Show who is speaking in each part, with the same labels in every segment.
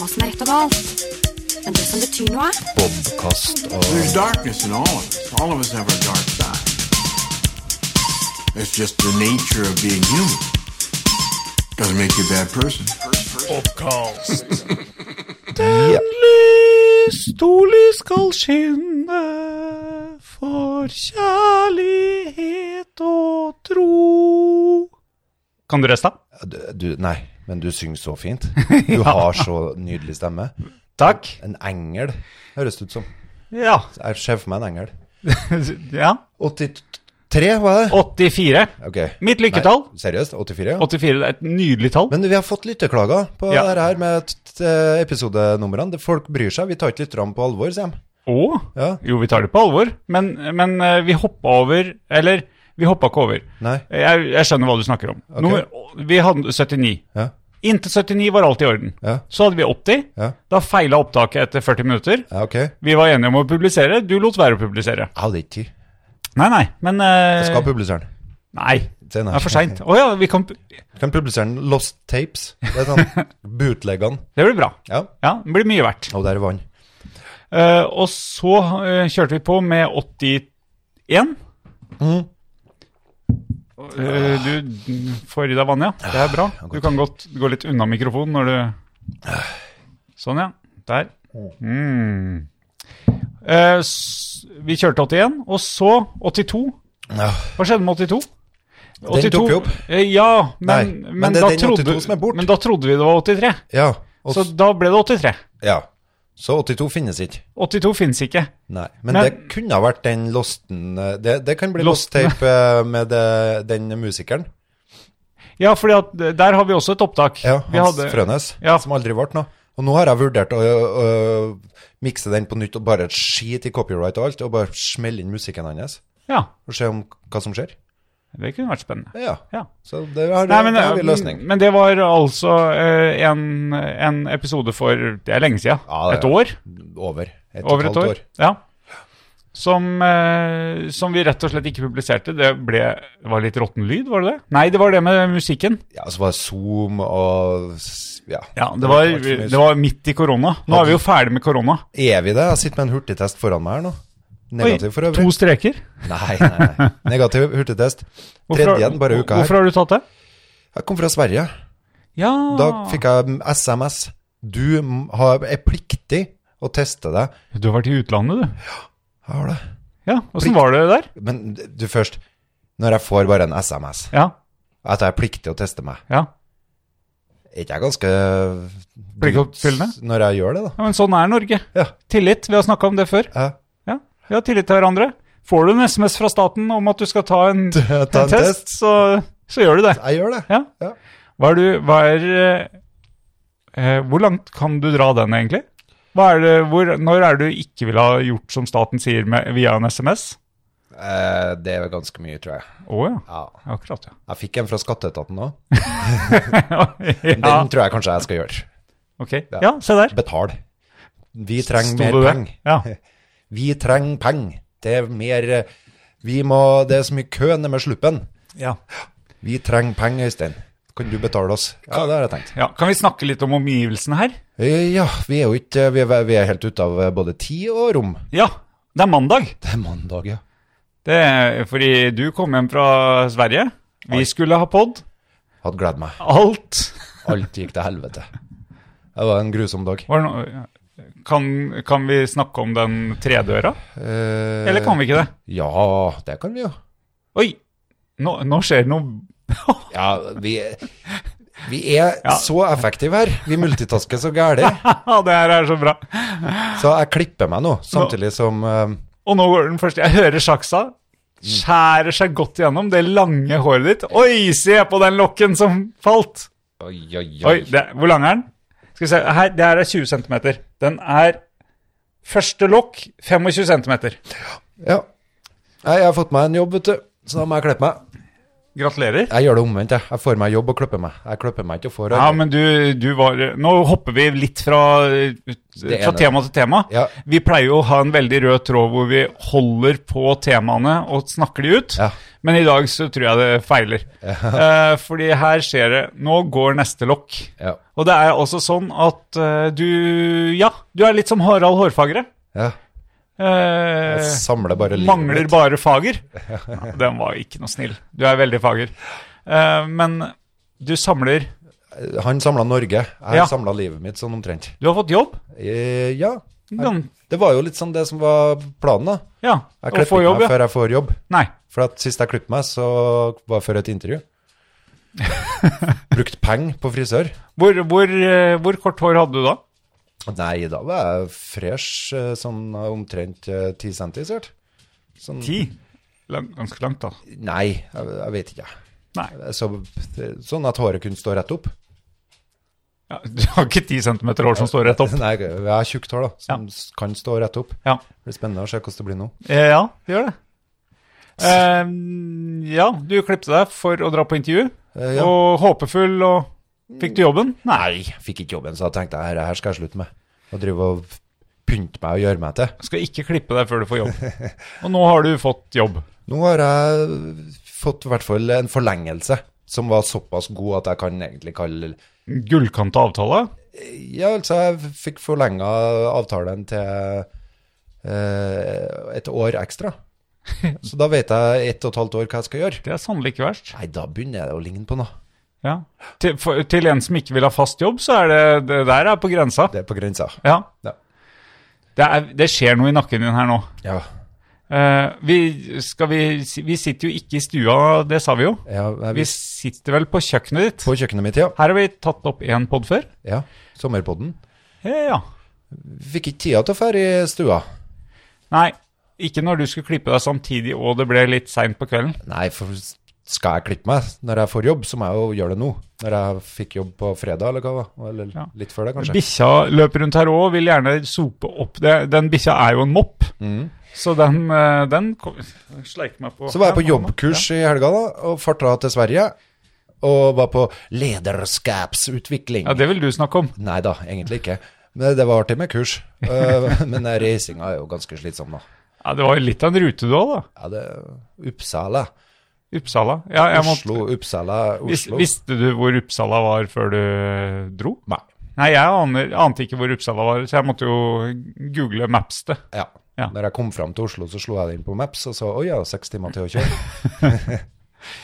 Speaker 1: normalt. Men det som betyr noe,
Speaker 2: Bobkast og
Speaker 3: There's darkness in all of us. All of us have our dark side. It's just the nature of being human. Doesn't make you a bad person.
Speaker 4: Lys, to lys skal skinne for kjærlighet og tro. Kan du resten?
Speaker 2: du, du, Nei, men du synger så fint. Du har så nydelig stemme.
Speaker 4: Takk.
Speaker 2: En engel høres det ut som.
Speaker 4: Ja.
Speaker 2: Jeg ser for meg en engel.
Speaker 4: ja.
Speaker 2: 83, var det?
Speaker 4: 84.
Speaker 2: Ok.
Speaker 4: Mitt lykketall.
Speaker 2: Nei, seriøst? 84? Ja.
Speaker 4: 84 det er et nydelig tall.
Speaker 2: Men vi har fått lytteklager på
Speaker 4: Ja.
Speaker 2: det her med t- t- episodenumrene. Det- Folk bryr seg. Vi tar ikke lytterne på alvor, sier de.
Speaker 4: Å?
Speaker 2: Ja.
Speaker 4: Jo, vi tar det på alvor. Men, men eh, vi hoppa over Eller, vi hoppa ikke over.
Speaker 2: Nei.
Speaker 4: Jeg, jeg skjønner hva du snakker om. Nummer, vi hadde 79.
Speaker 2: Ja.
Speaker 4: Inntil 79 var alt i orden.
Speaker 2: Ja.
Speaker 4: Så hadde vi 80.
Speaker 2: Ja.
Speaker 4: Da feila opptaket etter 40 minutter.
Speaker 2: ja, ok. Jeg
Speaker 4: Vi var enige om å publisere, du lot være å publisere.
Speaker 2: hadde ikke tid.
Speaker 4: Nei, nei, men eh,
Speaker 2: Jeg skal publisere den.
Speaker 4: Nei,
Speaker 2: Se, nei.
Speaker 4: det er for seint. Å ja, vi kan pu-
Speaker 2: Kan publisere den Lost Tapes. Det er sånn bootleggene.
Speaker 4: Det blir bra.
Speaker 2: Ja.
Speaker 4: Ja, det blir mye verdt.
Speaker 2: Og der vann.
Speaker 4: Eh, og så eh, kjørte vi på med 81.
Speaker 2: Mhm.
Speaker 4: Eh, du får i deg vann, ja. Det er bra. Du kan godt gå litt unna mikrofonen når du Sånn, ja. Der. Mm. Eh, s vi kjørte 81, og så 82.
Speaker 2: Ja.
Speaker 4: Hva skjedde med 82?
Speaker 2: Den tok vi opp.
Speaker 4: Eh, Ja, men,
Speaker 2: Nei,
Speaker 4: men,
Speaker 2: men det er
Speaker 4: da
Speaker 2: den 82
Speaker 4: trodde,
Speaker 2: som er bort.
Speaker 4: men da trodde vi det var 83.
Speaker 2: ja. Og,
Speaker 4: Så da ble det 83.
Speaker 2: ja. Så 82 finnes ikke.
Speaker 4: 82 fins ikke.
Speaker 2: Nei. Men,
Speaker 4: Men-
Speaker 2: det kunne ha vært den losten eh, Det, det kan bli lost
Speaker 4: Losten.
Speaker 2: tape eh, med det, den musikeren.
Speaker 4: Ja, fordi at eh, der har vi også et opptak.
Speaker 2: Ja,
Speaker 4: vi
Speaker 2: Hans
Speaker 4: hadde,
Speaker 2: Frønes,
Speaker 4: Ja.
Speaker 2: som aldri ble noe. Og nå har jeg vurdert å, å, å mikse den på nytt og bare skite i copyright og alt, og bare smelle inn musikken hans
Speaker 4: ja,
Speaker 2: og se om hva som skjer.
Speaker 4: det kunne vært spennende.
Speaker 2: Ja.
Speaker 4: Ja.
Speaker 2: Så det har,
Speaker 4: Nei, men, eh,
Speaker 2: det har vi løsning.
Speaker 4: men det var altså eh, en, en episode for Det er lenge siden.
Speaker 2: Ja, det er-
Speaker 4: et år?
Speaker 2: Over. Et
Speaker 4: Over et år. Ja. Som, eh, som vi rett og slett ikke publiserte. Det ble, det var litt råtten lyd, var det det? Nei, det var det med musikken.
Speaker 2: Ja, så var det Zoom og s- Ja.
Speaker 4: Ja, det var,
Speaker 2: ikke så mye.
Speaker 4: det var midt i korona. Nå er vi jo ferdig med korona.
Speaker 2: Er vi det? Jeg sitter med en hurtigtest foran meg her nå.
Speaker 4: Oi,
Speaker 2: Negativ for øvrig.
Speaker 4: to streker.
Speaker 2: Nei, nei, nei. Negativ hurtigtest.
Speaker 4: Hvorfor,
Speaker 2: Tredje en bare uka
Speaker 4: hvorfor
Speaker 2: her.
Speaker 4: har du tatt det?
Speaker 2: Jeg kom fra Sverige.
Speaker 4: Ja,
Speaker 2: Da fikk jeg SMS. Du m- har, er pliktig å teste deg.
Speaker 4: Du har vært i utlandet, du.
Speaker 2: Jeg har det.
Speaker 4: Ja, Åssen var det der?
Speaker 2: Men du først. Når jeg får bare en SMS
Speaker 4: Ja,
Speaker 2: at jeg er pliktig å teste meg,
Speaker 4: ja.
Speaker 2: er ikke jeg ganske
Speaker 4: Pliktoppfyllende?
Speaker 2: Når jeg gjør det, da.
Speaker 4: ja men sånn er Norge.
Speaker 2: Ja.
Speaker 4: Tillit. Vi har snakka om det før.
Speaker 2: Jeg,
Speaker 4: Ja, Vi har tillit til hverandre. Får du en SMS fra staten om at du skal ta en,
Speaker 2: Ta
Speaker 4: en
Speaker 2: en
Speaker 4: test,
Speaker 2: test.
Speaker 4: så, så gjør du det.
Speaker 2: jeg gjør det.
Speaker 4: Ja.
Speaker 2: Ja.
Speaker 4: Hva er du hva er, eh, eh, Hvor langt kan du dra den, egentlig? Hva er det, hvor, når er det du ikke vil ha gjort som staten sier med, via en SMS?
Speaker 2: Eh, det er vel ganske mye, tror jeg.
Speaker 4: Å ja.
Speaker 2: Ja.
Speaker 4: Akkurat, ja.
Speaker 2: Jeg fikk en fra skatteetaten òg.
Speaker 4: ja.
Speaker 2: Den tror jeg kanskje jeg skal gjøre.
Speaker 4: Ok. Ja, se der.
Speaker 2: Betal. Vi trenger
Speaker 4: Sto
Speaker 2: mer
Speaker 4: det det?
Speaker 2: penger.
Speaker 4: Ja.
Speaker 2: Vi trenger penger. Det er mer eh, Vi må Det er så mye kø nede med sluppen.
Speaker 4: Ja.
Speaker 2: Vi trenger penger, Øystein. Kan du betale oss? Ja, det har jeg tenkt.
Speaker 4: ja. Kan vi snakke litt om omgivelsene her?
Speaker 2: Eh, Ja, vi er jo ikke Vi er, vi er helt ute av eh, både tid og rom.
Speaker 4: Ja. Det er mandag.
Speaker 2: Det er mandag, ja.
Speaker 4: Det er fordi du kom hjem fra Sverige. Vi skulle ha pod.
Speaker 2: Hadde gledet meg.
Speaker 4: Alt
Speaker 2: Alt gikk til helvete. Det var en grusom dag.
Speaker 4: Var det noe- kan, kan vi snakke om den tredøra,
Speaker 2: Eh,
Speaker 4: eller kan vi ikke det?
Speaker 2: Ja, det kan vi jo.
Speaker 4: Oi, nå, nå skjer det noe
Speaker 2: Ja, vi, vi er
Speaker 4: Ja.
Speaker 2: så effektive her. Vi multitasker så gæli.
Speaker 4: Haha, Det her er så bra.
Speaker 2: Så jeg klipper meg nå, samtidig som eh,
Speaker 4: Og nå går den første. Jeg hører sjaksa. Skjærer seg godt gjennom det lange håret ditt. Oi, se på den lokken som falt!
Speaker 2: Oi, oi, oi.
Speaker 4: Oi, det, Hvor lang er den? Skal vi se, her, Det her er 20 cm. Den er Første lokk 25 cm.
Speaker 2: Ja. Nei, jeg har fått meg en jobb, vet du. Så da må jeg klippe meg.
Speaker 4: Gratulerer.
Speaker 2: Jeg gjør det omvendt, jeg. Jeg får meg jobb og kløpper meg. Jeg kløpper meg ikke og får
Speaker 4: Ja, men du, du var Nå hopper vi litt fra, eh, fra
Speaker 2: ene.
Speaker 4: tema til tema.
Speaker 2: Ja.
Speaker 4: Vi pleier jo å ha en veldig rød tråd hvor vi holder på temaene og snakker de ut.
Speaker 2: Ja.
Speaker 4: Men i dag så tror jeg det feiler. Eh, fordi her skjer det Nå går neste lokk.
Speaker 2: Ja.
Speaker 4: Og det er også sånn at eh, du Ja, du er litt som Harald Hårfagre.
Speaker 2: Ja.
Speaker 4: Eh,
Speaker 2: Jeg samler bare livet
Speaker 4: Mangler
Speaker 2: mitt.
Speaker 4: bare fager. Ja, den var ikke noe snill. Du er veldig fager. Eh, men du samler
Speaker 2: Han samla Norge. Jeg
Speaker 4: Ja.
Speaker 2: samla livet mitt sånn omtrent.
Speaker 4: Du har fått jobb.
Speaker 2: Eh, ja.
Speaker 4: Gan-
Speaker 2: Det var jo litt sånn det som var planen, da.
Speaker 4: Ja,
Speaker 2: Jeg
Speaker 4: å
Speaker 2: klipper
Speaker 4: få
Speaker 2: ikke
Speaker 4: jobb,
Speaker 2: meg
Speaker 4: ja.
Speaker 2: før jeg får jobb.
Speaker 4: Nei.
Speaker 2: For at sist jeg klippet meg, så var før et intervju. Brukt penger på frisør.
Speaker 4: Hvor, hvor, eh, hvor kort hår hadde du da?
Speaker 2: Nei, da var jeg fresh, eh, sånn omtrent eh, 10 centi, sikkert. Sånn,
Speaker 4: Lang, ganske langt, da.
Speaker 2: Nei, jeg, jeg vet ikke.
Speaker 4: Nei.
Speaker 2: Så, sånn at håret kunne stå rett opp.
Speaker 4: Ja, du har ikke 10 cm hår som står rett opp?
Speaker 2: Nei, jeg har tjukt hår, da, som s- kan stå rett opp.
Speaker 4: Ja,
Speaker 2: Det blir spennende å se hvordan det blir nå.
Speaker 4: eh, ja det gjør det. Eh, ja, du klippte deg for å dra på intervju,
Speaker 2: Eh, ja.
Speaker 4: og håpefull, og fikk du jobben? Nei.
Speaker 2: Jeg fikk ikke jobben, så jeg tenkte her, her skal jeg slutte med. Og drive og pynte meg og gjøre meg til.
Speaker 4: Skal ikke klippe deg før du får jobb. Og nå har du fått jobb.
Speaker 2: Nå har jeg fått i hvert fall en forlengelse som var såpass god at jeg kan egentlig kalle
Speaker 4: Gullkanta avtale?
Speaker 2: Ja, altså, jeg fikk forlenga avtalen til eh, et år ekstra. Så da vet jeg ett og et halvt år hva jeg skal gjøre.
Speaker 4: Det er sannelig ikke verst.
Speaker 2: Nei, da begynner det å ligne på noe.
Speaker 4: Ja. Til, for, til en som ikke vil ha fast jobb, så er det, det der er på grensa.
Speaker 2: Det er på grensa.
Speaker 4: Ja.
Speaker 2: Ja.
Speaker 4: Det, er, det skjer noe i nakken din her nå.
Speaker 2: Ja,
Speaker 4: Eh, vi, skal vi, si- vi sitter jo ikke i stua, det sa vi jo.
Speaker 2: ja jeg,
Speaker 4: Vi sitter vel på kjøkkenet ditt.
Speaker 2: På kjøkkenet mitt, ja.
Speaker 4: Her har vi tatt opp én pod før.
Speaker 2: ja. Sommerpodden.
Speaker 4: Eh, ja.
Speaker 2: Fikk ikke tida til å dra i stua.
Speaker 4: Nei, ikke når du skulle klippe deg samtidig og det ble litt seint på kvelden.
Speaker 2: Nei, for skal jeg klippe meg når jeg får jobb, så må jeg jo gjøre det nå. Når jeg fikk jobb på fredag, eller hva? det var. Eller
Speaker 4: Ja.
Speaker 2: litt før det, kanskje.
Speaker 4: Bikkja løper rundt her òg og vil gjerne sope opp det. Den bikkja er jo en mopp, så den, eh, den kom- sleiker meg på
Speaker 2: Mm. Så var jeg på jobbkurs i helga da, og farta til Sverige. Og var på lederskapsutvikling.
Speaker 4: Ja, det vil du snakke om.
Speaker 2: Nei da, egentlig ikke. Men det var artig med kurs. Eh, Men reisinga er jo ganske slitsom, da.
Speaker 4: Ja, Det var jo litt av en rute du òg, da.
Speaker 2: Ja, det Uppsala.
Speaker 4: Uppsala. Ja, jeg måtte,
Speaker 2: Oslo, Uppsala,
Speaker 4: Vis,
Speaker 2: Oslo.
Speaker 4: visste du hvor Uppsala var før du eh, dro?
Speaker 2: Nei.
Speaker 4: Nei, jeg aner, ante ikke hvor Uppsala var, så jeg måtte jo google Maps det.
Speaker 2: Ja.
Speaker 4: Ja.
Speaker 2: Når jeg kom fram til Oslo, så slo jeg det inn på Maps og så Å ja, seks timer til å kjøre.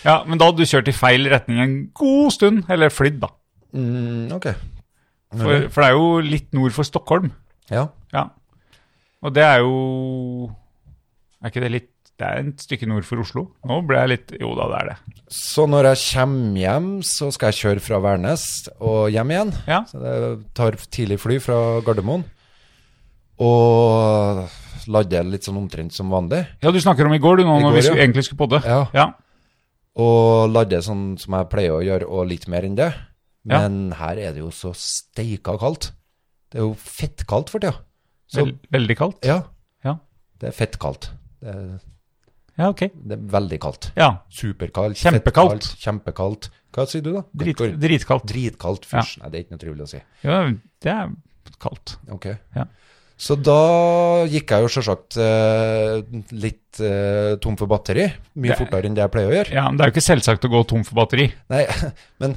Speaker 4: Ja, Men da hadde du kjørt i feil retning en god stund, eller flydd, da.
Speaker 2: Mm, ok.
Speaker 4: For, for det er jo litt nord for Stockholm.
Speaker 2: Ja.
Speaker 4: Ja. Og det er jo Er ikke det litt Det er et stykke nord for Oslo. Nå ble jeg litt Jo da, det er det.
Speaker 2: Så når jeg kommer hjem, så skal jeg kjøre fra Værnes og hjem igjen.
Speaker 4: Ja.
Speaker 2: Så det tar tidlig fly fra Gardermoen. Og lader litt sånn omtrent som vanlig.
Speaker 4: Ja, du snakker om i går, du, nå
Speaker 2: I
Speaker 4: når
Speaker 2: går,
Speaker 4: vi skulle,
Speaker 2: ja.
Speaker 4: egentlig skulle podde.
Speaker 2: Ja.
Speaker 4: ja.
Speaker 2: Og lader sånn som jeg pleier å gjøre, og litt mer enn det.
Speaker 4: Ja.
Speaker 2: Men her er det jo så steika kaldt. Det er jo fettkaldt for tida. Så
Speaker 4: Vel- Veldig kaldt.
Speaker 2: ja,
Speaker 4: Ja.
Speaker 2: det er fettkaldt. Det, er-
Speaker 4: Ja, ok.
Speaker 2: det er veldig kaldt.
Speaker 4: Ja.
Speaker 2: Superkaldt.
Speaker 4: Kjempekaldt.
Speaker 2: fettkaldt, Kjempekaldt. Hva sier du, da?
Speaker 4: Drit,
Speaker 2: Gregor?
Speaker 4: dritkaldt.
Speaker 2: Dritkaldt. Fysj. Nei, det er ikke noe trivelig å si.
Speaker 4: Ja, det er kaldt.
Speaker 2: Ok.
Speaker 4: Ja.
Speaker 2: Så da gikk jeg jo selvsagt eh, litt eh, tom for batteri, mye
Speaker 4: Det-
Speaker 2: fortere enn det jeg pleier å gjøre.
Speaker 4: Ja, men det er jo ikke selvsagt å gå tom for batteri.
Speaker 2: Nei, men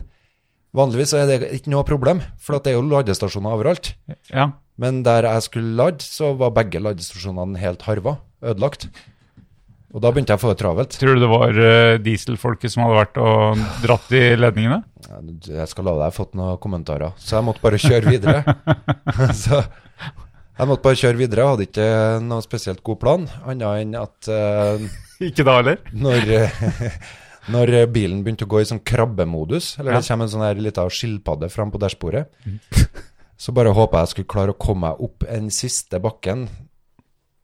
Speaker 2: vanligvis så er det ikke noe problem, for at det er jo ladestasjoner overalt.
Speaker 4: Ja.
Speaker 2: Men der jeg skulle lade, så var begge ladestasjonene helt harva, ødelagt. Og da begynte jeg å få det travelt.
Speaker 4: Tror du det var eh, dieselfolket som hadde vært og dratt i ledningene?
Speaker 2: Jeg skal love deg, jeg har fått noen kommentarer. Så jeg måtte bare kjøre videre. så jeg måtte bare kjøre videre, jeg hadde ikke noen spesielt god plan, annet enn at eh,
Speaker 4: Ikke da heller?
Speaker 2: når, eh, når eh, bilen begynte å gå i sånn krabbemodus, eller det kommer en sånn her lita skilpadde fram på dashbordet,
Speaker 4: Mm.
Speaker 2: så bare håpa jeg skulle klare å komme meg opp den siste bakken,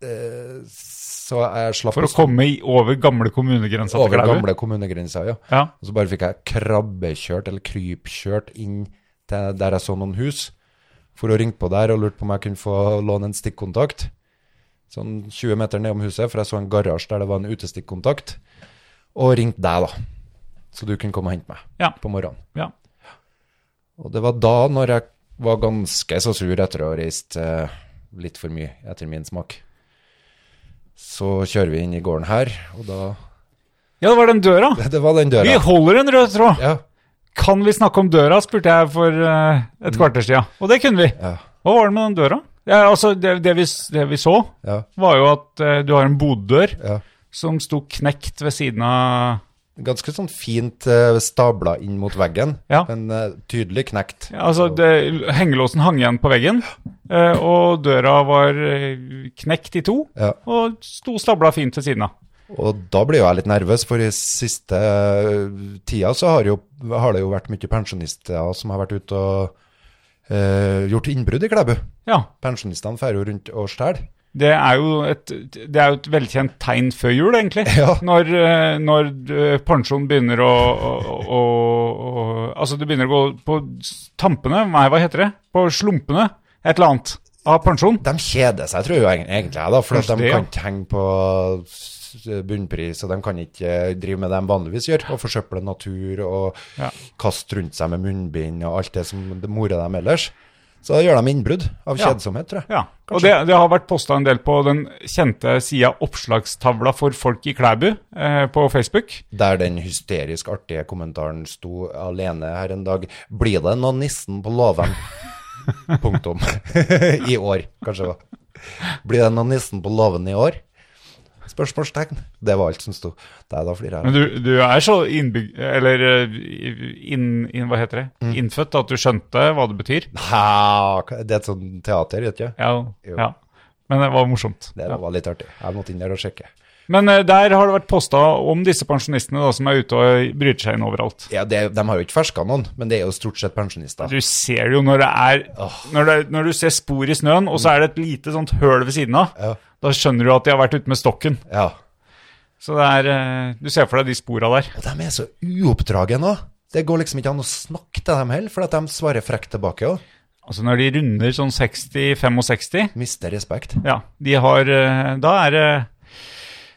Speaker 2: eh, så jeg slapp
Speaker 4: For å
Speaker 2: stå
Speaker 4: komme i, over gamle kommunegrensa til
Speaker 2: over
Speaker 4: Klæbu?
Speaker 2: gamle kommunegrensa, ja.
Speaker 4: Ja.
Speaker 2: Og så bare fikk jeg krabbekjørt, eller krypkjørt, inn til der jeg så noen hus, for å ringe på der og lurte på om jeg kunne få låne en stikkontakt. Sånn 20 meter nedom huset, for jeg så en garasje der det var en utestikkontakt. Og ringte deg, da. Så du kunne komme og hente meg
Speaker 4: Ja.
Speaker 2: på morgenen.
Speaker 4: Ja.
Speaker 2: Og det var da, når jeg var ganske så sur etter å ha reist eh, litt for mye, etter min smak, så kjører vi inn i gården her, og da
Speaker 4: ja, det var den døra.
Speaker 2: Det var den
Speaker 4: Vi
Speaker 2: døra.
Speaker 4: holder en rød tråd.
Speaker 2: Ja.
Speaker 4: Kan vi snakke om døra, spurte jeg for eh, et kvarter siden. Og det kunne vi.
Speaker 2: Ja.
Speaker 4: Hva var det med den døra? Ja, altså, det, det, vi, s- det vi så,
Speaker 2: Ja.
Speaker 4: var jo at eh, du har en boddør
Speaker 2: ja.
Speaker 4: som sto knekt ved siden av
Speaker 2: Ganske sånn fint eh, stabla inn mot veggen,
Speaker 4: Ja.
Speaker 2: men eh, tydelig knekt.
Speaker 4: ja, Altså, det, hengelåsen hang igjen på veggen, eh, og døra var eh, knekt i to,
Speaker 2: Ja.
Speaker 4: og sto stabla fint ved siden av.
Speaker 2: Og da blir jo jeg litt nervøs, for i siste eh, tida så har, jo, har det jo vært mye pensjonister som har vært ute og eh, gjort innbrudd i Klæbu.
Speaker 4: Ja,
Speaker 2: Pensjonistene drar jo rundt og stjeler.
Speaker 4: det er, jo et, det er jo et velkjent tegn før jul, egentlig.
Speaker 2: Ja.
Speaker 4: Når, eh, når eh, pensjonen begynner å, å, å, å Altså, det begynner å gå på s- tampene, nei, hva heter det? På slumpene, et eller annet, av pensjon.
Speaker 2: De kjeder seg, tror jeg egen- egentlig, jeg da, for at
Speaker 4: Kanskje
Speaker 2: de
Speaker 4: det, ja.
Speaker 2: kan ikke henge på s- bunnpris, og de kan ikke eh, drive med det de vanligvis gjør, og forsøple natur og
Speaker 4: Ja.
Speaker 2: kaste rundt seg med munnbind og alt det som det morer dem ellers. Så da gjør de innbrudd av
Speaker 4: Ja.
Speaker 2: kjedsomhet, tror jeg.
Speaker 4: Ja, og det, det har vært posta en del på den kjente sida Oppslagstavla for folk i Klæbu eh, på Facebook.
Speaker 2: Der den hysterisk artige kommentaren sto alene her en dag. Blir det noen nissen på låven? Punktum. I år, kanskje. det var. Blir det noen nissen på låven i år? Spørsmålstegn. Det var alt som sto. Nei, da flirer jeg.
Speaker 4: Men du, du er så innbygg... Eller eh, inn, inn, hva heter det?
Speaker 2: Mm.
Speaker 4: innfødt at du skjønte hva det betyr.
Speaker 2: Ha, det er et sånt teater, vet du.
Speaker 4: Ja,
Speaker 2: Jo.
Speaker 4: ja. Men det var morsomt.
Speaker 2: Det
Speaker 4: Ja.
Speaker 2: var litt artig. Jeg måtte inn der og sjekke.
Speaker 4: Men eh, der har det vært posta om disse pensjonistene da, som er ute og bryter seg inn overalt.
Speaker 2: Ja, det, de har jo ikke ferska noen, men det er jo stort sett pensjonister.
Speaker 4: Du ser jo når det er når, det, når du ser spor i snøen, og så er det et lite sånt høl ved siden av,
Speaker 2: Ja.
Speaker 4: da skjønner du at de har vært ute med stokken.
Speaker 2: Ja.
Speaker 4: Så det er eh, Du ser for deg de spora der.
Speaker 2: Og de er så uoppdragne nå. Det går liksom ikke an å snakke til dem heller, for at de svarer frekt tilbake òg.
Speaker 4: Altså når de runder sånn 60-65,
Speaker 2: Mister respekt.
Speaker 4: ja, de har eh, Da er det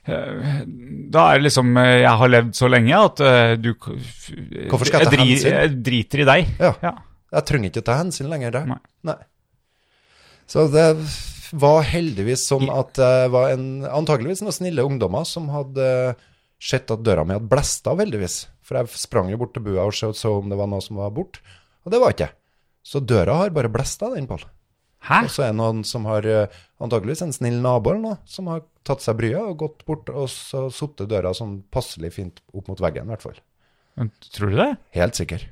Speaker 4: eh, da er det liksom eh, Jeg har levd så lenge at eh, du Hvorfor
Speaker 2: skal jeg ta
Speaker 4: jeg,
Speaker 2: hensyn?
Speaker 4: dri, jeg driter i deg.
Speaker 2: Ja.
Speaker 4: Ja.
Speaker 2: Jeg trenger ikke å ta hensyn lenger der.
Speaker 4: Nei.
Speaker 2: Nei. Så det var heldigvis som at det var en, antageligvis noen snille ungdommer som hadde eh, sett at døra mi hadde blæst av, heldigvis. For jeg sprang jo bort til bua og så, så om det var noe som var borte, og det var ikke. Så døra har bare blæst av, den, Pål.
Speaker 4: Hæ?
Speaker 2: Og så er det noen som har, eh, antageligvis en snill nabo eller noe, som har tatt seg bryet og gått bort og så suttet døra sånn passelig fint opp mot veggen, i hvert fall.
Speaker 4: Men Tror du det?
Speaker 2: Helt sikker.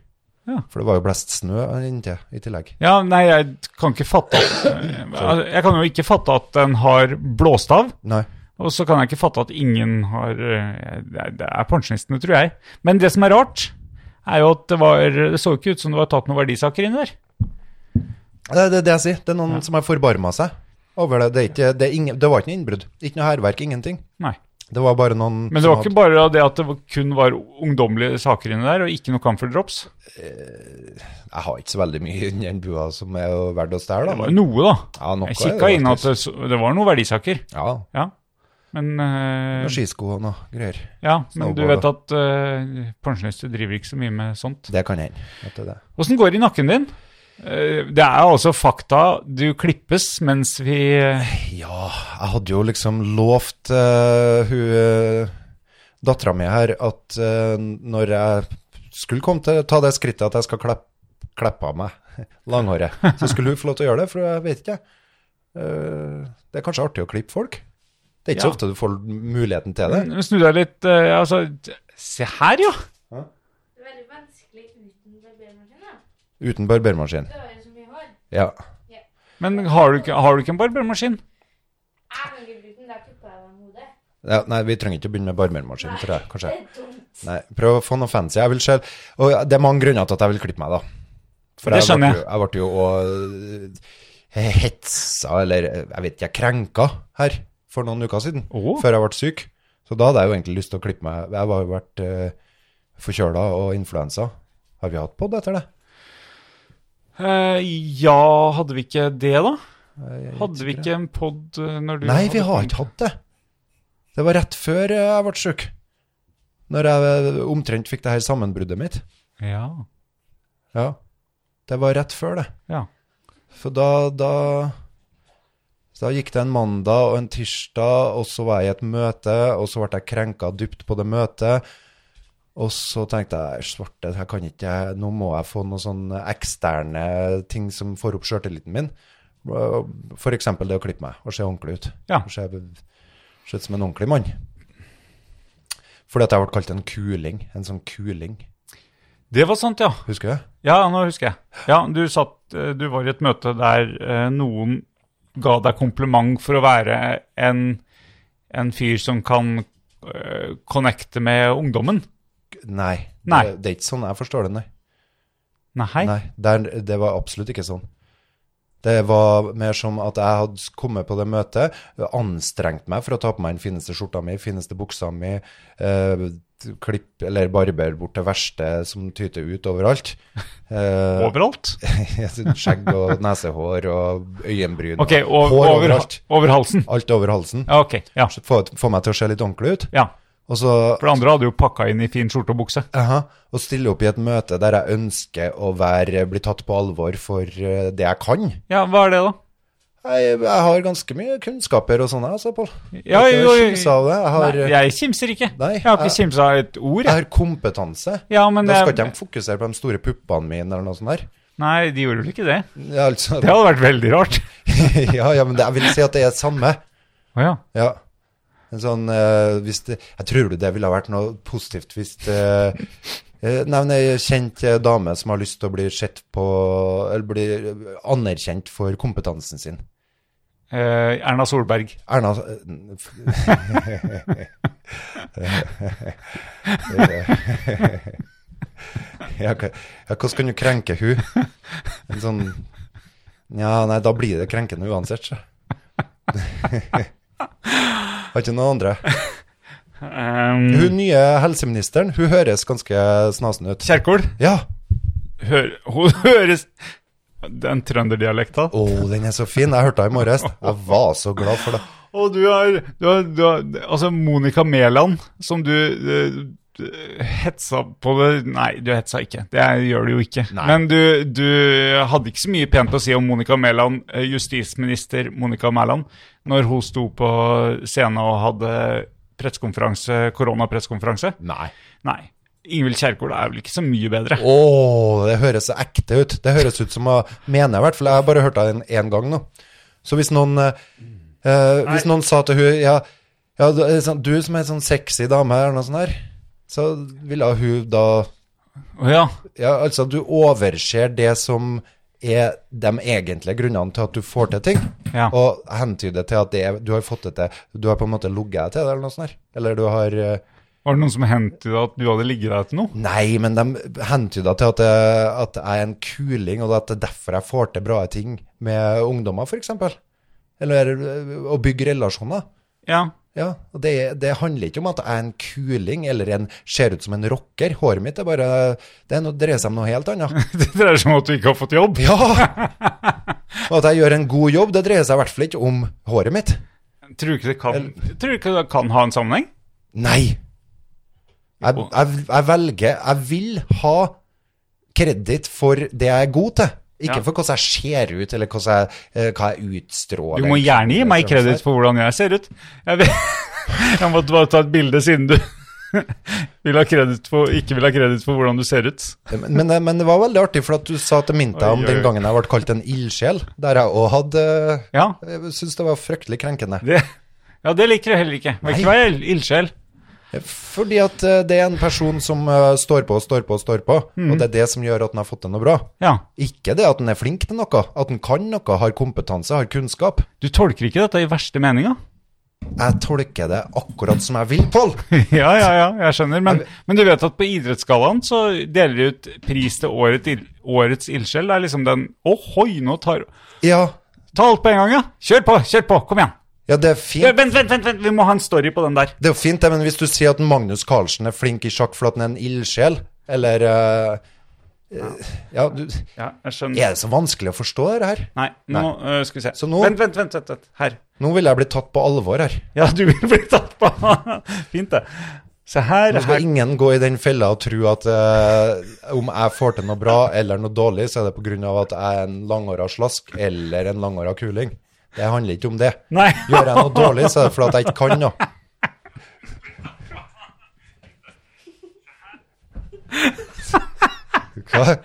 Speaker 4: Ja.
Speaker 2: For det var jo blæst snø inntil i tillegg.
Speaker 4: Ja, nei, jeg kan ikke fatte at eh, Jeg kan jo ikke fatte at den har blåst av.
Speaker 2: Nei.
Speaker 4: Og så kan jeg ikke fatte at ingen har eh, Det er- det er pensjonistene, tror jeg. Men det som er rart, er jo at det, var, det så jo ikke ut som det var tatt noen verdisaker inn der.
Speaker 2: Det er det, er det jeg sier. Det er noen som har forbarma seg over det. Det, er ikke, det, er ingen, det var ikke noe innbrudd. Ikke noe hærverk, ingenting.
Speaker 4: Nei.
Speaker 2: Det var bare noen
Speaker 4: Men det
Speaker 2: som
Speaker 4: var ikke bare det at det var- kun var ungdommelige saker inne der, og ikke noe Camphor Drops.
Speaker 2: hadde, Jeg har ikke så veldig mye inni den bua som er jo verdt å stjele,
Speaker 4: Det var
Speaker 2: da.
Speaker 4: jo noe, da.
Speaker 2: Ja, noe
Speaker 4: Jeg
Speaker 2: er det
Speaker 4: kikka inn at
Speaker 2: faktisk.
Speaker 4: det, så- det var noen verdisaker.
Speaker 2: Ja.
Speaker 4: Ja. Men, eh,
Speaker 2: noen Skisko og noe greier.
Speaker 4: ja, men du
Speaker 2: snowboard,
Speaker 4: vet at eh, pensjonister driver ikke så mye med sånt.
Speaker 2: Det kan hende. at det er det.
Speaker 4: Åssen går det i nakken din? Eh, Det er altså fakta. Du klippes mens vi eh,
Speaker 2: Ja, jeg hadde jo liksom lovt eh, hun uh, dattera mi her at eh, når jeg skulle komme til å ta det skrittet at jeg skal klepp, kleppe av meg langhåret, så skulle hun få lov til å gjøre det, for jeg vet ikke. Eh, det er kanskje artig å klippe folk? Det er ikke
Speaker 4: Ja. Mm.
Speaker 2: så ofte du får muligheten til det.
Speaker 4: Men Snu deg litt eh, altså, d- Se her, jo!
Speaker 5: Det er veldig vanskelig uten barbermaskin. da.
Speaker 2: Uten barbermaskin.
Speaker 5: Det er jo så mye hår.
Speaker 2: Ja.
Speaker 4: Men har du, ikke- har du ikke en barbermaskin?
Speaker 5: Jeg kan ikke bruke den, da kupper jeg meg hodet.
Speaker 2: ja. Nei, vi trenger ikke å begynne med barbermaskin, tror jeg, kanskje.
Speaker 5: Det er dumt.
Speaker 2: Nei, prøv å få noe fancy. Jeg vil selv, og det er mange grunner til at jeg vil klippe meg, da. For
Speaker 4: Det skjønner
Speaker 2: jeg. ble jo- Jeg ble jo òg hetsa, eller øh, jeg vet ikke, jeg krenka her for noen uker siden.
Speaker 4: Å.
Speaker 2: Før jeg ble syk. Så da hadde jeg jo egentlig lyst til å klippe meg. Jeg har jo vært uh, forkjøla og influensa. Har vi hatt pod etter det?
Speaker 4: Eh, ja, hadde vi ikke det, da?
Speaker 2: jeg er
Speaker 4: Hadde vi ikke en pod eh, når du
Speaker 2: Nei, vi har ikke hatt det. Det var rett før øh, jeg ble eh, syk. Når jeg eh, omtrent fikk det her sammenbruddet mitt.
Speaker 4: Ja.
Speaker 2: Ja. Det var rett før, det.
Speaker 4: ja.
Speaker 2: For da, da så Da gikk det en mandag og en tirsdag, og så var jeg i et møte, og så ble jeg krenka dypt på det møtet. Og så tenkte jeg svarte, her kan ikke jeg, nå må jeg få noen sånne eksterne ting som får opp sjøltilliten min. F.eks. det å klippe meg og se ordentlig ut.
Speaker 4: Ja.
Speaker 2: Og Se se ut som en ordentlig mann. Fordi at jeg ble kalt en kuling. En sånn kuling.
Speaker 4: Det var sant, ja.
Speaker 2: Husker du det?
Speaker 4: Ja, nå husker jeg. Ja, du, satt, eh, du var i et møte der eh, noen ga deg kompliment for å være en, en fyr som kan eh, connecte med ungdommen.
Speaker 2: Nei.
Speaker 4: Nei.
Speaker 2: Det, det er ikke sånn jeg forstår det, nei.
Speaker 4: Nei.
Speaker 2: Nei, der, det var absolutt ikke sånn. Det var mer som at jeg hadde kommet på det møtet, anstrengt meg for å ta på meg den fineste skjorta mi, fineste buksa mi, eh, klipp eller barber bort det verste som tyter ut overalt. Eh,
Speaker 4: Overalt?
Speaker 2: skjegg og nesehår og øyenbryn.
Speaker 4: Ok,
Speaker 2: og
Speaker 4: over,
Speaker 2: hår
Speaker 4: over,
Speaker 2: overalt.
Speaker 4: over halsen.
Speaker 2: Alt over halsen.
Speaker 4: Ja, ok. Ja.
Speaker 2: Få, få meg til å se litt ordentlig ut.
Speaker 4: ja.
Speaker 2: Og så
Speaker 4: For det andre hadde jo pakka inn i fin skjorte og bukse.
Speaker 2: Aha, og stille opp i et møte der jeg ønsker å være, bli tatt på alvor for eh, det jeg kan.
Speaker 4: Ja, hva er det, da?
Speaker 2: Jeg, jeg har ganske mye kunnskaper og sånne, altså, Pål.
Speaker 4: Ja,
Speaker 2: Jeg
Speaker 4: jo,
Speaker 2: har
Speaker 4: jo.
Speaker 2: ikke kimsa av det. Jeg har, eh,
Speaker 4: Nei, jeg kimser ikke.
Speaker 2: Nei,
Speaker 4: jeg har ikke
Speaker 2: jeg-
Speaker 4: kimsa av et ord.
Speaker 2: jeg
Speaker 4: Jeg.
Speaker 2: har kompetanse.
Speaker 4: Ja, men
Speaker 2: da skal
Speaker 4: jeg-
Speaker 2: ikke de fokusere på de store puppene mine eller noe sånt der.
Speaker 4: Nei, de gjorde vel ikke det?
Speaker 2: Ja, altså,
Speaker 4: Det hadde vært veldig rart.
Speaker 2: ja, ja, men det, jeg vil si at det er samme.
Speaker 4: Å ja.
Speaker 2: Ja. En sånn, eh, hvis det, jeg tror det ville ha vært noe positivt hvis det eh, Nei, men ei kjent eh, dame som har lyst til å bli sett på Eller bli eh, anerkjent for kompetansen sin.
Speaker 4: Eh, Erna Solberg.
Speaker 2: Erna eh, ja, hva- ja, hvordan kan du krenke hun? En sånn Ja, nei, da blir det krenkende uansett, så. Har ikke noen andre.
Speaker 4: Um,
Speaker 2: Hun nye helseministeren, hun høres ganske snasen ut.
Speaker 4: Kjerkol.
Speaker 2: Ja.
Speaker 4: Hør, hun høres Den trønderdialekta.
Speaker 2: Å, den er så fin. Jeg hørte henne i morges. Jeg var så glad for det.
Speaker 4: Og du har, du har, du har Altså, Monica Mæland, som du eh, eh, hetsa på det Nei, du hetsa ikke. Det er- gjør du jo ikke. Men du, du hadde ikke så mye pent å si om Monica Mæland, eh, justisminister Monica Mæland, når hun sto på scenen og hadde pressekonferanse, koronapressekonferanse.
Speaker 2: Nei.
Speaker 4: Nei. Ingvild Kjerkol er vel ikke så mye bedre.
Speaker 2: Å, det høres så ekte ut. Det høres ut som hun mener, i hvert fall. Jeg har bare hørt henne én gang nå. Så hvis noen, eh, eh, hvis noen sa til hun, ja, ja, du er sånn- du som er en sånn sexy dame eller noe sånt her, så ville hun da
Speaker 4: Å ja.
Speaker 2: Ja, altså, du overser det som er de egentlige grunnene til at du får til ting,
Speaker 4: Ja.
Speaker 2: og hentyder til at det er, du har fått det til. Du har på en måte ligget deg til det, eller noe sånt her. Eller du har eh,
Speaker 4: Var det noen som hentet at du hadde ligget deg til noe?
Speaker 2: Nei, men de hentyda til at jeg, at jeg er en kuling, og at det er derfor jeg får til bra ting med ungdommer, f.eks. Eller ø, å bygge relasjoner.
Speaker 4: Ja.
Speaker 2: Ja, og det, det handler ikke om at jeg er en kuling eller en, ser ut som en rocker. Håret mitt er bare Det er noe, dreier seg om noe helt annet.
Speaker 4: Det dreier seg om at du ikke har fått jobb.
Speaker 2: Ja! Og at jeg gjør en god jobb, det dreier seg i hvert fall ikke om håret mitt.
Speaker 4: Tror du ikke det kan, tror du ikke det kan ha en sammenheng?
Speaker 2: Nei. Jeg, jeg, jeg velger Jeg vil ha kreditt for det jeg er god til. Ikke
Speaker 4: Ja.
Speaker 2: for hvordan jeg ser ut, eller hvordan jeg, eh, hva jeg utstråler.
Speaker 4: Du må gjerne gi meg kreditt for hvordan jeg ser ut. Jeg, vet, jeg måtte bare ta et bilde siden du vil ha kreditt for, ikke vil ha kreditt for hvordan du ser ut.
Speaker 2: men, men, men det var veldig artig, for at du sa til Minta om
Speaker 4: Oi, oi.
Speaker 2: den gangen jeg ble kalt en ildsjel, der jeg òg hadde
Speaker 4: Ja,
Speaker 2: Jeg syns det var fryktelig krenkende.
Speaker 4: det, ja, det liker du heller ikke. Du Vil ikke være ild- ildsjel.
Speaker 2: Fordi at eh, det er en person som eh, står på og står på og står på,
Speaker 4: Mm.
Speaker 2: og det er det som gjør at den har fått til noe bra.
Speaker 4: Ja.
Speaker 2: Ikke det at den er flink til noe, at den kan noe, har kompetanse, har kunnskap.
Speaker 4: Du tolker ikke dette i verste meninga.
Speaker 2: Jeg tolker det akkurat som jeg vil, Pål.
Speaker 4: Ja, ja, ja, jeg skjønner. Men, men du vet at på Idrettsgallaen så deler de ut pris til året, årets ildsjel. Det er liksom den Ohoi, nå tar
Speaker 2: Ja,
Speaker 4: Ta alt på en gang, ja. Kjør på, kjør på. Kom igjen.
Speaker 2: ja, det er
Speaker 4: Ja,
Speaker 2: fint.
Speaker 4: Vent, vent, vent, vent. vi må ha en story på den der.
Speaker 2: Det er jo fint, det, men hvis du sier at Magnus Carlsen er flink i sjakk for at han er en ildsjel, eller eh, eh, Ja, du,
Speaker 4: Ja, jeg skjønner.
Speaker 2: er det så vanskelig å forstå det her?
Speaker 4: Nei, nå øh, skal vi se.
Speaker 2: Så nå-
Speaker 4: Vent, vent, vent, vent, vent. Her.
Speaker 2: Nå ville jeg blitt tatt på alvor her.
Speaker 4: Ja, du vil bli tatt på. Fint, det. Se her.
Speaker 2: Nå skal
Speaker 4: her.
Speaker 2: ingen gå i den fella og tro at eh, om jeg får til noe bra eller noe dårlig, så er det pga. at jeg er en langhåra slask eller en langhåra kuling. Det handler ikke om det.
Speaker 4: Nei.
Speaker 2: Gjør jeg noe dårlig, så er det fordi at jeg ikke kan noe. Hva?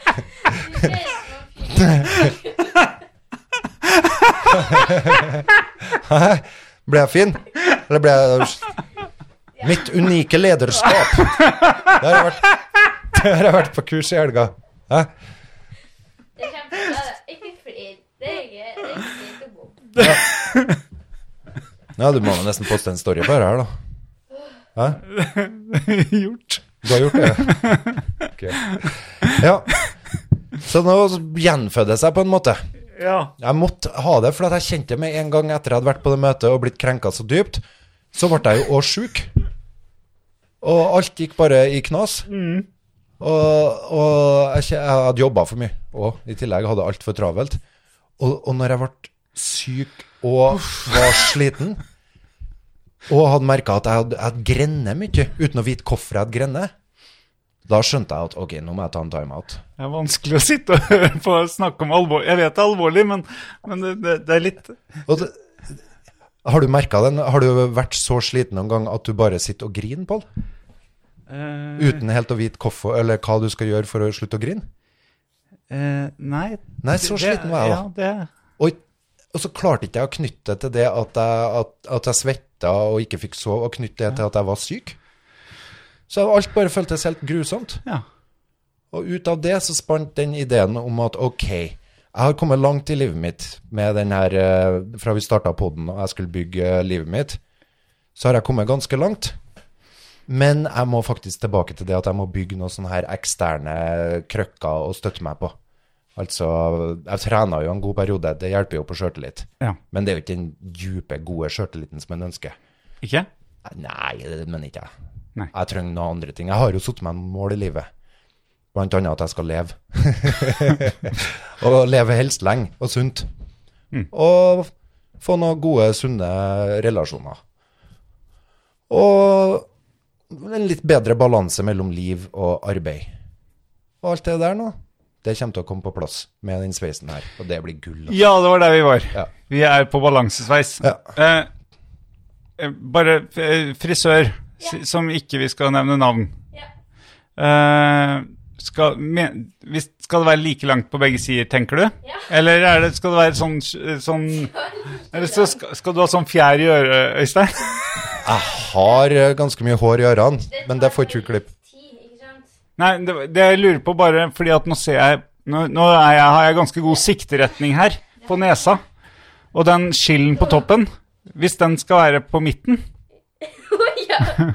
Speaker 2: Hæ? Ble jeg fin? Eller ble jeg Mitt unike lederskap. Det har jeg vært, det har jeg vært på kurs i helga. Hæ?
Speaker 5: Det er kjempebra. Ikke flir. Det er gøy. Det er ikke bom.
Speaker 2: Ja, du må jo nesten poste en story på det her, da. Hæ?
Speaker 4: Gjort.
Speaker 2: Du har gjort det? Ok. Ja. Så nå gjenføddes jeg på en måte.
Speaker 4: Ja.
Speaker 2: Jeg måtte ha det, for at jeg kjente med en gang etter jeg hadde vært på det møtet og blitt krenka så dypt, så ble jeg jo òg sjuk. Og alt gikk bare i knas. Og, og jeg, kje- jeg hadde jobba for mye og i tillegg hadde altfor travelt. Og, og når jeg ble syk og var sliten, og hadde merka at jeg hadde, jeg hadde grenet mye uten å vite hvorfor jeg hadde grenet, da skjønte jeg at ok, nå må jeg ta en timeout.
Speaker 4: Det er vanskelig å sitte og høre på og snakke om alvor. Jeg vet det er alvorlig, men, men det, det, det er litt
Speaker 2: Og det, har du merka den? Har du vært så sliten noen gang at du bare sitter og griner, Pål?
Speaker 4: eh,
Speaker 2: Uten helt å vite hvorfor, eller hva du skal gjøre for å slutte å grine?
Speaker 4: eh, Nei.
Speaker 2: Nei, så
Speaker 4: Det-
Speaker 2: sliten var jeg, da.
Speaker 4: Ja, det
Speaker 2: Og, og så klarte ikke jeg å knytte det til det at jeg, at, at jeg svetta og ikke fikk sove, og knytte det til at jeg var syk. Så alt bare føltes helt grusomt.
Speaker 4: Ja.
Speaker 2: Og ut av det så spant den ideen om at ok, jeg har kommet langt i livet mitt med den her eh, Fra vi starta poden og jeg skulle bygge eh, livet mitt, så har jeg kommet ganske langt. Men jeg må faktisk tilbake til det at jeg må bygge noen sånne her eksterne krøkker å støtte meg på. Altså, jeg trena jo en god periode, det hjelper jo på sjøltillit.
Speaker 4: ja.
Speaker 2: Men det er jo ikke den dype, gode sjøltilliten som en ønsker.
Speaker 4: Ikke?
Speaker 2: Nei, det mener ikke jeg.
Speaker 4: Nei.
Speaker 2: Jeg trenger noen andre ting. Jeg har jo satt meg noen mål i livet. Blant annet at jeg skal leve. og leve helst lenge og sunt. Og få noen gode, sunne relasjoner. Og en litt bedre balanse mellom liv og arbeid. Og alt det der nå, det kommer til å komme på plass med den sveisen her. Og det blir gull. altså.
Speaker 4: Ja, det var der vi var.
Speaker 2: Ja.
Speaker 4: Vi er på balansesveis.
Speaker 2: Ja.
Speaker 4: Eh, eh, bare eh, frisør, si- som ikke vi skal nevne navn.
Speaker 5: Ja.
Speaker 4: Eh, skal, men, hvis, skal det være like langt på begge sider, tenker du?
Speaker 5: Ja.
Speaker 4: Eller er det, skal det være sånn, sånn Eller så skal, skal du ha sånn fjær i øret, Øystein?
Speaker 2: Jeg har eh, ganske mye hår i ørene, men det får ikke du klipp.
Speaker 5: Tid, ikke sant?
Speaker 4: Nei, det, det jeg lurer på bare fordi at nå ser jeg Nå, nå er jeg, har jeg ganske god sikteretning her, på nesa. Og den skillen på toppen, hvis den skal være på midten,
Speaker 5: ja.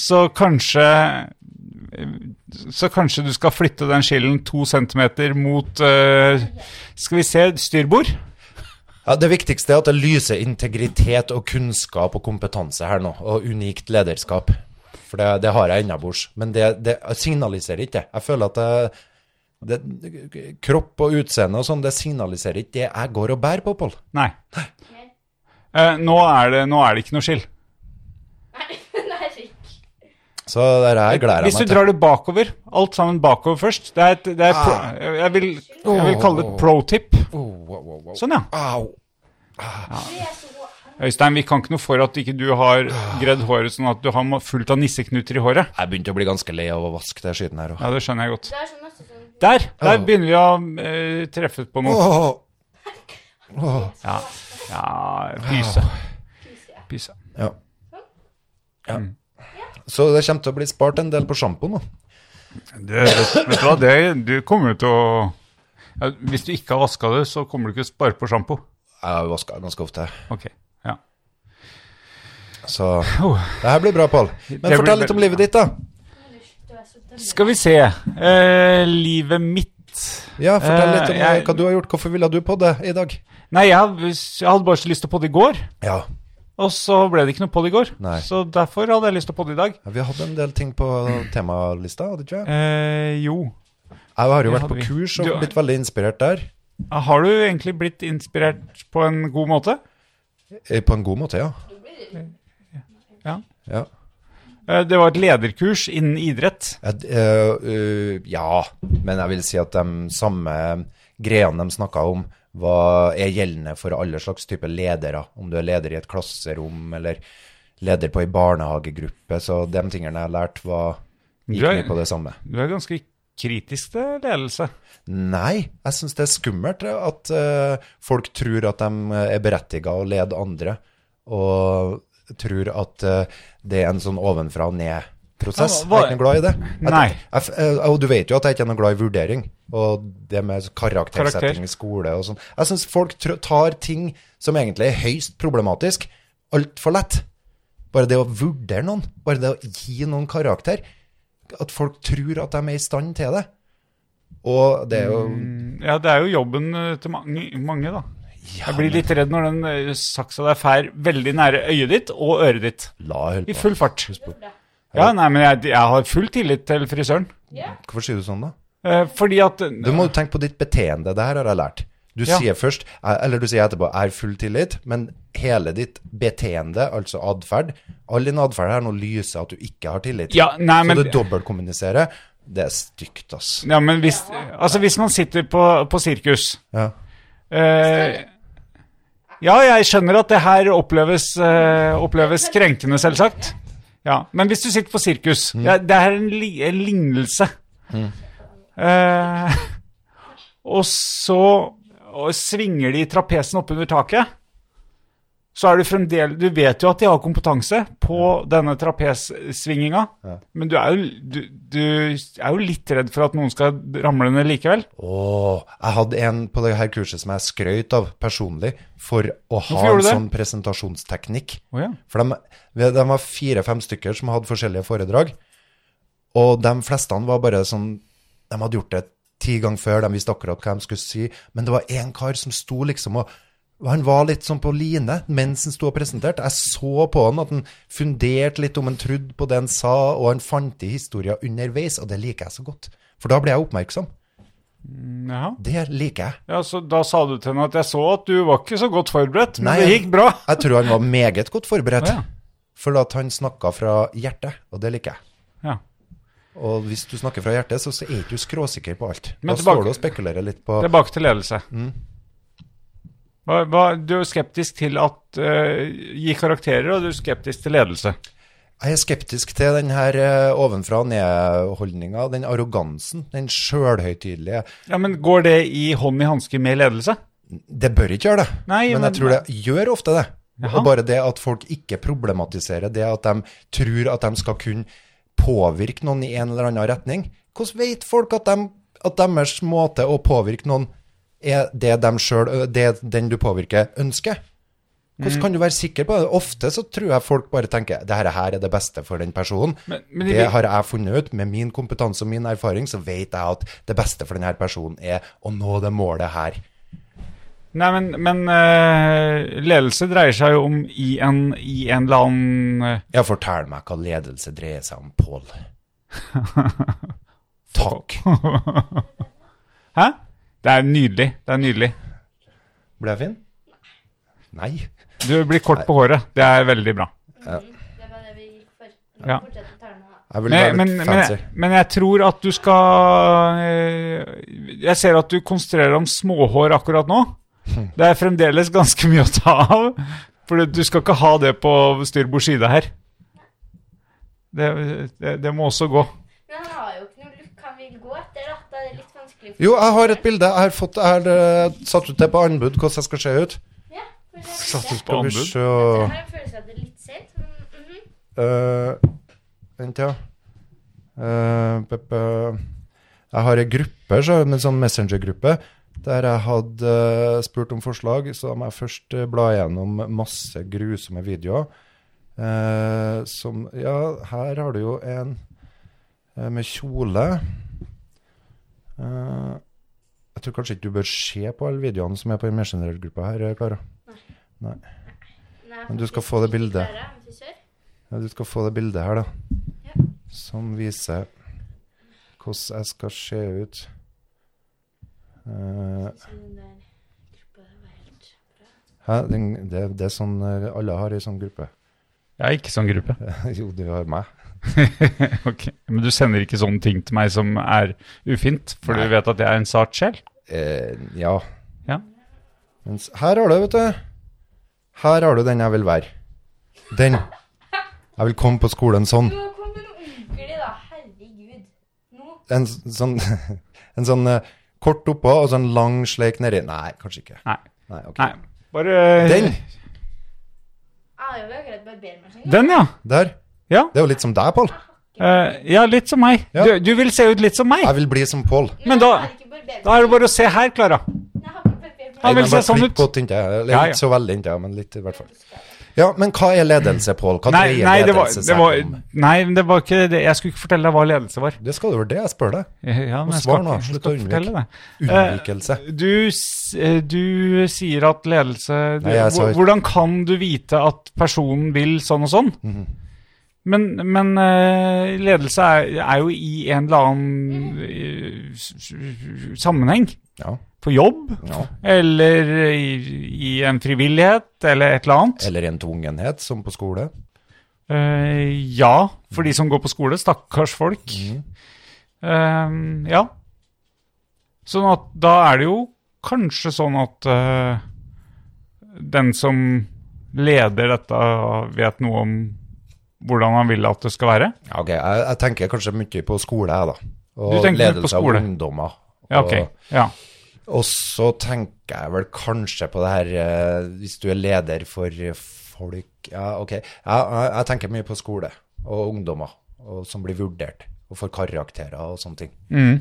Speaker 4: så kanskje Så kanskje du skal flytte den skillen to centimeter mot eh, Skal vi se, styrbord?
Speaker 2: Ja, Det viktigste er at det lyser integritet og kunnskap og kompetanse her nå, og unikt lederskap. For det, det har jeg innabords. Men det, det signaliserer ikke det. Jeg føler at det, det, kropp og utseende og sånn, det signaliserer ikke det jeg går og bærer på, Pål.
Speaker 4: Nei. Eh, nå, er det, nå er det ikke noe skill.
Speaker 5: Nei, nei, ikke.
Speaker 2: Så det her gleder
Speaker 4: Hvis du
Speaker 2: jeg meg til.
Speaker 4: drar det bakover, alt sammen bakover først Det er et, det er pro, jeg, vil, jeg vil kalle det et pro tip. Sånn, ja.
Speaker 2: Au!
Speaker 5: Det er så god.
Speaker 4: Øystein, vi kan ikke noe for at ikke du har gredd håret sånn at du har ma- fullt av nisseknuter i håret.
Speaker 2: Jeg begynte å bli ganske lei av å vaske det skiten her òg.
Speaker 4: Ja, det skjønner jeg godt.
Speaker 5: Det er så masse sånn
Speaker 4: Der! Der begynner vi å eh, treffe på noe. Ja, ja pyse. Pyse.
Speaker 2: Ja. ja. Så det kommer til å bli spart en del på sjampo nå.
Speaker 4: Du, vet, vet du hva, det, du kommer jo til å ja, Hvis du ikke har vaska det, så kommer du ikke til å spare på sjampo.
Speaker 2: Jeg vasker ganske ofte.
Speaker 4: Ok, Oh, ja.
Speaker 2: Så det her blir bra, Pål. Men
Speaker 4: blir
Speaker 2: fortell litt om
Speaker 4: veldig
Speaker 2: livet ditt, da.
Speaker 5: Du er så dum.
Speaker 4: Skal vi se. Eh, livet mitt
Speaker 2: Ja, fortell litt om
Speaker 4: Eh, jeg-
Speaker 2: hva du har gjort. Hvorfor ville du på det i dag?
Speaker 4: Nei, jeg, jeg hadde bare så lyst til å podde i går,
Speaker 2: Ja,
Speaker 4: og så ble det ikke noe podde i går.
Speaker 2: Nei.
Speaker 4: Så derfor hadde jeg lyst til å podde i dag.
Speaker 2: vi hadde en del ting på temalista, hadde ikke vi?
Speaker 4: Eh, jo.
Speaker 2: Jeg har jo
Speaker 4: det
Speaker 2: vært på
Speaker 4: hadde vi.
Speaker 2: kurs og
Speaker 4: Du har-
Speaker 2: blitt veldig inspirert der.
Speaker 4: Har du egentlig blitt inspirert på en god måte?
Speaker 2: Eh, På en god måte, ja.
Speaker 4: Ja.
Speaker 2: ja.
Speaker 4: Eh, Det var et lederkurs innen idrett.
Speaker 2: Et, eh, eh, ja, men jeg vil si at de samme greiene de snakka om, var, er gjeldende for alle slags typer ledere. Om du er leder i et klasserom eller leder på ei barnehagegruppe. Så de tingene jeg lærte, var gikk
Speaker 4: Du er-
Speaker 2: mye på det samme.
Speaker 4: Du er ganske kritisk til ledelse.
Speaker 2: Nei, jeg syns det er skummelt eh, at eh, folk tror at de eh, er berettiga å lede andre, og tror at eh, det er en sånn ovenfra og
Speaker 4: Ja,
Speaker 2: ned-prosess. Jeg er
Speaker 4: hva-
Speaker 2: ikke noe glad i det. Jeg,
Speaker 4: Nei.
Speaker 2: Jeg, f- eh, og du vet jo at jeg ikke er noe glad i vurdering, og det med karaktersetting
Speaker 4: Karakter.
Speaker 2: i skole og sånn. Jeg syns folk tr- tar ting som egentlig er høyst problematisk, altfor lett. Bare det å vurdere noen, bare det å gi noen karakter. At folk tror at de er i stand til det. Og det er jo
Speaker 4: Ja, det er jo jobben eh, til mange, mange da. Jeg blir litt redd når den eh, saksa der fær veldig nære øyet ditt og øret ditt.
Speaker 2: La
Speaker 4: I
Speaker 2: holde på.
Speaker 4: full fart. Ja, nei, men jeg, jeg har full tillit til frisøren.
Speaker 2: Hvorfor sier du sånn, da?
Speaker 4: Eh, fordi at
Speaker 2: Du må jo tenke på ditt beteende. Det her har jeg lært. Du
Speaker 4: Ja.
Speaker 2: sier først, eller du sier etterpå, 'er full tillit', men hele ditt beteende, altså atferd All din atferd her nå lyser at du ikke har tillit.
Speaker 4: Ja, nei, men-
Speaker 2: Så du dobbeltkommuniserer. Det er stygt, ass.
Speaker 4: Ja, men hvis, altså, hvis man sitter på, på sirkus
Speaker 2: Ja.
Speaker 4: eh, Ja, jeg skjønner at det her oppleves, eh, oppleves krenkende, selvsagt. Ja, Men hvis du sitter på sirkus ja, Det er en, li, en lignelse. Mm. Eh, og så og svinger de trapesen oppunder taket. Så er du fremdeles Du vet jo at de har kompetanse på denne trapessvinginga, men du er, jo, du, du er jo litt redd for at noen skal ramle ned likevel.
Speaker 2: Åh, jeg hadde en på det her kurset som jeg skrøyt av personlig for å ha
Speaker 4: gjorde
Speaker 2: en
Speaker 4: du det?
Speaker 2: sånn presentasjonsteknikk.
Speaker 4: Å ja.
Speaker 2: For de, de var fire-fem stykker som hadde forskjellige foredrag, og de fleste var bare sånn De hadde gjort det ti ganger før, de visste akkurat hva de skulle si, men det var en kar som sto liksom og og han var litt sånn på line mens han sto og presenterte. Jeg så på han at han funderte litt om han trodde på det han sa, og han fant i historier underveis, og det liker jeg så godt. For da ble jeg oppmerksom.
Speaker 4: Jaha.
Speaker 2: Det liker jeg.
Speaker 4: Ja, så Da sa du til henne at jeg så at du var ikke så godt forberedt, men
Speaker 2: Nei,
Speaker 4: det gikk bra.
Speaker 2: Jeg tror han var meget godt forberedt.
Speaker 4: Å, ja.
Speaker 2: For at han snakka fra hjertet, og det liker jeg.
Speaker 4: Ja.
Speaker 2: Og hvis du snakker fra hjertet, så, så er ikke du skråsikker på alt.
Speaker 4: Men
Speaker 2: da
Speaker 4: tilbake-
Speaker 2: står du og spekulerer litt på
Speaker 4: Tilbake til ledelse. Hva, hva, du er jo skeptisk til at eh, gi karakterer, og du er skeptisk til ledelse.
Speaker 2: Jeg er skeptisk til den her eh, ovenfra og ned-holdninga, den arrogansen, den sjølhøytidelige.
Speaker 4: Ja, Men går det i hånd i hanske med ledelse?
Speaker 2: Det bør ikke gjøre det,
Speaker 4: Nei,
Speaker 2: men
Speaker 4: men-
Speaker 2: jeg tror det gjør ofte det.
Speaker 4: Jaha.
Speaker 2: Og bare det at folk ikke problematiserer det at de tror at de skal kunne påvirke noen i en eller annen retning. Hvordan vet folk at, dem- at deres måte å påvirke noen er det, dem selv, ø, det den du påvirker, ønsker?
Speaker 4: Mm.
Speaker 2: Hvordan kan du være sikker på det? Ofte så tror jeg folk bare tenker det her her er det beste for den personen.
Speaker 4: Men- men de
Speaker 2: det
Speaker 4: vil-
Speaker 2: har jeg funnet ut. Med min kompetanse og min erfaring så vet jeg at det beste for denne personen er å nå det målet her.
Speaker 4: Nei, men, men eh, ledelse dreier seg jo om i en, i en eller annen eh,
Speaker 2: Ja, fortell meg hva ledelse dreier seg om, Pål. Takk.
Speaker 4: Hæ? Det er nydelig. Det er nydelig.
Speaker 2: Ble jeg fin? Nei.
Speaker 4: Du blir kort på håret. Det er veldig bra.
Speaker 5: Det var det vi gikk for.
Speaker 4: Ja.
Speaker 5: Fortsett å ta den nå.
Speaker 2: Jeg vil
Speaker 4: Men,
Speaker 2: være
Speaker 4: men,
Speaker 2: litt
Speaker 4: men,
Speaker 2: fancy.
Speaker 4: jeg, men jeg tror at du skal eh, Jeg ser at du konsentrerer deg om småhår akkurat nå.
Speaker 2: Hmm.
Speaker 4: Det er fremdeles ganske mye å ta av. For du skal ikke ha det på styrbord side her. Det, det, det må også gå.
Speaker 5: Men han har jo ikke noe look han vil gå etter, da. Da er det litt vanskelig. for-
Speaker 2: Jo, jeg har et bilde. Jeg har, fått, jeg har eh, satt ut det på anbud hvordan jeg skal se ut.
Speaker 5: Ja, men det er
Speaker 4: Satt
Speaker 5: det.
Speaker 4: ut på
Speaker 2: Skal vi
Speaker 4: anbud.
Speaker 2: se
Speaker 5: Jeg har en følelse av at det er litt sent. Men, mhm.
Speaker 2: Eh, Vent, ja. Eh, pe- pe- jeg har en gruppe, så, en sånn messengergruppe, der jeg hadde eh, spurt om forslag. Så da må jeg først eh, bla gjennom masse grusomme videoer. Eh, som Ja, her har du jo en eh, med kjole. Eh, jeg tror kanskje ikke du bør se på alle videoene som er på den messengergruppa her, eh, Klara.
Speaker 5: Nei,
Speaker 2: Men du skal
Speaker 5: faktisk
Speaker 2: få det
Speaker 5: ikke
Speaker 2: bildet.
Speaker 5: klare, jeg er frisør.
Speaker 2: Ja, du skal få det bildet her, da.
Speaker 5: Ja.
Speaker 2: Som viser hvordan jeg skal se ut. Eh,
Speaker 5: Sånn den der gruppa var helt bra.
Speaker 2: hæ? Den- det, det er sånn eh, alle har i sånn gruppe.
Speaker 4: Jeg er ikke sånn gruppe.
Speaker 2: jo, du har meg.
Speaker 4: Ok, Men du sender ikke sånne ting til meg som er ufint, for du vet at jeg er en sart sjel?
Speaker 2: Eh, ja.
Speaker 4: Ja.
Speaker 2: Mens her har du, vet du. Her har du den jeg vil være. Den. Jeg vil komme på skolen sånn.
Speaker 5: Du må komme med noe ordentlig, da. Herregud. Nå.
Speaker 2: En s- sånn, en sånn eh, kort oppå og sånn lang sleik nedi. Nei, kanskje ikke.
Speaker 4: Nei.
Speaker 2: Nei, ok.
Speaker 4: Nei. Bare eh,
Speaker 2: Den!
Speaker 5: Jeg har jo akkurat barbert meg. sånn.
Speaker 4: Den, ja.
Speaker 2: Der.
Speaker 4: Ja.
Speaker 2: Det er jo litt som deg, Pål.
Speaker 4: Eh, ja, litt som meg.
Speaker 2: Ja.
Speaker 4: Du, du vil se ut litt som meg.
Speaker 2: Jeg vil bli som Pål.
Speaker 4: Men da,
Speaker 5: Jeg har ikke barbert
Speaker 4: da er det bare å se her, Klara.
Speaker 5: meg. Jeg har ikke barbert
Speaker 4: Han
Speaker 5: meg.
Speaker 4: vil
Speaker 2: Nei, men
Speaker 4: se sånn
Speaker 2: litt
Speaker 4: ut.
Speaker 2: Godt, inntil jeg. Eller,
Speaker 4: Ja, ja.
Speaker 2: Ikke så veldig inntil jeg, men litt i hvert fall. Ja, men hva er ledelse, Pål? Hva
Speaker 4: Nei,
Speaker 2: dreier
Speaker 4: nei, det var,
Speaker 2: ledelse
Speaker 4: det
Speaker 2: seg
Speaker 4: var,
Speaker 2: om?
Speaker 4: nei, men det var ikke det. Jeg skulle ikke fortelle deg hva ledelse var.
Speaker 2: Det skal jo være det jeg spør deg.
Speaker 4: Ja, men jeg
Speaker 2: svar
Speaker 4: skal ikke,
Speaker 2: nå,
Speaker 4: jeg
Speaker 2: slutt
Speaker 4: skal
Speaker 2: å unnvike.
Speaker 4: fortelle deg.
Speaker 2: Unnvikelse.
Speaker 4: Du, s- eh, du sier at ledelse du,
Speaker 2: Nei, jeg sa-
Speaker 4: hvor- Hvordan kan du vite at personen vil sånn og sånn?
Speaker 2: Mhm.
Speaker 4: Men, men eh, ledelse er, er jo i en eller annen eh, s- s- sammenheng.
Speaker 2: Ja,
Speaker 4: På jobb,
Speaker 2: ja.
Speaker 4: eller i, i en frivillighet, eller et eller annet.
Speaker 2: Eller en tvungenhet, som på skole.
Speaker 4: Eh, ja, for de som går på skole. Stakkars folk. Eh, ja. Sånn at da er det jo kanskje sånn at eh, den som leder dette, vet noe om hvordan han vil at det skal være.
Speaker 2: Ja, ok. Jeg, jeg tenker kanskje mye på skole, jeg, da. Og
Speaker 4: Du tenker mye på
Speaker 2: ledelse
Speaker 4: skole.
Speaker 2: av ungdommer.
Speaker 4: Ja, ok.
Speaker 2: Og,
Speaker 4: Ja.
Speaker 2: og så tenker jeg vel kanskje på det her eh, Hvis du er leder for eh, folk Ja, ok. Jeg, jeg, jeg tenker mye på skole og ungdommer og, som blir vurdert og får karakterer og sånne ting.
Speaker 4: Mm.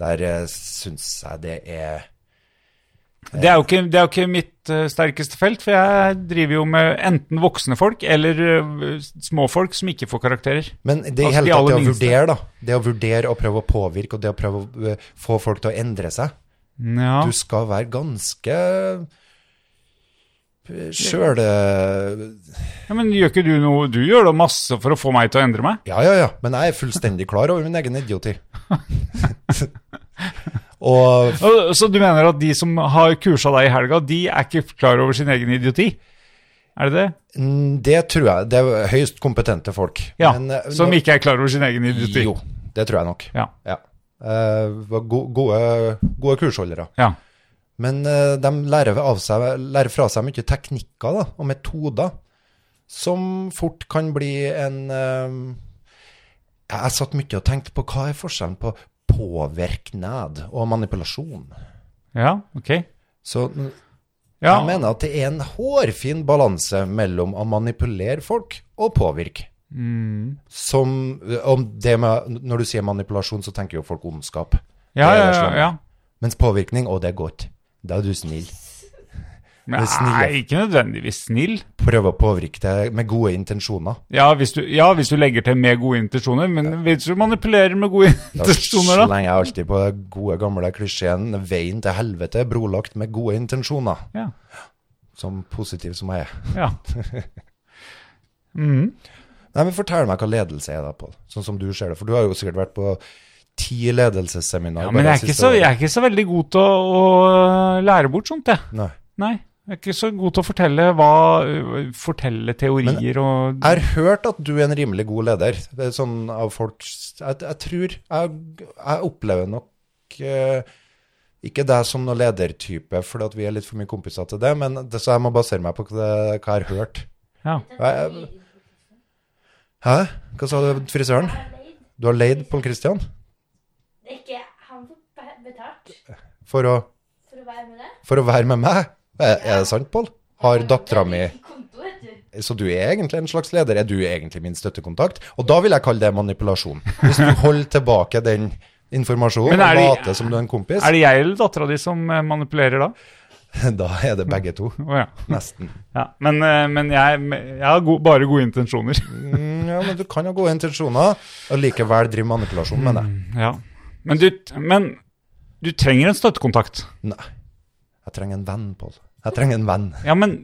Speaker 2: Der uh, syns jeg det er
Speaker 4: Det er jo ikke, det er jo ikke mitt eh, sterkeste felt, for jeg driver jo med enten voksne folk eller eh, små folk som ikke får karakterer.
Speaker 2: Men det, i
Speaker 4: Altså,
Speaker 2: hele
Speaker 4: de
Speaker 2: tatt, det
Speaker 4: aller
Speaker 2: å
Speaker 4: minste.
Speaker 2: vurdere, da. Det å vurdere og prøve å påvirke, og det å prøve å eh, få folk til å endre seg.
Speaker 4: Ja.
Speaker 2: Du skal være ganske eh, sjøl Ja,
Speaker 4: Ja, men gjør ikke du noe? Du gjør da masse for å få meg til å endre meg.
Speaker 2: ja, ja. Men jeg er fullstendig klar over min egen idioti. Og
Speaker 4: Og- Så du mener at de som har kursa deg i helga, de er ikke klar over sin egen idioti? Er det det?
Speaker 2: mm, det tror jeg Det er høyst kompetente folk.
Speaker 4: Ja,
Speaker 2: Men, eh,
Speaker 4: Som
Speaker 2: nå-
Speaker 4: ikke er klar over sin egen idioti?
Speaker 2: Jo, det tror jeg nok.
Speaker 4: Ja.
Speaker 2: Ja. Eh, var go- gode, gode kursholdere.
Speaker 4: ja.
Speaker 2: Men eh, de lærer, av seg, lærer fra seg mye teknikker da, og metoder som fort kan bli en eh, Jeg jeg satt mye og tenkte på hva er forskjellen på påvirknad og manipulasjon.
Speaker 4: Ja, ok.
Speaker 2: Så n-
Speaker 4: Ja,
Speaker 2: jeg mener at det er en hårfin balanse mellom å manipulere folk og påvirke.
Speaker 4: Mm.
Speaker 2: Som, om det med, når du sier manipulasjon, så tenker jo folk ondskap.
Speaker 4: ja,
Speaker 2: det
Speaker 4: ja,
Speaker 2: er
Speaker 4: ja,
Speaker 2: slemme.
Speaker 4: ja.
Speaker 2: Mens påvirkning, å, det er godt. Da er du snill.
Speaker 4: Men
Speaker 2: Det er snille.
Speaker 4: nei, ikke nødvendigvis snill.
Speaker 2: Prøve å påvirke deg med gode intensjoner.
Speaker 4: Ja hvis, du, ja, hvis du legger til med gode intensjoner, men hvis du manipulerer med gode
Speaker 2: Da
Speaker 4: intensjoner, da?
Speaker 2: slenger jeg alltid på den gode, gamle klisjeen 'Veien til helvete er brolagt med gode intensjoner',
Speaker 4: Ja.
Speaker 2: som positiv som jeg er.
Speaker 4: ja.
Speaker 2: Nei, men Fortell meg hva ledelse er, da, Pål. Sånn som du ser det. For du har jo sikkert vært på ti ledelsesseminar.
Speaker 4: ja men jeg er, ikke så, jeg er ikke så veldig god til å, å lære bort sånt, jeg.
Speaker 2: Nei.
Speaker 4: Nei, jeg er ikke så god til å fortelle, hva, fortelle teorier og
Speaker 2: Jeg har hørt at du er en rimelig god leder. Det er sånn av folk Jeg, jeg tror jeg, jeg opplever nok eh, ikke deg som noen ledertype, for at vi er litt for mye kompiser til det, men det, så jeg må basere meg på hva det- hva jeg har hørt.
Speaker 4: ja.
Speaker 2: Jeg, Hæ? Hva sa du, frisøren? Du har leid Pål Christian
Speaker 5: Det er ikke han får be- betalt
Speaker 2: for å,
Speaker 5: for å være med deg.
Speaker 2: for å være med meg? Er, er det sant, Pål? Har dattera mi
Speaker 5: Konto, vet du.
Speaker 2: Så du er egentlig en slags leder? Er du egentlig min støttekontakt? Og da vil jeg kalle det manipulasjon. Hvis du holder tilbake den informasjonen
Speaker 4: Men er
Speaker 2: og
Speaker 4: det-
Speaker 2: later som du er en kompis,
Speaker 4: Er det jeg eller dattera di som eh, manipulerer da?
Speaker 2: da er det begge to.
Speaker 4: Å ja.
Speaker 2: Nesten.
Speaker 4: ja. Men, eh, men jeg, jeg har go bare gode intensjoner.
Speaker 2: Mm, Ja, men du kan ha gode intensjoner, og likevel drive manipulasjon, mener jeg.
Speaker 4: Mm, Ja. Men, du, men du trenger en støttekontakt.
Speaker 2: Nei. Jeg trenger en venn, Pål. Jeg trenger en venn.
Speaker 4: Ja, men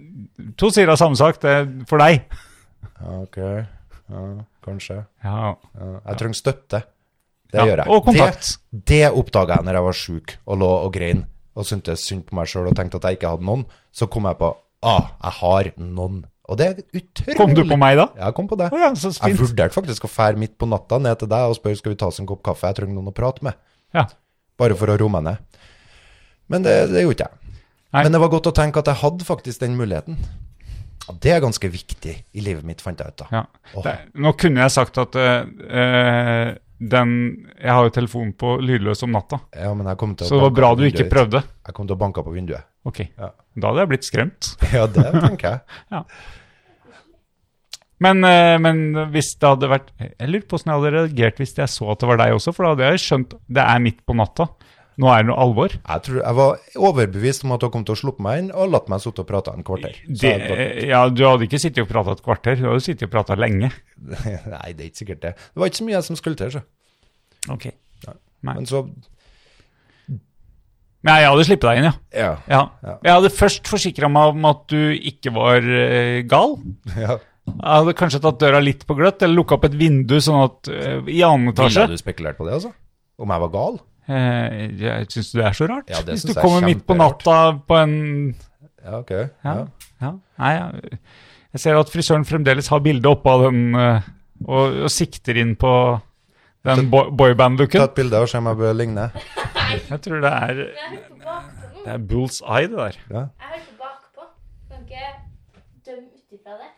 Speaker 4: to sider av samme sak det er for deg.
Speaker 2: Ja, Ok. Ja, kanskje.
Speaker 4: Ja.
Speaker 2: Ja, Jeg trenger støtte. Det
Speaker 4: Ja,
Speaker 2: gjør jeg.
Speaker 4: og kontakt.
Speaker 2: Det, det oppdaga jeg når jeg var sjuk og lå og grein og syntes synd på meg sjøl og tenkte at jeg ikke hadde noen. Så kom jeg på ah, jeg har noen Og det er utrolig
Speaker 4: Kom du på meg da?
Speaker 2: Ja, jeg kom på det.
Speaker 4: Å ja, så
Speaker 2: Jeg
Speaker 4: fint.
Speaker 2: vurderte faktisk å fære midt på natta ned til deg og spørre skal vi ta oss en kopp kaffe, jeg trenger noen å prate med.
Speaker 4: Ja.
Speaker 2: Bare for å roe meg ned. Men det, det gjorde ikke jeg.
Speaker 4: Nei.
Speaker 2: Men det var godt å tenke at jeg hadde faktisk den muligheten. Og det er ganske viktig i livet mitt, fant jeg ut da.
Speaker 4: Ja.
Speaker 2: Åh.
Speaker 4: Det, nå kunne jeg sagt at eh, eh, den Jeg har jo telefonen på lydløs om natta,
Speaker 2: Ja, men jeg kom til å
Speaker 4: så det var
Speaker 2: banke
Speaker 4: bra du
Speaker 2: på
Speaker 4: ikke
Speaker 2: vinduet ditt.
Speaker 4: prøvde.
Speaker 2: Jeg kom til å banke på vinduet.
Speaker 4: Ok.
Speaker 2: Ja.
Speaker 4: Da hadde jeg blitt skremt.
Speaker 2: Ja, det tenker jeg.
Speaker 4: Men, eh, men hvis det hadde vært Jeg lurer på hvordan jeg hadde reagert hvis jeg så at det var deg også, for da hadde jeg skjønt det er midt på natta. Nå er det noe alvor.
Speaker 2: Jeg, tror, jeg var overbevist om at hun kom til å sluppe meg inn og latt meg sitte og prate en kvarter. Så
Speaker 4: Det,
Speaker 2: jeg bare-
Speaker 4: ja, du hadde ikke sittet og prata et kvarter, du hadde sittet og prata lenge.
Speaker 2: Nei, det er ikke sikkert det. Det var ikke så mye jeg som skulle til, så.
Speaker 4: Ok.
Speaker 2: Men så
Speaker 4: Men jeg hadde sluppet deg inn, ja.
Speaker 2: Ja.
Speaker 4: ja.
Speaker 2: Ja.
Speaker 4: Jeg hadde først forsikra meg om at du ikke var eh, gal.
Speaker 2: ja.
Speaker 4: Jeg hadde kanskje tatt døra litt på gløtt, eller lukka opp et vindu sånn at eh, I annen
Speaker 2: Ville
Speaker 4: etasje.
Speaker 2: du spekulert på det, altså? Om jeg var gal?
Speaker 4: Eh, jeg syns du det er så rart?
Speaker 2: Ja, det
Speaker 4: Hvis du
Speaker 2: synes jeg er
Speaker 4: kommer midt på
Speaker 2: kjemperart.
Speaker 4: natta på en
Speaker 2: Ja, ok.
Speaker 4: Ja.
Speaker 2: Ja.
Speaker 4: ja. Nei, jeg, jeg ser at frisøren fremdeles har bildet oppe av den eh, og, og sikter inn på den bo
Speaker 2: Ta
Speaker 4: boyband-looken.
Speaker 2: et bilde og se om jeg bør ligne.
Speaker 4: Jeg tror det er,
Speaker 5: Men jeg hørte bakpå nå.
Speaker 4: det er bull's eye, det der.
Speaker 2: Ja.
Speaker 5: Jeg hørte bakpå. Kan ikke dømme ut ifra det.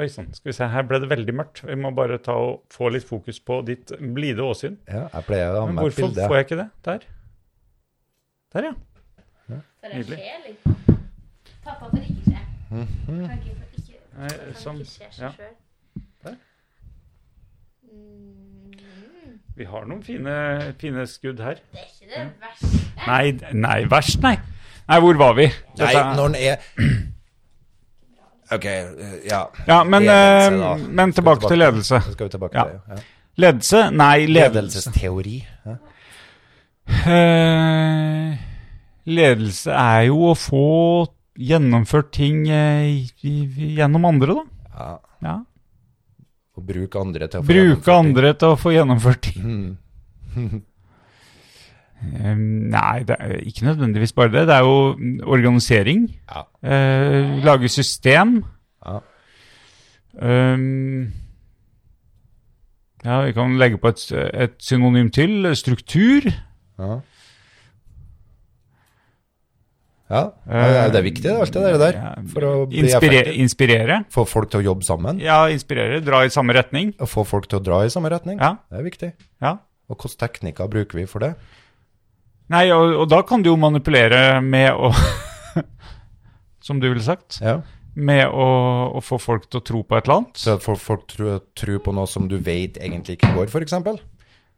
Speaker 4: Oi sann, skal vi se. Her ble det veldig mørkt. Vi må bare ta og få litt fokus på ditt blide åsyn.
Speaker 2: ja, jeg pleier å ha
Speaker 4: Men
Speaker 2: med et
Speaker 4: hvorfor
Speaker 2: bilde.
Speaker 4: får jeg ikke det? Der. Der, ja.
Speaker 5: For en
Speaker 4: Nydelig.
Speaker 5: sjel, liksom. Pappa får ikke skje.
Speaker 2: Mhm.
Speaker 5: Kan ikke, få- ikke,
Speaker 4: Nei,
Speaker 5: kan
Speaker 4: sånn,
Speaker 5: ikke skje seg
Speaker 4: ja.
Speaker 5: sjøl.
Speaker 4: Der.
Speaker 5: Mm,
Speaker 4: Vi har noen fine, fine skudd her.
Speaker 5: det er ikke det verste.
Speaker 4: Nei, d- nei, verst, nei. Nei, hvor var vi?
Speaker 2: Nei,
Speaker 4: Dette er-
Speaker 2: når den er Ok, eh, ja.
Speaker 4: ja, men,
Speaker 2: Ledelse,
Speaker 4: eh,
Speaker 2: da.
Speaker 4: men
Speaker 2: Skal vi
Speaker 4: tilbake til ledelse.
Speaker 2: Skal vi tilbake
Speaker 4: Ja.
Speaker 2: til det? Ja.
Speaker 4: Ledelse? Nei, ledelse.
Speaker 2: Ledelsesteori. Ja.
Speaker 4: Eh, ledelse er jo å få gjennomført ting eh, i- i- gjennom andre, da.
Speaker 2: Ja.
Speaker 4: Ja.
Speaker 2: Og bruke andre til å få gjennomført
Speaker 4: Bruke
Speaker 2: ting.
Speaker 4: andre til å få gjennomført ting.
Speaker 2: Mm.
Speaker 4: Eh, nei, det er ikke nødvendigvis bare det. Det er jo mm, organisering.
Speaker 2: Ja.
Speaker 4: Eh, lage system.
Speaker 2: Ja.
Speaker 4: Um, ja, vi kan legge på et, et synonym til. Struktur.
Speaker 2: Ja. ja. ja, Det er viktig, det, alt det der, der.
Speaker 4: Ja,
Speaker 2: For å bli
Speaker 4: inspire,
Speaker 2: effektiv.
Speaker 4: inspirere.
Speaker 2: Få folk til å jobbe sammen.
Speaker 4: Ja, inspirere. Dra i samme retning.
Speaker 2: Og få folk til å dra i samme retning.
Speaker 4: Ja.
Speaker 2: Det er viktig.
Speaker 4: Ja.
Speaker 2: Og hvilke teknikker bruker vi for det?
Speaker 4: Nei, og, og da kan du jo manipulere med å Som du ville sagt.
Speaker 2: Ja.
Speaker 4: Med å, å få folk til å tro på et eller annet.
Speaker 2: Så at folk, folk tror tror på noe som du vet egentlig ikke går, f.eks.?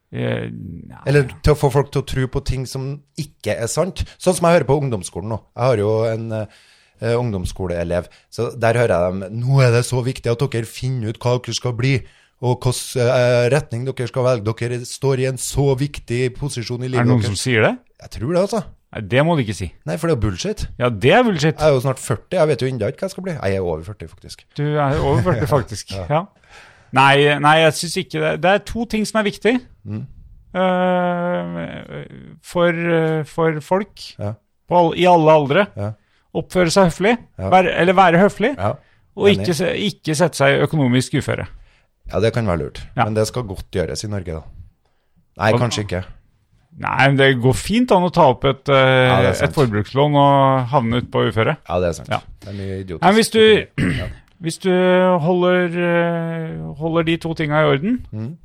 Speaker 4: Eh, nei.
Speaker 2: Eller til å få folk til å tro på ting som ikke er sant. Sånn som jeg hører på ungdomsskolen nå. Jeg har jo en eh, eh, ungdomsskoleelev. Så der hører jeg dem Nå er det så viktig at dere finner ut hva dere skal bli. Og hvilken eh, retning dere skal velge. Dere står i en så viktig posisjon
Speaker 4: er
Speaker 2: i
Speaker 4: det
Speaker 2: livet
Speaker 4: noen som
Speaker 2: deres.
Speaker 4: sier det?
Speaker 2: Jeg tror det, altså.
Speaker 4: Nei, det må du ikke si.
Speaker 2: Nei, for det er jo bullshit.
Speaker 4: Ja, det er bullshit.
Speaker 2: Jeg er jo snart 40. Jeg vet jo ennå ikke hva jeg skal bli. Jeg er over 40, faktisk.
Speaker 4: Du er over 40, faktisk. ja. Nei, nei, jeg syns ikke det. Det er to ting som er viktig
Speaker 2: Mm.
Speaker 4: eh, for, eh, for folk
Speaker 2: Ja.
Speaker 4: på, all- i alle aldre.
Speaker 2: Ja.
Speaker 4: Oppføre seg høflig,
Speaker 2: Ja.
Speaker 4: være, eller være høflig,
Speaker 2: Ja.
Speaker 4: og
Speaker 2: enig.
Speaker 4: ikke, se- ikke sette seg i økonomisk uføre.
Speaker 2: Ja, det kan være lurt.
Speaker 4: Ja.
Speaker 2: Men det skal godt gjøres i Norge, da. Nei,
Speaker 4: Og-
Speaker 2: kanskje ikke.
Speaker 4: Nei, men det går fint an å ta opp et, eh,
Speaker 2: Ja, det er sant.
Speaker 4: et forbrukslån og havne ut på uføre.
Speaker 2: Ja, det er sant.
Speaker 4: Ja.
Speaker 2: Det er mye idiotisk.
Speaker 4: Nei, men hvis du-
Speaker 2: Ja.
Speaker 4: Hvis du holder, eh, holder de to tinga i orden,
Speaker 2: Mm.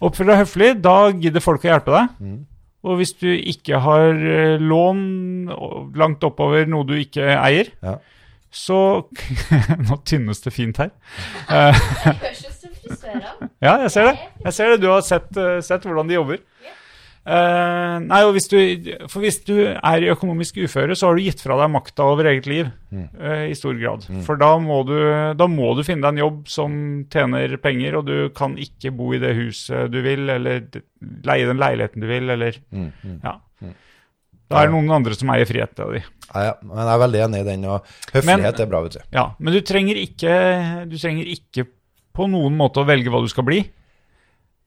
Speaker 4: oppfører deg høflig, da gidder folk å hjelpe deg. Og hvis du ikke har eh, lån og- langt oppover noe du ikke eier,
Speaker 2: Ja.
Speaker 4: så Nå tynnes det fint her.
Speaker 5: Det høres ut som frisørene.
Speaker 4: Ja, jeg ser det. Jeg ser det. Du har sett, eh, sett hvordan de jobber. Eh, nei, og hvis du, For hvis du er i økonomisk uføre, så har du gitt fra deg makta over eget liv. eh, I stor grad. For da må, du, da må du finne deg en jobb som tjener penger, og du kan ikke bo i det huset du vil, eller d- leie den leiligheten du vil, eller Ja. Da er det noen andre som eier friheta di.
Speaker 2: Ja, ja. Men jeg er veldig enig i den, og
Speaker 4: Men-
Speaker 2: høflighet er bra, vet du.
Speaker 4: Ja, men du trenger ikke Du trenger ikke på noen måte å velge hva du skal bli.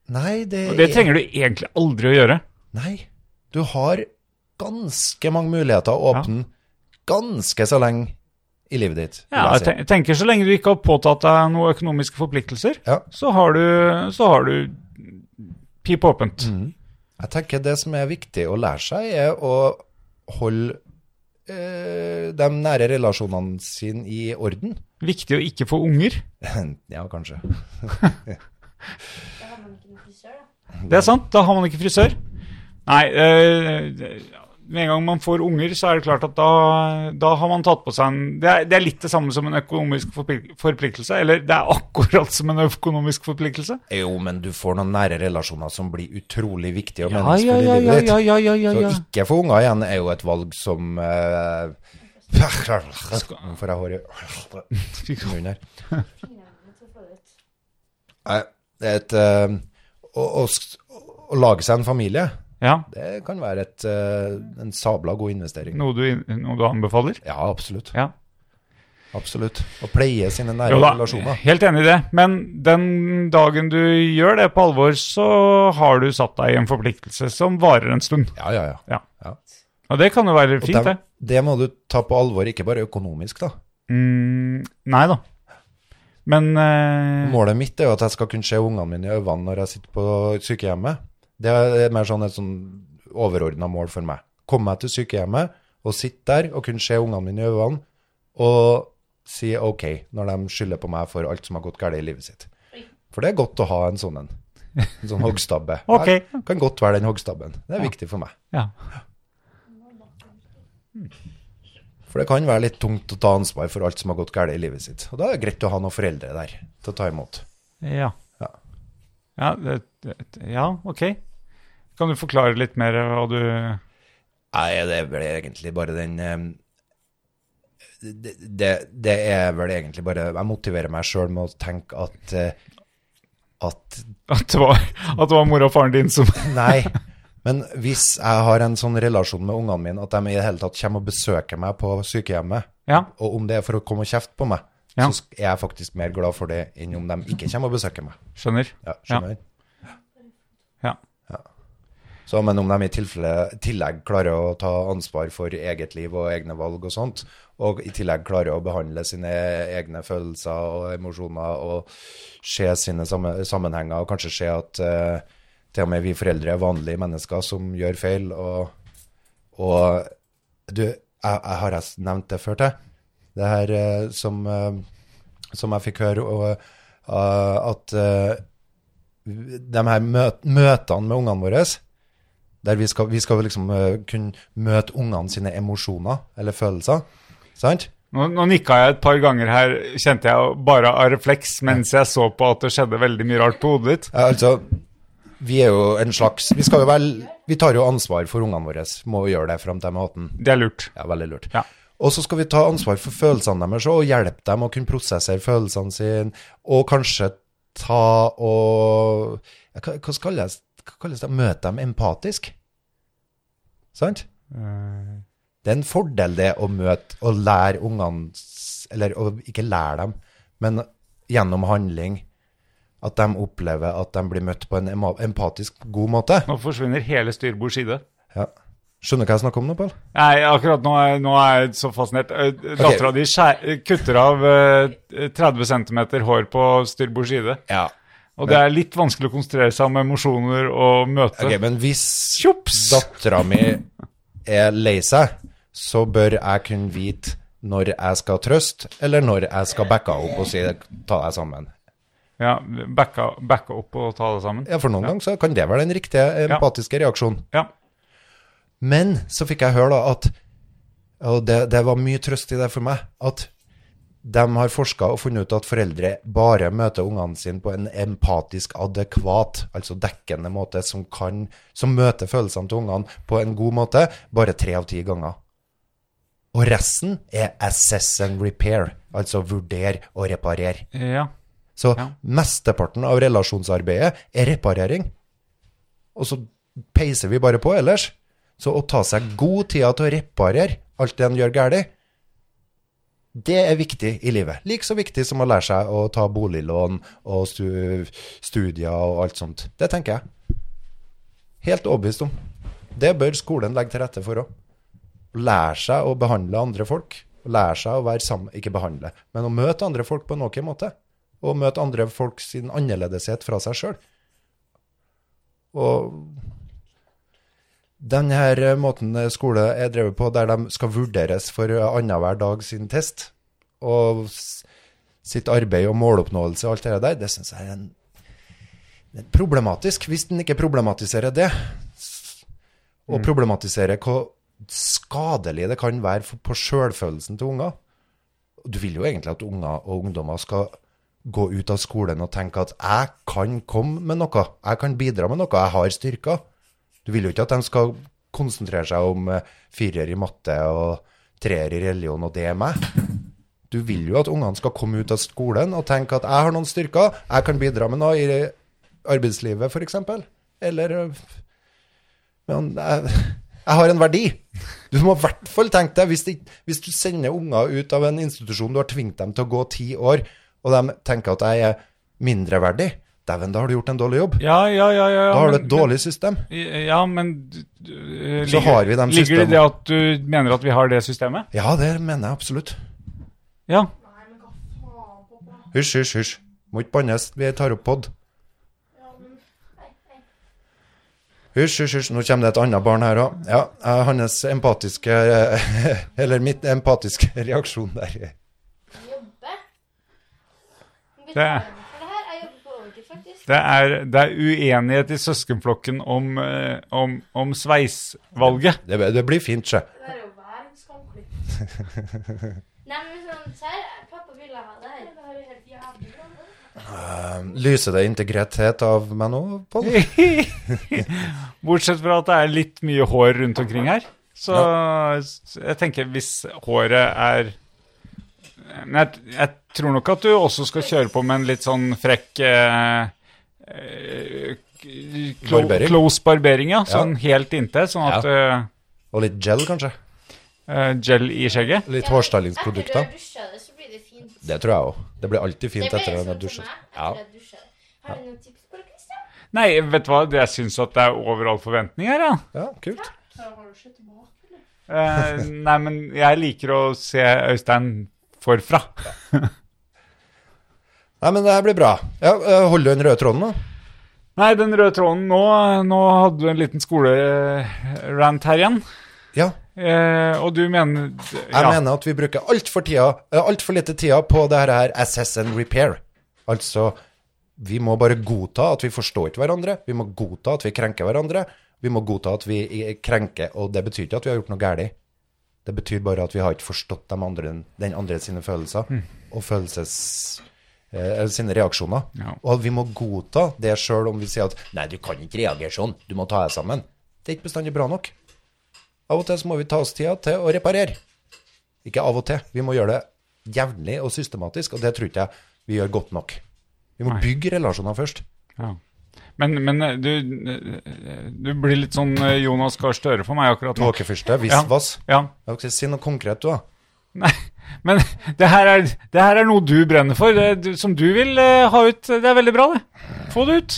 Speaker 2: Nei, det,
Speaker 4: Og det
Speaker 2: er-
Speaker 4: trenger du egentlig aldri å gjøre.
Speaker 2: Nei, du har ganske mange muligheter å åpne ganske så lenge i livet ditt. vil
Speaker 4: Ja,
Speaker 2: jeg
Speaker 4: jeg
Speaker 2: si.
Speaker 4: ten- jeg tenker så lenge du ikke har påtatt deg noen økonomiske forpliktelser,
Speaker 2: Ja.
Speaker 4: så har du, så har du pip åpent.
Speaker 2: Jeg tenker det som er viktig å lære seg, er å holde eh, de nære relasjonene sine i orden.
Speaker 4: Viktig å ikke få unger.
Speaker 2: ja, kanskje.
Speaker 5: Da har man ikke noe frisør, da.
Speaker 4: Det er sant, da har man ikke frisør. Nei, eh, med en gang man får unger, så er det klart at da, da har man tatt på seg en det er, det er litt det samme som en økonomisk forplik- forpliktelse, eller det er akkurat som en økonomisk forpliktelse.
Speaker 2: Jo, men du får noen nære relasjoner som blir utrolig viktige og
Speaker 4: Ja, ja, ja,
Speaker 2: meningsfulle i
Speaker 4: ja,
Speaker 2: livet ditt.
Speaker 4: ja, ja, ja, ja, ja.
Speaker 2: Så ikke få unger igjen er jo et valg som eh, Nå får jeg hår i munnen her.
Speaker 5: Fingrene mine til å få det ut.
Speaker 2: Nei, det er et eh, å, å, s- å lage seg en familie,
Speaker 4: Ja,
Speaker 2: det kan være et, eh, en sabla god investering.
Speaker 4: noe du, noe du anbefaler?
Speaker 2: Ja, absolutt.
Speaker 4: Ja.
Speaker 2: Absolutt. Å pleie sine nære
Speaker 4: Jo da,
Speaker 2: relasjoner.
Speaker 4: helt enig i det. Men den dagen du gjør det på alvor, så har du satt deg i en forpliktelse som varer en stund.
Speaker 2: Ja, ja, ja.
Speaker 4: Ja.
Speaker 2: Ja.
Speaker 4: Og det kan jo være
Speaker 2: Og
Speaker 4: fint,
Speaker 2: dem-
Speaker 4: det.
Speaker 2: det må du ta på alvor, ikke bare økonomisk, da.
Speaker 4: Mm, nei da. Men eh,
Speaker 2: Målet mitt er jo at jeg skal kunne se ungene mine i øynene når jeg sitter på sykehjemmet. Det er mer sånn et sånn overordna mål for meg. Komme meg til sykehjemmet og sitte der og kunne se ungene mine i øynene og si OK når de skylder på meg for alt som har gått galt i livet sitt. For det er godt å ha en sånn en. En sånn hoggstabbe.
Speaker 4: Ok.
Speaker 2: Jeg kan godt være den hoggstabben. Det er viktig for meg.
Speaker 4: ja.
Speaker 2: For det kan være litt tungt å ta ansvar for alt som har gått galt i livet sitt. Og da er det greit å ha noen foreldre der til å ta imot.
Speaker 4: Ja.
Speaker 2: Ja.
Speaker 4: Ja, det, det, ja, ok. Kan du forklare litt mer hva du
Speaker 2: Nei, det er vel egentlig bare den eh, det, det, det er vel egentlig bare Jeg motiverer meg sjøl med å tenke at eh, at
Speaker 4: At det var, at det var mora og faren din som
Speaker 2: Nei. Men hvis jeg har en sånn relasjon med ungene mine at de i det hele tatt kommer og besøker meg på sykehjemmet,
Speaker 4: Ja.
Speaker 2: og om det er for å komme og kjefte på meg,
Speaker 4: Ja.
Speaker 2: så er jeg faktisk mer glad for det enn om de ikke kommer og besøker meg.
Speaker 4: Skjønner.
Speaker 2: Ja, skjønner jeg.
Speaker 4: Ja.
Speaker 2: Så, men om de i tilfelle, tillegg klarer å ta ansvar for eget liv og egne valg og sånt, og i tillegg klarer å behandle sine egne følelser og emosjoner og se sine samme- sammenhenger, og kanskje se at eh, til og med vi foreldre er vanlige mennesker som gjør feil, og, og du, jeg, jeg har jeg nevnt det før til, det her eh, som, eh, som jeg fikk høre, og, eh, at eh, de her møt, møtene med ungene våre, der vi skal, vi skal liksom eh, kunne møte ungene sine emosjoner eller følelser, sant?
Speaker 4: Nå, nå nikka jeg et par ganger her, kjente jeg, bare av refleks mens jeg så på at det skjedde veldig mye rart på hodet ditt.
Speaker 2: Ja, altså, vi er jo en slags, vi skal jo vel, vi tar jo ansvar for ungene våre, må jo gjøre det frem til de er 18.
Speaker 4: Det er lurt.
Speaker 2: Ja, veldig lurt.
Speaker 4: Ja.
Speaker 2: Og så skal vi ta ansvar for følelsene deres og hjelpe dem å kunne prosessere følelsene sine, og kanskje ta og ja, Hva, hva kalles hva kalles det? Møte dem empatisk? Sant? Det er en fordel, det, å møte og lære ungene s- Eller å ikke lære dem, men gjennom handling. At de opplever at de blir møtt på en ema- empatisk god måte.
Speaker 4: Nå forsvinner hele styrbords side.
Speaker 2: Ja. Skjønner du hva jeg snakker om nå, Pål?
Speaker 4: Nei, akkurat nå er, nå er jeg så fascinert. Eh, Dattera di skjær- eh, kutter av eh, 30 cm hår på styrbords side.
Speaker 2: Ja.
Speaker 4: Og det er litt vanskelig å konsentrere seg om emosjoner og møte.
Speaker 2: Ok, men hvis
Speaker 4: Tjops!
Speaker 2: dattera mi er lei seg, så bør jeg kunne vite når jeg skal trøste, eller når jeg skal backe henne opp og si ta deg sammen.
Speaker 4: Ja, backa, backa opp og ta det sammen.
Speaker 2: Ja, For noen ganger så kan det være den riktige empatiske reaksjonen.
Speaker 4: Ja.
Speaker 2: Men så fikk jeg høre da at Og det, det var mye trøst i det for meg. At de har forska og funnet ut at foreldre bare møter ungene sine på en empatisk adekvat, altså dekkende måte, som, kan, som møter følelsene til ungene på en god måte, bare tre av ti ganger. Og resten er assess and repair, altså vurdere og reparere.
Speaker 4: ja.
Speaker 2: Så
Speaker 4: Ja.
Speaker 2: mesteparten av relasjonsarbeidet er reparering. Og så peiser vi bare på ellers. Så å ta seg god tid til å reparere alt det en gjør galt, det er viktig i livet. Like så viktig som å lære seg å ta boliglån og stu studier og alt sånt. Det tenker jeg. Helt overbevist om. Det bør skolen legge til rette for òg. Lære seg å behandle andre folk og lære seg å være sammen, ikke behandle, men å møte andre folk på noen måte. Og møte andre folk sin annerledeshet fra seg sjøl. Og den her eh, måten eh, skole er drevet på, der de skal vurderes for eh, annenhver dag sin test, og s- sitt arbeid og måloppnåelse og alt det der, det syns jeg er en, det er problematisk. Hvis den ikke problematiserer det, s- og problematiserer hvor skadelig det kan være for, på sjølfølelsen til unger Og Du vil jo egentlig at unger og ungdommer skal gå ut av skolen og tenke at 'jeg kan komme med noe', 'jeg kan bidra med noe', 'jeg har styrker'. Du vil jo ikke at de skal konsentrere seg om eh, firer i matte og treer i religion, og det er meg. Du vil jo at ungene skal komme ut av skolen og tenke at jeg har noen styrker, jeg kan bidra med noe i arbeidslivet f.eks. Eller eh, men jeg, jeg har en verdi. Du må i hvert fall tenke deg, hvis, det, ikke- hvis du sender unger ut av en institusjon du har tvingt dem til å gå ti år, og de tenker at jeg er mindreverdig, dæven, da har du gjort en dårlig jobb.
Speaker 4: Ja, ja, ja. ja, ja
Speaker 2: Da har du
Speaker 4: men-
Speaker 2: et dårlig system.
Speaker 4: Ja, men du- du-
Speaker 2: Så har vi dem
Speaker 4: Ligger det i
Speaker 2: systemene.
Speaker 4: det at du mener at vi har det systemet?
Speaker 2: Ja, det mener jeg absolutt.
Speaker 4: Ja.
Speaker 2: Hysj, hysj, hysj. Må ikke bannes, vi tar opp pod. Hysj, hysj, hysj. Nå kommer det et annet barn her òg. Ja, eh, hans empatiske Eller mitt empatiske reaksjon der.
Speaker 5: Jobbe.
Speaker 4: Det er-
Speaker 5: Betaler for det her. Jeg jobber på overtid, faktisk.
Speaker 4: Det er, det er uenighet i søskenflokken om, eh, om, om sveisvalget.
Speaker 2: Det, det blir fint, sjø.
Speaker 6: Det er jo verdens skamklipp.
Speaker 5: Nei, men sånn, serr, pappa ville ha det her.
Speaker 6: Det er jo helt jævlig bra.
Speaker 2: Lyser det integritet av meg nå, Pål?
Speaker 4: Bortsett fra at det er litt mye hår rundt omkring her. Så s- jeg tenker hvis håret er Men jeg, jeg tror nok at du også skal kjøre på med en litt sånn frekk eh, eh, clo-
Speaker 2: Barbering.
Speaker 4: Close barbering, ja. Sånn helt inntil. Sånn at
Speaker 2: Og litt gel, kanskje?
Speaker 4: eh, eh, Gel i skjegget.
Speaker 2: Litt
Speaker 5: Etter du har
Speaker 2: hårstylingsprodukter?
Speaker 5: dusjet det, så blir det fint.
Speaker 2: Det tror jeg òg. Det blir alltid
Speaker 5: Det
Speaker 2: fint
Speaker 5: ble
Speaker 2: etter at du
Speaker 5: sånn
Speaker 2: har
Speaker 5: for
Speaker 2: dusjet.
Speaker 5: meg etter
Speaker 2: Ja.
Speaker 5: jeg dusjet. Har du noen tips på det, Kristian?
Speaker 4: Nei, vet du hva, jeg syns at det er over all forventning her, ja.
Speaker 2: ja, kult.
Speaker 6: Så har du sett mat.
Speaker 4: Eh, nei, men jeg liker å se Øystein forfra.
Speaker 2: Nei, men det her blir bra. Ja, eh, Holder du den røde tråden nå?
Speaker 4: Nei, den røde tråden nå Nå hadde du en liten skolerant her igjen.
Speaker 2: Ja.
Speaker 4: Eh, og du mener
Speaker 2: Jeg
Speaker 4: ja,
Speaker 2: mener at vi bruker altfor alt for lite tida på det her her assess and repair. Altså, vi må bare godta at vi forstår ikke hverandre, vi må godta at vi krenker hverandre, vi må godta at vi i- krenker, og det betyr ikke at vi har gjort noe galt. Det betyr bare at vi har ikke forstått dem andre, den andre sine følelser
Speaker 4: Mm.
Speaker 2: og følelses... eh, Eller sine reaksjoner.
Speaker 4: Ja.
Speaker 2: Og vi må godta det sjøl om vi sier at 'nei, du kan ikke reagere sånn, du må ta deg sammen'. Det er ikke bestandig bra nok. Av og til så må vi ta oss tida til å reparere. Ikke av og til. Vi må gjøre det jevnlig og systematisk, og det tror ikke jeg vi gjør godt nok. Vi må bygge relasjoner først.
Speaker 4: ja. Men, men eh, du, eh, du blir litt sånn eh, Jonas Gahr Støre for meg akkurat nå.
Speaker 2: Tåkefyrste,
Speaker 4: Ja.
Speaker 2: visvas.
Speaker 4: Ja.
Speaker 2: Jeg vil ikke Si noe konkret, du, da.
Speaker 4: Nei, men det her, er, det her er noe du brenner for, det, du, som du vil eh, ha ut. Det er veldig bra, det. Få det ut.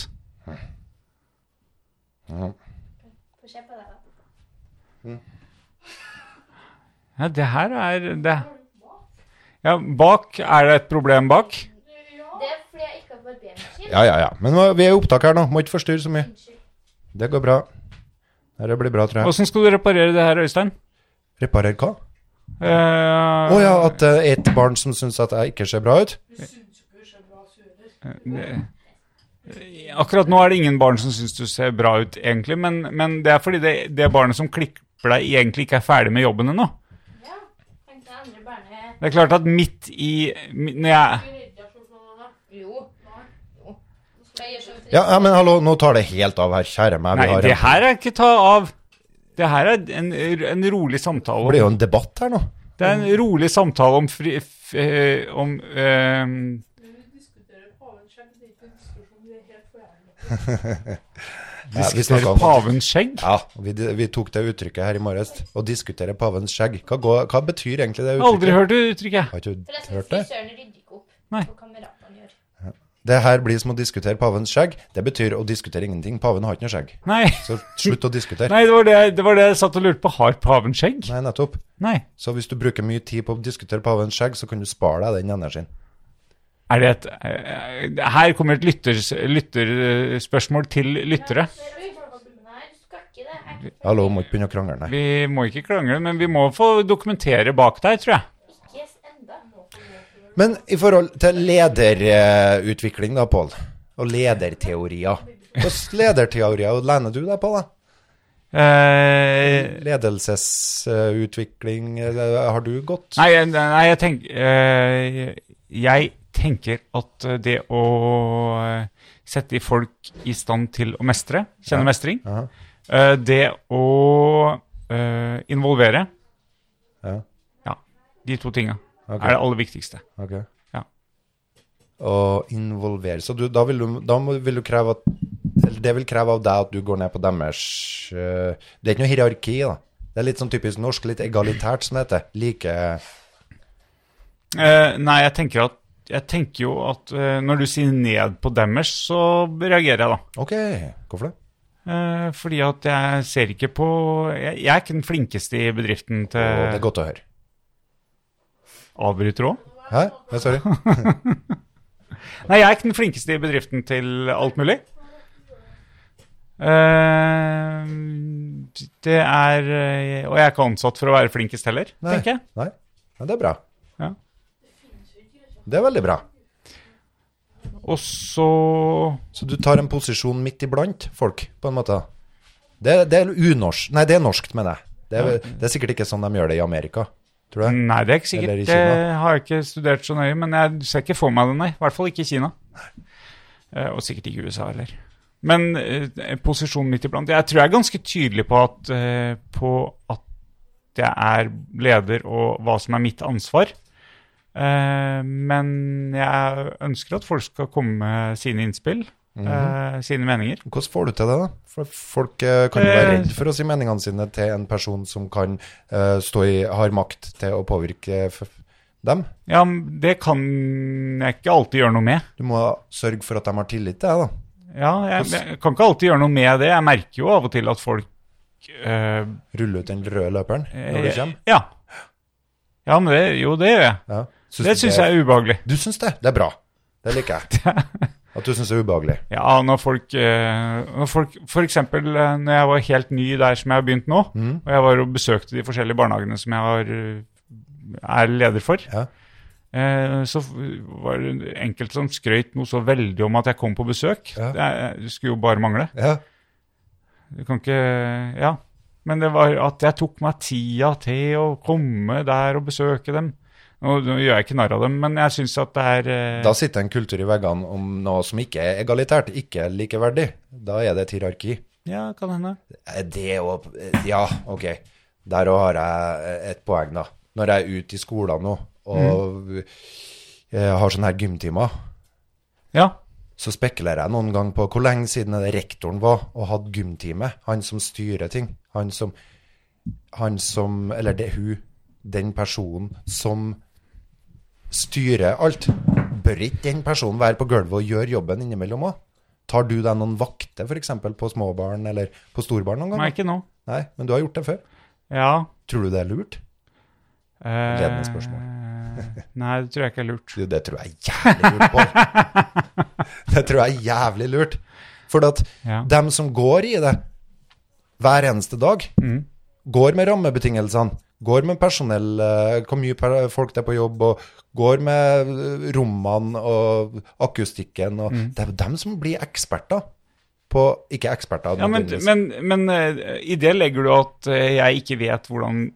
Speaker 5: Få se på det, da.
Speaker 4: Ja, det her er det. Ja, bak Er det et problem bak?
Speaker 5: Det er fordi jeg ikke har barbermaskin.
Speaker 2: Ja, ja, ja. Men nå- vi er i opptak her nå. Må ikke forstyrre så mye. Det går bra. Dette blir bra, tror jeg.
Speaker 4: Åssen skal du reparere det her, Øystein? Eh,
Speaker 2: Reparer hva?
Speaker 4: Å
Speaker 2: Å ja, at det er et barn som syns at jeg ikke ser bra ut?
Speaker 6: Du syns jo ikke du ser bra surer.
Speaker 4: Akkurat nå er det ingen barn som syns du ser bra ut, egentlig. Men, men det er fordi det, det barnet som klipper deg, egentlig ikke er ferdig med jobben ennå.
Speaker 5: Ja. Tenkte jeg andre barnet
Speaker 4: Det er klart at midt i mi- Når jeg
Speaker 6: Du rydder deg sånn som den er.
Speaker 5: Jo. Jo. Jeg gjør sånn
Speaker 2: Ja, ja, men hallo, nå tar det helt av her, kjære meg.
Speaker 4: Nei,
Speaker 2: Vi har
Speaker 4: det
Speaker 2: en,
Speaker 4: her er ikke ta av. Det her er en, en rolig samtale.
Speaker 2: det blir jo en debatt her nå.
Speaker 4: Det er en rolig samtale om fri... F, eh, om eh,
Speaker 6: Men vi diskuterer paven skjegg. Det er ikke en diskusjon. Det er helt for jævlig.
Speaker 2: Ja, vi
Speaker 4: Diskutere
Speaker 2: snakket om-
Speaker 4: pavens skjegg?
Speaker 2: Ja, vi, vi tok det uttrykket her i morges. Å diskutere pavens skjegg. Hva, går, hva betyr egentlig det uttrykket?
Speaker 4: Aldri hørt det uttrykket.
Speaker 2: Har ikke du
Speaker 5: Forresten,
Speaker 2: hørt det?
Speaker 5: frisøren rydder ikke opp
Speaker 4: Nei.
Speaker 5: på kameratene gjør.
Speaker 2: Det her blir som å diskutere pavens skjegg. Det betyr å diskutere ingenting. Paven har ikke noe skjegg.
Speaker 4: Nei,
Speaker 2: Så slutt å diskutere.
Speaker 4: Nei det, var det, det var det jeg satt og lurte på. Har paven skjegg?
Speaker 2: Nei, nettopp.
Speaker 4: Nei.
Speaker 2: Så hvis du bruker mye tid på å diskutere pavens skjegg, så kan du spare deg den energien.
Speaker 4: Er det et eh, Her kommer et lytters- lytterspørsmål til lyttere.
Speaker 5: Nei, du skal ikke det. Jeg er
Speaker 2: Hallo, må ikke begynne å krangle, nei.
Speaker 4: Vi må ikke krangle, men vi må få dokumentere bak der, tror jeg.
Speaker 5: ikke enda.
Speaker 2: Men i forhold til lederutvikling da, Pål, og lederteorier. Hvilke lederteorier lener du deg på, da?
Speaker 4: Eh,
Speaker 2: Ledelsesutvikling, eh, har du gått?
Speaker 4: Nei, jeg- nei jeg, tenk, eh, jeg tenker at eh, det å eh, sette i folk i stand til å mestre, kjenne
Speaker 2: Ja.
Speaker 4: mestring,
Speaker 2: Aha.
Speaker 4: eh, det å eh, involvere,
Speaker 2: Ja.
Speaker 4: Ja, de to tinga
Speaker 2: Ok.
Speaker 4: er det aller viktigste.
Speaker 2: Ok.
Speaker 4: Ja.
Speaker 2: Og involvere. Så du, da, vil du, da må, vil du kreve at eller Det vil kreve av deg at du går ned på deres eh, Det er ikke noe hierarki, da. Det er litt sånn typisk norsk, litt egalitært, som det heter. Like
Speaker 4: Eh, nei, jeg tenker, at, jeg tenker jo at eh, når du sier ned på deres, så reagerer jeg da.
Speaker 2: OK, hvorfor det?
Speaker 4: Eh, fordi at jeg ser ikke på jeg, jeg er ikke den flinkeste i bedriften til
Speaker 2: Og det er godt å høre.
Speaker 4: Avbryter òg?
Speaker 2: Hæ? Nei, sorry.
Speaker 4: Nei, jeg er ikke den flinkeste i bedriften til alt mulig. Eh, det er eh, Og jeg er ikke ansatt for å være flinkest heller,
Speaker 2: Nei.
Speaker 4: tenker jeg.
Speaker 2: Nei. Men det er bra.
Speaker 4: Ja.
Speaker 2: Det er veldig bra.
Speaker 4: Og så
Speaker 2: Så du tar en posisjon midt iblant folk, på en måte? Det, det er unorsk. Nei, det er norskt, mener jeg. Det er, det er sikkert ikke sånn de gjør det i Amerika. Tror du det?
Speaker 4: Nei, det er ikke
Speaker 2: Eller i
Speaker 4: sikkert. Det
Speaker 2: Kina.
Speaker 4: har jeg ikke studert så nøye, men jeg ser ikke for meg det, nei. I hvert fall ikke i Kina. Eh, og sikkert ikke i USA heller. Men eh, posisjonen midt iblant Jeg tror jeg er ganske tydelig på at, eh, på at jeg er leder, og hva som er mitt ansvar. Eh, men jeg ønsker at folk skal komme med sine innspill,
Speaker 2: Mhm.
Speaker 4: eh, sine meninger.
Speaker 2: Hvordan får du til det, da? For folk eh, kan jo være
Speaker 4: Eh.
Speaker 2: redd for å si meningene sine til en person som kan eh, stå i, har makt til å påvirke f dem.
Speaker 4: Ja, men det kan jeg ikke alltid gjøre noe med.
Speaker 2: Du må sørge for at de har tillit til deg, da.
Speaker 4: Ja, jeg, jeg kan ikke alltid gjøre noe med det. Jeg merker jo av og til at folk eh,
Speaker 2: Rulle ut den røde løperen når du
Speaker 4: eh,
Speaker 2: kommer.
Speaker 4: Ja. ja, men det, jo, det gjør jeg.
Speaker 2: Ja. Syns
Speaker 4: Det
Speaker 2: du
Speaker 4: syns jeg er ubehagelig.
Speaker 2: Du syns det? Det er bra. Det liker jeg. At du syns det er ubehagelig.
Speaker 4: Ja, når folk, eh, når folk For eksempel eh, når jeg var helt ny der som jeg har begynt nå,
Speaker 2: Mm.
Speaker 4: og jeg var og besøkte de forskjellige barnehagene som jeg har, eh, er leder for,
Speaker 2: Ja.
Speaker 4: eh, så f- var det enkelte som skrøt noe så veldig om at jeg kom på besøk.
Speaker 2: Ja.
Speaker 4: Det er- det skulle jo bare mangle.
Speaker 2: Ja.
Speaker 4: Du kan ikke Ja. Men det var at jeg tok meg tida til å komme der og besøke dem. Nå, nå gjør jeg ikke narr av dem, men jeg syns at det er eh,
Speaker 2: Da sitter en kultur i veggene om noe som ikke er egalitært, ikke er likeverdig. Da er det et hierarki.
Speaker 4: Ja, kan hende.
Speaker 2: Eh, Det og eh, Ja, ok. Der òg har jeg eh, et poeng, da. Når jeg er ute i skolen nå og eh, har sånne her gymtimer,
Speaker 4: Ja.
Speaker 2: så spekulerer jeg noen gang på hvor lenge siden er det rektoren var og hadde gymtime. Han som styrer ting. Han som Han som Eller det er hun. Den personen som styrer alt. Bør ikke den personen være på gulvet og gjøre jobben innimellom òg? Tar du deg noen vakter, f.eks. på småbarn eller på storbarn noen gang?
Speaker 4: Nei, ikke nå.
Speaker 2: Nei, men du har gjort det før.
Speaker 4: Ja.
Speaker 2: Tror du det er lurt?
Speaker 4: eh,
Speaker 2: Ledende spørsmål.
Speaker 4: nei, det tror jeg ikke er lurt.
Speaker 2: Du, det tror jeg er jævlig lurt, Pål. Det tror jeg er jævlig lurt. For at
Speaker 4: Ja.
Speaker 2: dem som går i det hver eneste dag,
Speaker 4: Mm.
Speaker 2: går med rammebetingelsene, går med personell, eh, hvor mye per- folk det er på jobb, og går med eh, rommene og akustikken. Og
Speaker 4: Mm.
Speaker 2: Det er jo dem som blir eksperter på Ikke eksperter,
Speaker 4: Ja, men,
Speaker 2: nødvendigvis.
Speaker 4: men, men eh, i det legger du at eh, jeg ikke vet hvordan,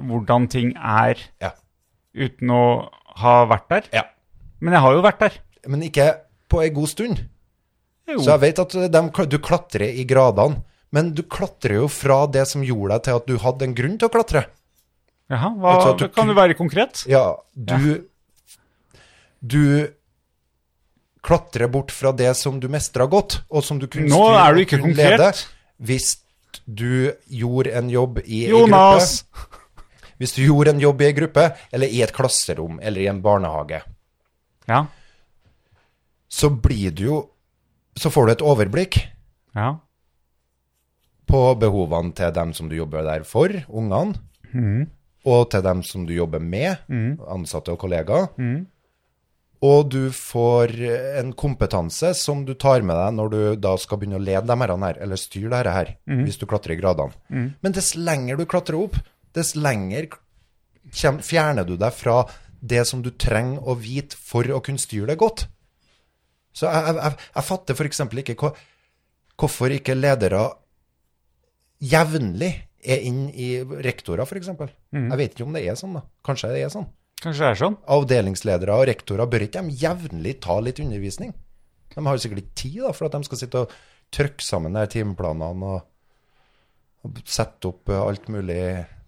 Speaker 4: hvordan ting er
Speaker 2: Ja.
Speaker 4: uten å ha vært der.
Speaker 2: Ja.
Speaker 4: Men jeg har jo vært der.
Speaker 2: men ikke på ei god stund.
Speaker 4: Jo.
Speaker 2: Så jeg vet at eh, dem- du klatrer i gradene, men du klatrer jo fra det som gjorde deg til at du hadde en grunn til å klatre.
Speaker 4: Jaha, hva,
Speaker 2: Jeg tror at du
Speaker 4: kan du være konkret?
Speaker 2: Ja, du Du klatrer bort fra det som du mestra godt, og som du kunne
Speaker 4: Nå
Speaker 2: styre
Speaker 4: er du
Speaker 2: og
Speaker 4: ikke
Speaker 2: kunne
Speaker 4: konkret.
Speaker 2: hvis du gjorde en jobb i ei gruppe.
Speaker 4: Jonas!
Speaker 2: Hvis du gjorde en jobb i ei gruppe, eller i et klasserom, eller i en barnehage.
Speaker 4: Ja.
Speaker 2: så blir du jo Så får du et overblikk
Speaker 4: Ja.
Speaker 2: på behovene til dem som du jobber der for, ungene, og til dem som du jobber med, ansatte og kollegaer. Og du får en kompetanse som du tar med deg når du da skal begynne å lede dem herrene her, eller styre dette her, hvis du klatrer i gradene. Men dess lenger du klatrer opp, dess lenger kjem, fjerner du deg fra det som du trenger å vite for å kunne styre det godt. Så jeg, jeg, jeg, jeg fatter f.eks. ikke hva, hvorfor ikke ledere jevnlig er inn i rektorer, f.eks. eksempel.
Speaker 4: Mhm.
Speaker 2: Jeg vet ikke om det er sånn, da. Kanskje det er sånn.
Speaker 4: Kanskje det er sånn?
Speaker 2: Avdelingsledere og rektorer, bør ikke de jevnlig ta litt undervisning? De har jo sikkert ikke tid, da, for at de skal sitte og trykke sammen de her timeplanene og, og sette opp eh, alt mulig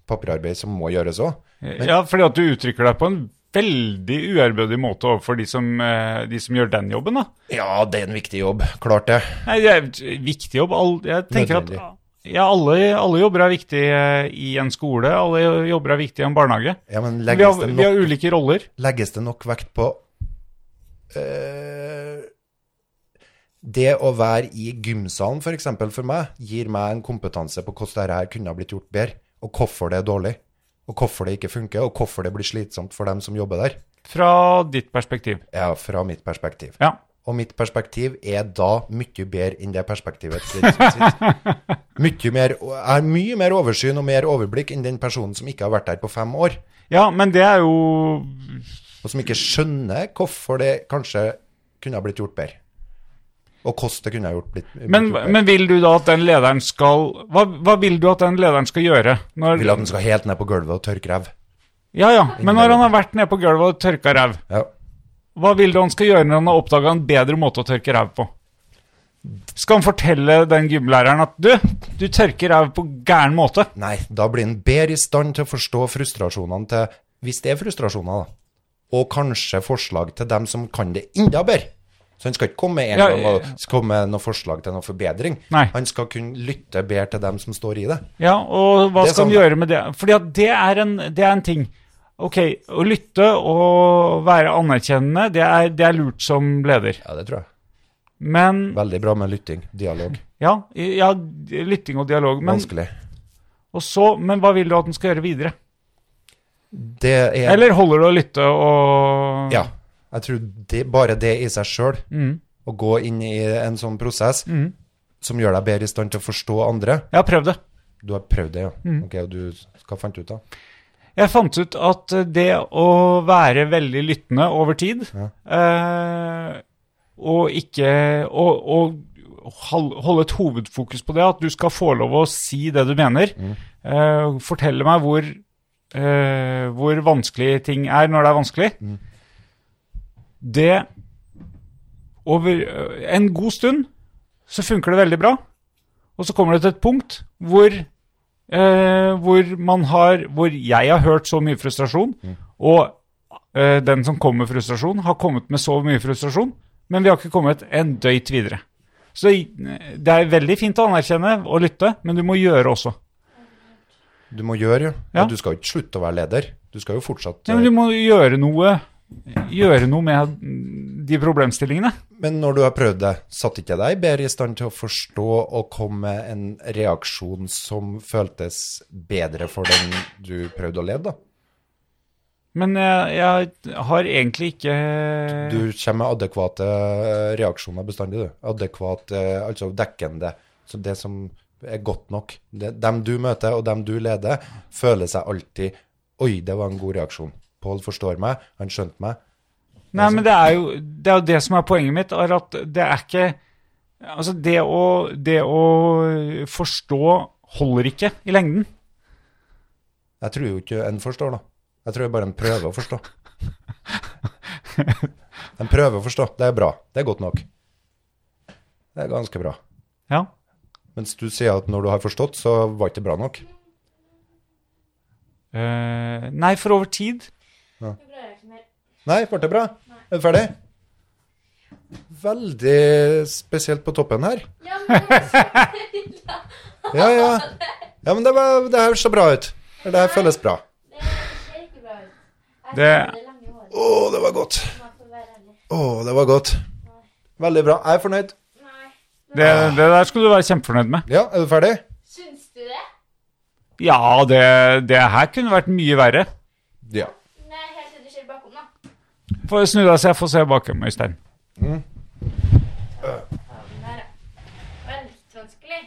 Speaker 2: papirarbeid som må gjøres òg.
Speaker 4: ja, fordi at du uttrykker deg på en veldig uærbødig måte overfor de som, eh, de som gjør den jobben, da.
Speaker 2: Ja, det er en viktig jobb. Klart det.
Speaker 4: Nei, det er et viktig jobb. All- Jeg tenker at
Speaker 2: Nødvendig.
Speaker 4: ja, alle, alle jobber er viktige i en skole, alle jobber er viktige i en barnehage.
Speaker 2: Ja, men
Speaker 4: Vi
Speaker 2: legges,
Speaker 4: har,
Speaker 2: det
Speaker 4: vi har
Speaker 2: nok,
Speaker 4: ulike roller.
Speaker 2: legges det nok vekt på eh, Det å være i gymsalen, f.eks. For, eksempel for meg, gir meg en kompetanse på hvordan dette her kunne ha blitt gjort bedre, og hvorfor det er dårlig. Og hvorfor det ikke funker, og hvorfor det blir slitsomt for dem som jobber der.
Speaker 4: Fra ditt perspektiv.
Speaker 2: Ja, fra mitt perspektiv.
Speaker 4: Ja.
Speaker 2: Og mitt perspektiv er da mye bedre enn det perspektivet til sitt. Mye mer, jeg har mye mer oversyn og mer overblikk enn den personen som ikke har vært der på fem år,
Speaker 4: ja, men det er jo
Speaker 2: og som ikke skjønner hvorfor det kanskje kunne ha blitt gjort bedre. Og hvordan det kunne ha gjort blitt, blitt
Speaker 4: men,
Speaker 2: gjort bedre.
Speaker 4: men vil du da at den lederen skal Hva, hva vil du at den lederen skal gjøre? Når,
Speaker 2: Vil at den skal helt ned på gulvet og tørke ræv.
Speaker 4: ja, ja, men når han har vært nede på gulvet og tørka ræv,
Speaker 2: Ja.
Speaker 4: hva vil du han skal gjøre når han har oppdaga en bedre måte å tørke ræv på? Skal han fortelle den gymlæreren at du, du tørker ræv på gæren måte?
Speaker 2: Nei, da blir en bedre i stand til å forstå frustrasjonene til Hvis det er frustrasjoner, da. Og kanskje forslag til dem som kan det enda bedre. Så han skal ikke komme med en
Speaker 4: Ja,
Speaker 2: gang og s- komme med noen forslag til noen forbedring.
Speaker 4: Nei.
Speaker 2: Han skal kunne lytte bedre til dem som står i det.
Speaker 4: Ja, og hva skal
Speaker 2: Det er
Speaker 4: han
Speaker 2: sånn-
Speaker 4: gjøre med det? Fordi at det er en, det er en ting. Ok, å lytte og være anerkjennende, det er, det er lurt som leder.
Speaker 2: Ja, det tror jeg.
Speaker 4: Men
Speaker 2: Veldig bra med lytting. Dialog.
Speaker 4: ja, ja, lytting og dialog. Men,
Speaker 2: Vanskelig.
Speaker 4: og så, men hva vil du at den skal gjøre videre?
Speaker 2: Det er
Speaker 4: Eller holder det å lytte og
Speaker 2: Ja. Jeg tror det, bare det i seg sjøl,
Speaker 4: Mm.
Speaker 2: å gå inn i en sånn prosess som gjør deg bedre i stand til å forstå andre
Speaker 4: Jeg har prøvd det.
Speaker 2: Du har prøvd det, ja.
Speaker 4: Mm.
Speaker 2: Ok, og du Hva fant du ut av?
Speaker 4: Jeg fant ut at det å være veldig lyttende over tid, eh, og ikke og, og hal- holde et hovedfokus på det, at du skal få lov å si det du mener, eh, fortelle meg hvor, eh, hvor vanskelig ting er når det er vanskelig, det over eh, en god stund så funker det veldig bra, og så kommer det til et punkt hvor eh, hvor man har Hvor jeg har hørt så mye frustrasjon, og eh, den som kommer med frustrasjon, har kommet med så mye frustrasjon, men vi har ikke kommet en døyt videre. Så eh, det er veldig fint å anerkjenne og lytte, men du må gjøre også.
Speaker 2: Du må gjøre, jo.
Speaker 4: Ja.
Speaker 2: Du skal jo ikke slutte å være leder. Du skal jo fortsatt
Speaker 4: Ja, men du må gjøre noe Gjøre noe med de problemstillingene.
Speaker 2: Men når du har prøvd det, satt ikke deg bedre i stand til å forstå og komme med en reaksjon som føltes bedre for den du prøvde å lede, da?
Speaker 4: Men jeg, jeg har egentlig ikke eh,
Speaker 2: Du kommer med adekvate eh, reaksjoner bestandig, du. Adekvat, eh, altså dekkende. Så det som er godt nok. Det, dem du møter, og dem du leder, føler seg alltid Oi, det var en god reaksjon. Pål forstår meg, han skjønte meg.
Speaker 4: Nei, men det er, jo, det er jo det som er poenget mitt, er at det er ikke Altså, det å, det å forstå holder ikke i lengden.
Speaker 2: Jeg tror jo ikke en forstår, da. Jeg tror bare en prøver å forstå. En prøver å forstå. Det er bra. Det er godt nok. Det er ganske bra.
Speaker 4: Ja.
Speaker 2: Mens du sier at når du har forstått, så var ikke det bra nok.
Speaker 4: Eh, nei, for over tid
Speaker 5: Nå greier jeg ikke mer.
Speaker 2: Nei, ble det bra? Er du ferdig? Veldig spesielt på toppen her.
Speaker 5: Ja, men det er så ille.
Speaker 2: Ja, ja. Ja, men det, var, det her så bra ut. Det her føles bra.
Speaker 5: Det ser ikke bra ut. Jeg
Speaker 4: Det-
Speaker 5: har det lange håret.
Speaker 2: Å, det var godt.
Speaker 5: Man får være ærlig.
Speaker 2: Å, det var godt. Veldig bra. Jeg er fornøyd.
Speaker 5: Nei.
Speaker 4: Det, det der skal du være kjempefornøyd med.
Speaker 2: Ja, er du ferdig?
Speaker 5: Syns du det?
Speaker 4: Ja, det, det her kunne vært mye verre.
Speaker 2: Ja.
Speaker 5: Nei, helt til du ser bakom, da.
Speaker 4: Få snu deg så jeg får se bakom, Øystein.
Speaker 5: Der, ja. Det var litt vanskelig.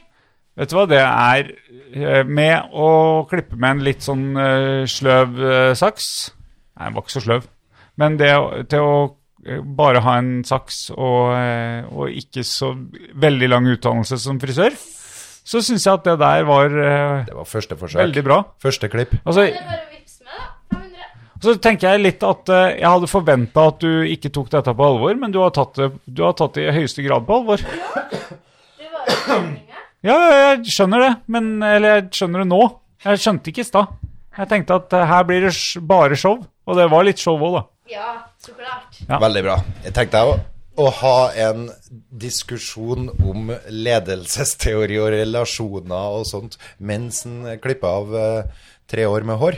Speaker 4: Vet du hva det er eh, med å klippe med en litt sånn eh, sløv eh, saks? Nei, den var ikke så sløv. Men det å- til å eh, bare ha en saks og, eh, og ikke så veldig lang utdannelse som frisør, så syns jeg at det der var eh,
Speaker 2: Det var første forsøk.
Speaker 4: veldig bra.
Speaker 2: Første klipp.
Speaker 4: Altså,
Speaker 5: Det er bare å vippse meg, da. 500.
Speaker 4: så tenker jeg litt at eh, jeg hadde forventa at du ikke tok dette på alvor, men du har tatt det, du har tatt det i høyeste grad på alvor.
Speaker 5: Det var jo meninga.
Speaker 4: Ja, jeg skjønner det, men Eller jeg skjønner det nå. Jeg skjønte ikke i stad. Jeg tenkte at eh, her blir det sj- bare show, og det var litt show òg, da.
Speaker 5: Ja, så klart.
Speaker 2: Veldig bra. Jeg tenkte jeg òg. Å ha en diskusjon om ledelsesteori og relasjoner og sånt mens en klipper av eh, tre år med hår.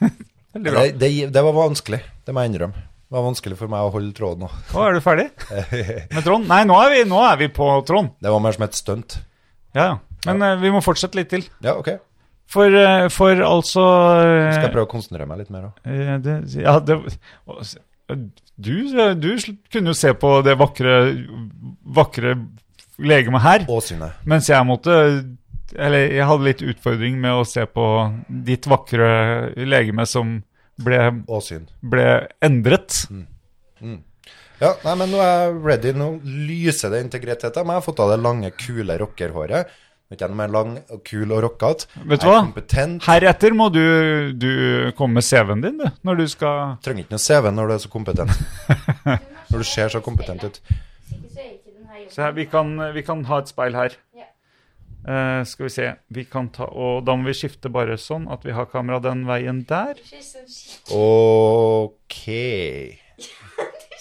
Speaker 4: Veldig bra.
Speaker 2: Det, det, det var vanskelig. Det må jeg innrømme. Det var vanskelig for meg å holde tråden nå.
Speaker 4: Å, er du ferdig med Trond? Nei, nå er vi, nå er vi på Trond.
Speaker 2: Det var mer som et stunt.
Speaker 4: Ja, ja. Men eh, vi må fortsette litt til.
Speaker 2: Ja, ok.
Speaker 4: For, eh, for altså eh,
Speaker 2: Skal jeg prøve å konsentrere meg litt mer òg.
Speaker 4: eh, det, Ja, det å, s- du, du sl- kunne jo se på det vakre, vakre legemet her.
Speaker 2: Åsynet.
Speaker 4: Mens jeg måtte Eller jeg hadde litt utfordring med å se på ditt vakre legeme som ble,
Speaker 2: Åsyn.
Speaker 4: ble endret.
Speaker 2: Mm. Ja, nei, men nå er jeg ready. Nå lyser det integritetet. Men jeg har fått av det lange, kule rockerhåret. Nå er ikke jeg noe mer lang og kul og rockete.
Speaker 4: Vet du
Speaker 2: Jeg er
Speaker 4: hva?
Speaker 2: kompetent.
Speaker 4: Heretter må du, du komme med CV-en din, du. Når du skal
Speaker 2: Trenger ikke noe CV når du er så kompetent. Når du ser så kompetent ut.
Speaker 5: Hvis ikke så er ikke den her
Speaker 4: Se her, vi kan, vi kan ha et speil her.
Speaker 5: Ja.
Speaker 4: Eh, skal vi se vi kan ta, Og da må vi skifte bare sånn at vi har kamera den veien der.
Speaker 5: Ikke sånn skikkelig-
Speaker 2: Ok.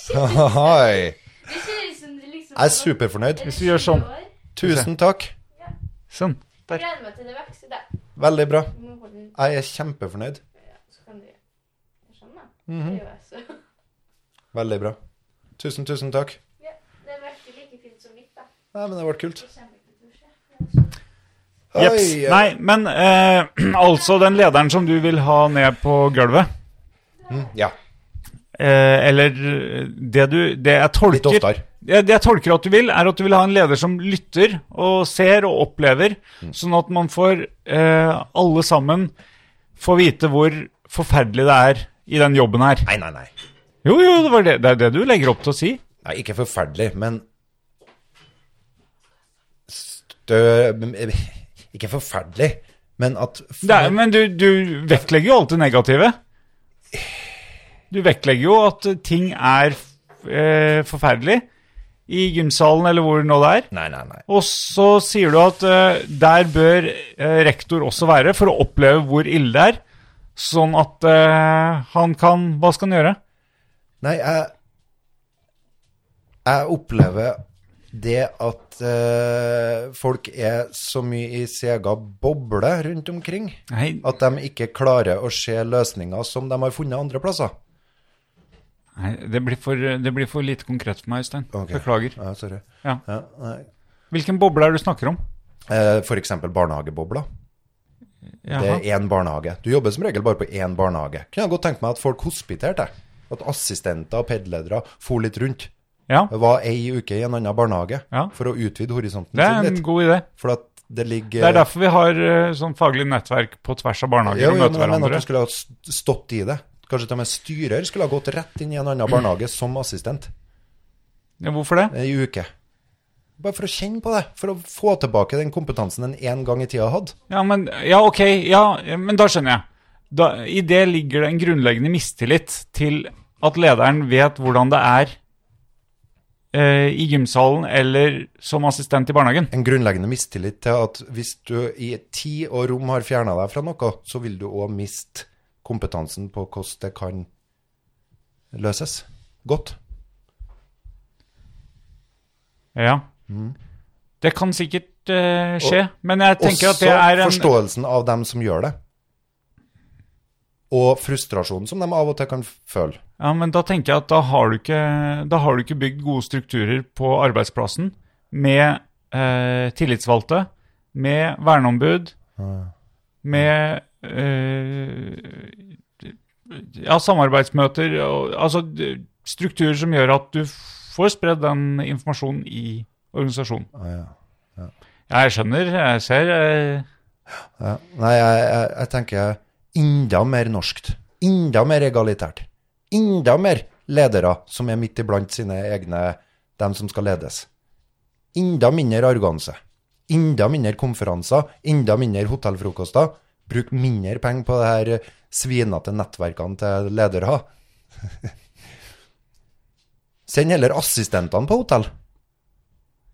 Speaker 2: Hei.
Speaker 5: Det ser ut som det liksom
Speaker 2: Jeg er superfornøyd.
Speaker 4: Hvis vi gjør sånn.
Speaker 2: Tusen takk.
Speaker 4: Sånn.
Speaker 5: Jeg gleder meg til det vokser, da.
Speaker 2: Veldig bra.
Speaker 5: Du må holde den
Speaker 2: Jeg er kjempefornøyd.
Speaker 5: så kan du gjøre sånn, da.
Speaker 4: Mhm.
Speaker 5: Det er jo altså
Speaker 2: Veldig bra. Tusen, tusen takk.
Speaker 5: Ja, det virker like fint som mitt, da.
Speaker 2: Nei, men det ble kult.
Speaker 5: Det kommer ikke til å skje.
Speaker 4: Jeps.
Speaker 2: Oi, ja.
Speaker 4: Nei, men eh, altså den lederen som du vil ha ned på gulvet
Speaker 2: Ja,
Speaker 4: Eh, eller eh, det, du, det, jeg
Speaker 2: litt
Speaker 4: tolker,
Speaker 2: oftere.
Speaker 4: det, det jeg tolker at du vil, er at du vil ha en leder som lytter og ser og opplever,
Speaker 2: Mm.
Speaker 4: sånn at man får eh, alle sammen får vite hvor forferdelig det er i den jobben her.
Speaker 2: Nei, nei, nei.
Speaker 4: Jo, jo, det, var det, det er det du legger opp til å si.
Speaker 2: Nei, ikke forferdelig, men stø... Ikke forferdelig, men at
Speaker 4: Det er, men du, du vektlegger jo alt det negative. Du vektlegger jo at ting er eh, forferdelig i gymsalen eller hvor nå det er.
Speaker 2: Nei, nei, nei.
Speaker 4: Og så sier du at eh, der bør eh, rektor også være for å oppleve hvor ille det er, sånn at eh, han kan Hva skal han gjøre?
Speaker 2: Nei, jeg Jeg opplever det at eh, folk er så mye i sin egen boble rundt omkring
Speaker 4: Nei,
Speaker 2: at de ikke klarer å se løsninger som de har funnet andre plasser.
Speaker 4: nei det, blir for, det blir for lite konkret for meg, Øystein.
Speaker 2: Ok.
Speaker 4: Beklager.
Speaker 2: Ja, sorry.
Speaker 4: Ja.
Speaker 2: nei.
Speaker 4: Hvilken boble er det du snakker om?
Speaker 2: Eh, for eksempel barnehagebobla. Det
Speaker 4: Jaha.
Speaker 2: er én barnehage. Du jobber som regel bare på én barnehage. Kunne jeg godt tenkt meg at folk hospiterte. At assistenter og pedledere for litt rundt.
Speaker 4: Ja,
Speaker 2: Var ei uke i en annen barnehage
Speaker 4: Ja.
Speaker 2: for å utvide horisonten
Speaker 4: det er
Speaker 2: sin
Speaker 4: en
Speaker 2: litt.
Speaker 4: god idé.
Speaker 2: For at det ligger
Speaker 4: Det er derfor vi har eh, sånn faglig nettverk på tvers av barnehager
Speaker 2: Ja,
Speaker 4: og
Speaker 2: ja, men
Speaker 4: møter
Speaker 2: jeg mener at
Speaker 4: hverandre.
Speaker 2: du skulle ha st- stått i det. Kanskje til og med styrer skulle ha gått rett inn i en annen barnehage som assistent
Speaker 4: Ja, hvorfor det?
Speaker 2: ei uke. Bare for å kjenne på det. For å få tilbake den kompetansen en en gang i tida hadde.
Speaker 4: Ja, men, ja, ok, ja, men da skjønner jeg. Da, I det ligger det en grunnleggende mistillit til at lederen vet hvordan det er eh, i gymsalen eller som assistent i barnehagen.
Speaker 2: En grunnleggende mistillit til at hvis du i tid og rom har fjerna deg fra noe, så vil du òg miste kompetansen på hvordan det kan løses godt.
Speaker 4: Ja. Det kan sikkert eh, skje, men jeg tenker
Speaker 2: Også
Speaker 4: at det er en
Speaker 2: forståelsen av dem som gjør det. Og frustrasjonen som de av og til kan føle.
Speaker 4: Ja, men da tenker jeg at da har du ikke, da har du ikke bygd gode strukturer på arbeidsplassen med eh, tillitsvalgte, med verneombud, med eh, ja, samarbeidsmøter og, Altså d- strukturer som gjør at du får spredd den informasjonen i organisasjonen.
Speaker 2: Ah, ja.
Speaker 4: Ja, jeg skjønner, jeg ser eh,
Speaker 2: Ja. Nei, jeg, jeg, jeg tenker enda mer norskt. Enda mer egalitært. Enda mer ledere som er midt iblant sine egne, dem som skal ledes. Enda mindre arroganse. Enda mindre konferanser. Enda mindre hotellfrokoster. Bruk mindre penger på det her eh, svinete nettverkene til ledere. Send heller assistentene på hotell.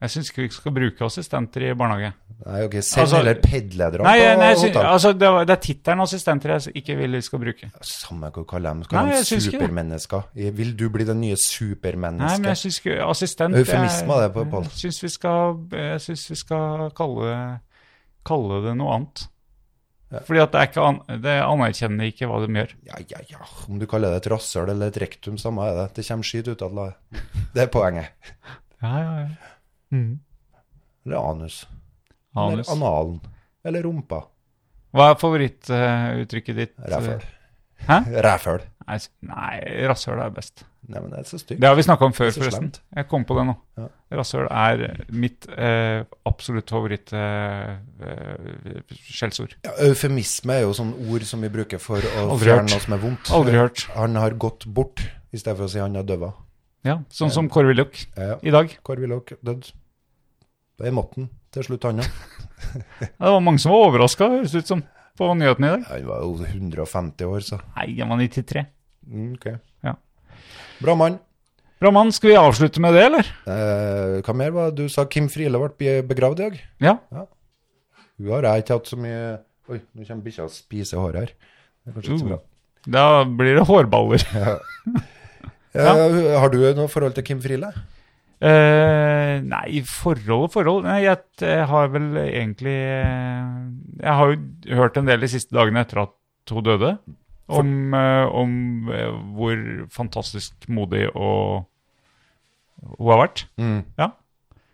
Speaker 4: Jeg syns ikke vi skal bruke assistenter i barnehage.
Speaker 2: Nei, ok, Send
Speaker 4: Altså-
Speaker 2: heller PED-lederne
Speaker 4: Nei,
Speaker 2: på
Speaker 4: nei jeg syns-
Speaker 2: hotell.
Speaker 4: altså, det, var- det er tittelen assistenter jeg s- ikke vil vi skal bruke.
Speaker 2: Samme hva du kaller dem. Skal
Speaker 4: Nei,
Speaker 2: de
Speaker 4: jeg syns ikke det.
Speaker 2: supermennesker? Vil du bli det nye
Speaker 4: Nei, men jeg
Speaker 2: supermennesket?
Speaker 4: syns ikke Assistent
Speaker 2: Eufemisme
Speaker 4: jeg-
Speaker 2: er det på- på-
Speaker 4: Jeg syns vi skal, jeg synes vi skal kalle, kalle det noe annet. Fordi at det, er ikke an, det anerkjenner ikke hva de gjør.
Speaker 2: Ja, ja, ja. Om du kaller det et rasshøl eller et rektum, samme er det. Det kommer skit ut av det. Det er poenget.
Speaker 4: Ja, ja, ja.
Speaker 2: Eller anus.
Speaker 4: Mm. Anus.
Speaker 2: Eller analen. Eller rumpa.
Speaker 4: Hva er favorittuttrykket ditt?
Speaker 2: Rævhøl.
Speaker 4: Hæ?
Speaker 2: Rævhøl.
Speaker 4: Nei, s- Nei, rasshøl er best.
Speaker 2: Nei, men det er så stygt.
Speaker 4: Det har vi snakka om før,
Speaker 2: Det er så
Speaker 4: forresten.
Speaker 2: slemt.
Speaker 4: Jeg kom på det nå.
Speaker 2: Ja.
Speaker 4: Rasshøl er mitt eh, absolutt favoritt eh, eh, skjellsord.
Speaker 2: Ja, eufemisme er jo sånn ord som vi bruker for å
Speaker 4: Aldri hørt.
Speaker 2: fjerne noe som er vondt.
Speaker 4: Aldri hørt.
Speaker 2: Han har gått bort, i stedet for å si han er døva.
Speaker 4: Ja, sånn som Kåre Willoch
Speaker 2: Ja, ja.
Speaker 4: i dag.
Speaker 2: Kåre Willoch død. Det er måtten til slutt, han òg.
Speaker 4: Ja, Det var mange som var overraska, høres det ut som, på nyhetene i dag.
Speaker 2: Han var jo 150 år, så
Speaker 4: Nei, jeg var 93.
Speaker 2: Mm, Ok.
Speaker 4: Ja.
Speaker 2: Bra mann.
Speaker 4: Bra mann, skal vi avslutte med det, eller?
Speaker 2: Eh, hva mer var det du sa? Kim Friele ble be- begravd i dag?
Speaker 4: Ja.
Speaker 2: Hun har jeg ikke hatt så mye Oi, nå kommer bikkja og spiser håret her. Det er kanskje ikke så bra.
Speaker 4: Da blir det hårballer. Uh.
Speaker 2: Eh, har du noe forhold til Kim Friele?
Speaker 4: Eh, nei, forhold og forhold Nei, jeg, eh, har vel egentlig eh, Jeg har jo hørt en del de siste dagene etter at hun døde, om, eh, om eh, hvor fantastisk modig og hun har vært. Ja.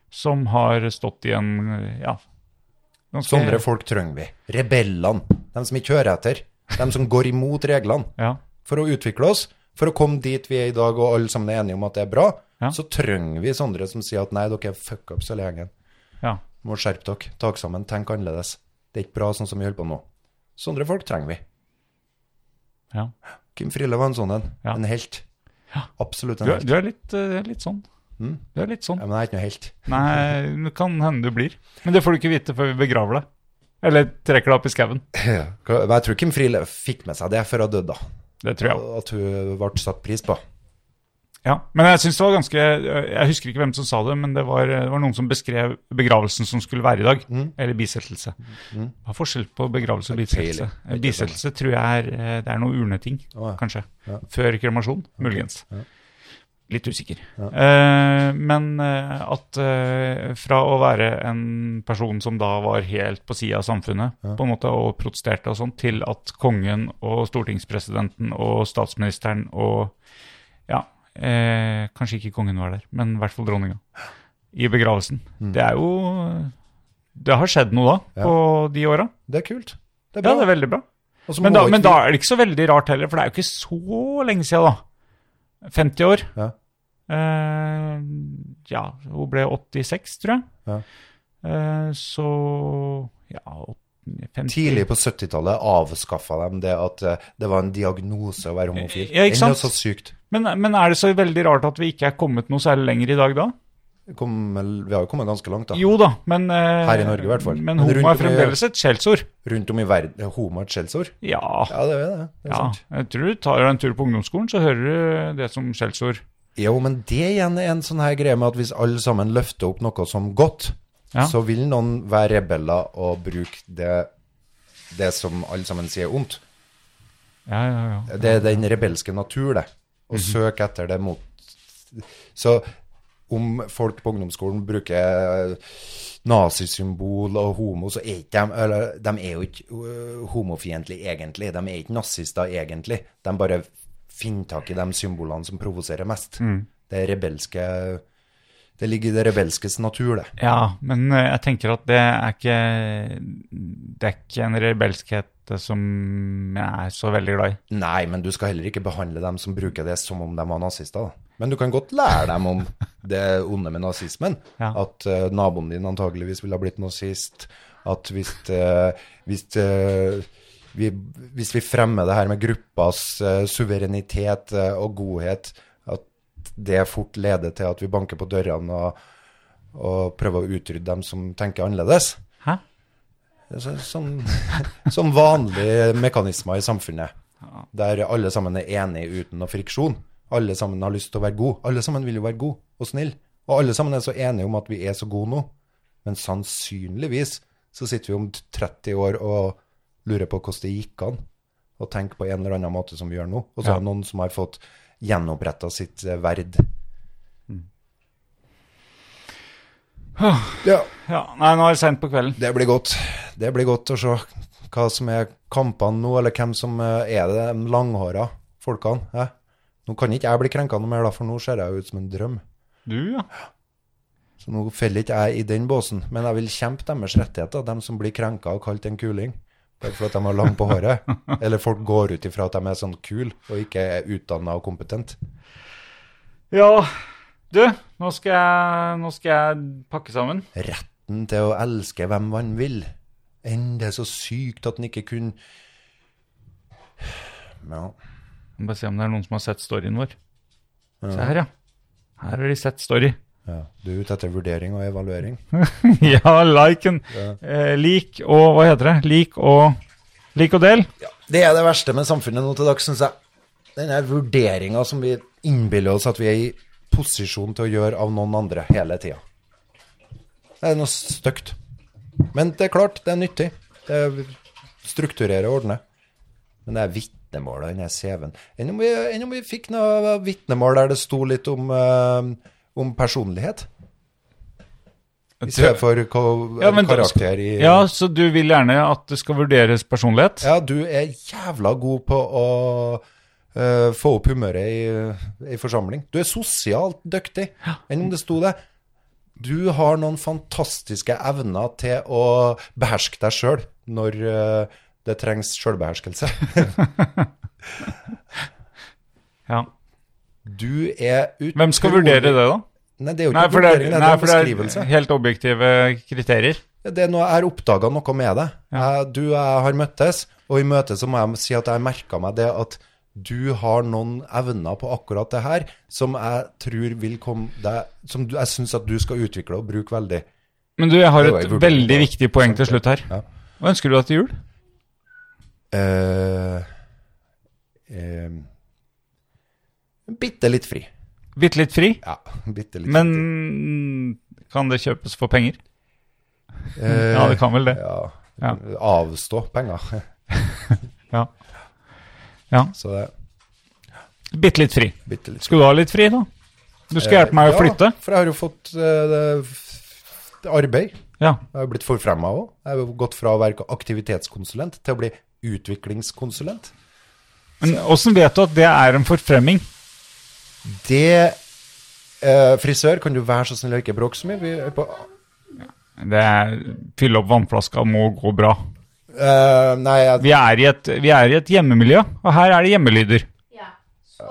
Speaker 4: Som har stått i en eh, Ja. ganske-
Speaker 2: Sånne folk trenger vi. Rebellene. De som ikke hører etter. De som går imot reglene.
Speaker 4: Ja.
Speaker 2: For å utvikle oss, for å komme dit vi er i dag, og alle sammen er enige om at det er bra,
Speaker 4: Ja.
Speaker 2: så trenger vi sånne som sier at nei, dere er fuck ups hele gjengen.
Speaker 4: ja.
Speaker 2: Må skjerpe dere, ta dere sammen, tenk annerledes. Det er ikke bra sånn som vi holder på nå. Sånne folk trenger vi.
Speaker 4: ja.
Speaker 2: Kim Friele var en sånn en.
Speaker 4: Ja.
Speaker 2: En helt. Absolutt
Speaker 4: Du
Speaker 2: en
Speaker 4: er,
Speaker 2: helt.
Speaker 4: du er litt, eh, litt sånn. Du er litt sånn.
Speaker 2: Ja, men jeg er ikke noe helt.
Speaker 4: Nei, det kan hende du blir. Men det får du ikke vite før vi begraver deg. Eller trekker deg opp i skauen.
Speaker 2: Hva- Men jeg tror Kim Friele fikk med seg det før hun døde, da.
Speaker 4: Det tror jeg.
Speaker 2: At hun ble satt pris på.
Speaker 4: Ja. Men jeg synes det var ganske Jeg husker ikke hvem som sa det, men det var, det var noen som beskrev begravelsen som skulle være i dag.
Speaker 2: Mm.
Speaker 4: Eller bisettelse. Hva er forskjell på begravelse og bisettelse?
Speaker 2: peiling.
Speaker 4: Bisettelse tror jeg er eh, Det er noe urneting,
Speaker 2: Å, ja.
Speaker 4: kanskje.
Speaker 2: Ja.
Speaker 4: Før kremasjon, muligens. Litt usikker.
Speaker 2: Ja.
Speaker 4: Eh, men eh, at eh, fra å være en person som da var helt på sida av samfunnet på en måte, og protesterte og sånn, til at kongen og stortingspresidenten og statsministeren og Ja, eh, kanskje ikke kongen var der, men i hvert fall dronninga. I begravelsen. Det er jo Det har skjedd noe da,
Speaker 2: Mm. Ja.
Speaker 4: på de åra.
Speaker 2: Det er kult. Det er
Speaker 4: Ja,
Speaker 2: bra.
Speaker 4: det er veldig bra.
Speaker 2: Og så
Speaker 4: Men
Speaker 2: må
Speaker 4: da,
Speaker 2: ikke
Speaker 4: men
Speaker 2: vi-
Speaker 4: da er det ikke så veldig rart heller, for det er jo ikke så lenge siden, da. 50 år.
Speaker 2: Ja.
Speaker 4: Eh, ja, hun ble 86, tror jeg.
Speaker 2: Ja.
Speaker 4: Eh, så ja, åt- 50
Speaker 2: Tidlig på 70-tallet avskaffa de det at eh, det var en diagnose å være homofil.
Speaker 4: Ja, ikke sant?
Speaker 2: Enda så sykt.
Speaker 4: Men, men er det så veldig rart at vi ikke er kommet noe særlig lenger i dag, da?
Speaker 2: Kom, vi har jo kommet ganske langt, da.
Speaker 4: Jo da, men eh,
Speaker 2: Her i Norge i hvert fall.
Speaker 4: Men
Speaker 2: Men rundt
Speaker 4: homo
Speaker 2: om
Speaker 4: er
Speaker 2: i-
Speaker 4: fremdeles et skjellsord.
Speaker 2: Rundt om i verden. Homo er et skjellsord?
Speaker 4: Ja.
Speaker 2: Ja, det er det. det
Speaker 4: ja.
Speaker 2: er sant.
Speaker 4: Jeg tror du tar en tur på ungdomsskolen, så hører du det som skjellsord.
Speaker 2: Jo, men det igjen er en sånn her greie med at hvis alle sammen løfter opp noe som godt,
Speaker 4: Ja.
Speaker 2: så vil noen være rebeller og bruke det, det som alle sammen sier ondt.
Speaker 4: Ja, ja, ja.
Speaker 2: Det er den rebelske natur, det. Å søke etter det mot... Så om folk på ungdomsskolen bruker eh, nazisymbol og homo, så er ikke de, eller, eh, de er jo ikke øh, homofiendtlige egentlig. De er ikke nazister egentlig. De bare finne tak i de symbolene som provoserer mest. Det rebelske Det ligger i det rebelskes natur, det.
Speaker 4: Ja, men eh, jeg tenker at det er ikke Det er ikke en rebelskhet eh, som jeg er så veldig glad i.
Speaker 2: Nei, men du skal heller ikke behandle dem som bruker det som om de var nazister. Da. Men du kan godt lære dem om det onde med nazismen.
Speaker 4: Ja.
Speaker 2: At eh, naboen din antageligvis ville ha blitt nazist. At hvis, eh, hvis, eh, vi, hvis vi fremmer det her med gruppas eh, suverenitet eh, og godhet, at det fort leder til at vi banker på dørene og, og prøver å utrydde dem som tenker annerledes.
Speaker 4: Hæ?
Speaker 2: Så, sånn, sånn vanlige mekanismer i samfunnet. Der alle sammen er enige uten noe friksjon. Alle sammen har lyst til å være god. Alle sammen vil jo være god og snill. Og alle sammen er så enige om at vi er så gode nå. Men sannsynligvis så sitter vi om 30 år og lurer på hvordan det gikk an. Og tenker på en eller annen måte som vi gjør nå. Og så
Speaker 4: Ja.
Speaker 2: er det noen som har fått gjenoppretta sitt eh, verd. Ja.
Speaker 4: Ja, Nei, nå er det seint på kvelden.
Speaker 2: Det blir godt. Det blir godt å se hva som er kampene nå, eller hvem som eh, er det, de langhåra folkene. hæ? Nå kan ikke jeg bli krenka noe mer, da, for nå ser jeg jo ut som en drøm.
Speaker 4: Du, ja.
Speaker 2: Så nå feller ikke jeg i den båsen. Men jeg vil kjempe deres rettigheter, de som blir krenka og kalt en kuling. Bare for at de har lang på håret. Eller folk går ut ifra at de er sånn kul, og ikke er utdanna og kompetent.
Speaker 4: Ja, du. Nå skal jeg, nå skal jeg pakke sammen.
Speaker 2: retten til å elske hvem man vil. Enn det er så sykt at den ikke kunne Ja.
Speaker 4: Jeg må Bare se om det er noen som har sett storyen vår. Se her, ja. Her har de sett story.
Speaker 2: ja. Du er ute etter vurdering og evaluering.
Speaker 4: ja, like en eh, Lik og Hva heter det? Lik og Lik og del.
Speaker 2: Det er det verste med samfunnet nå til dags, syns jeg. Denne vurderinga som vi innbiller oss at vi er i posisjon til å gjøre av noen andre hele tida. Det er noe stygt. Men det er klart, det er nyttig. Det er- strukturerer og ordner. Men det er vitnemål, den er CV-en. Enn om, vi- enn om vi fikk noe vitnemål der det sto litt om, eh, om personlighet? I stedet for ko-
Speaker 4: Ja, men da-
Speaker 2: karakter i
Speaker 4: Ja, så du vil gjerne at det skal vurderes personlighet?
Speaker 2: ja, du er jævla god på å eh, få opp humøret i, i forsamling. Du er sosialt dyktig, enn om det sto det. Du har noen fantastiske evner til å beherske deg sjøl når eh, det trengs sjølbeherskelse.
Speaker 4: Ja.
Speaker 2: Du er utrolig
Speaker 4: Hvem skal vurdere det, da?
Speaker 2: Nei, det er jo ikke
Speaker 4: Nei, for det er,
Speaker 2: vurdering, det er
Speaker 4: nei,
Speaker 2: en
Speaker 4: for det
Speaker 2: beskrivelse.
Speaker 4: er helt objektive kriterier.
Speaker 2: Det er noe jeg har oppdaga noe med deg. Jeg- Du og jeg har møttes, og i møtet så må jeg si at jeg merka meg det at du har noen evner på akkurat det her som jeg tror vil komme deg Som du, jeg syns at du skal utvikle og bruke veldig.
Speaker 4: Men du, jeg har
Speaker 2: Det var
Speaker 4: et
Speaker 2: jo vurdering,
Speaker 4: veldig
Speaker 2: da.
Speaker 4: viktig poeng til slutt her.
Speaker 2: Ja.
Speaker 4: Hva ønsker du deg til jul?
Speaker 2: Eh, eh, bitte litt fri.
Speaker 4: Bitte litt fri,
Speaker 2: Ja, bitte litt
Speaker 4: men
Speaker 2: fri.
Speaker 4: kan det kjøpes for penger?
Speaker 2: Eh,
Speaker 4: Ja, det kan vel det.
Speaker 2: Ja.
Speaker 4: Ja.
Speaker 2: Avstå penger.
Speaker 4: Ja. Ja.
Speaker 2: Så det
Speaker 4: Bitte litt fri.
Speaker 2: bitte litt
Speaker 4: Skal du ha litt fri, da? Du skal hjelpe meg å flytte?
Speaker 2: Eh, Ja, for jeg har jo fått eh, det- f- arbeid.
Speaker 4: Ja.
Speaker 2: Jeg har jo blitt forfremma òg. Jeg har jo gått fra å være aktivitetskonsulent til å bli utviklingskonsulent.
Speaker 4: Men åssen vet du at det er en forfremming?
Speaker 2: Det eh, Frisør, kan du være så snill og ikke bråke så mye? Vi er på,
Speaker 4: Det er Fylle opp vannflaska må gå bra.
Speaker 2: eh, nei, jeg,
Speaker 4: Vi er, i et, vi er i et hjemmemiljø, og her er det hjemmelyder.
Speaker 5: Ja. Så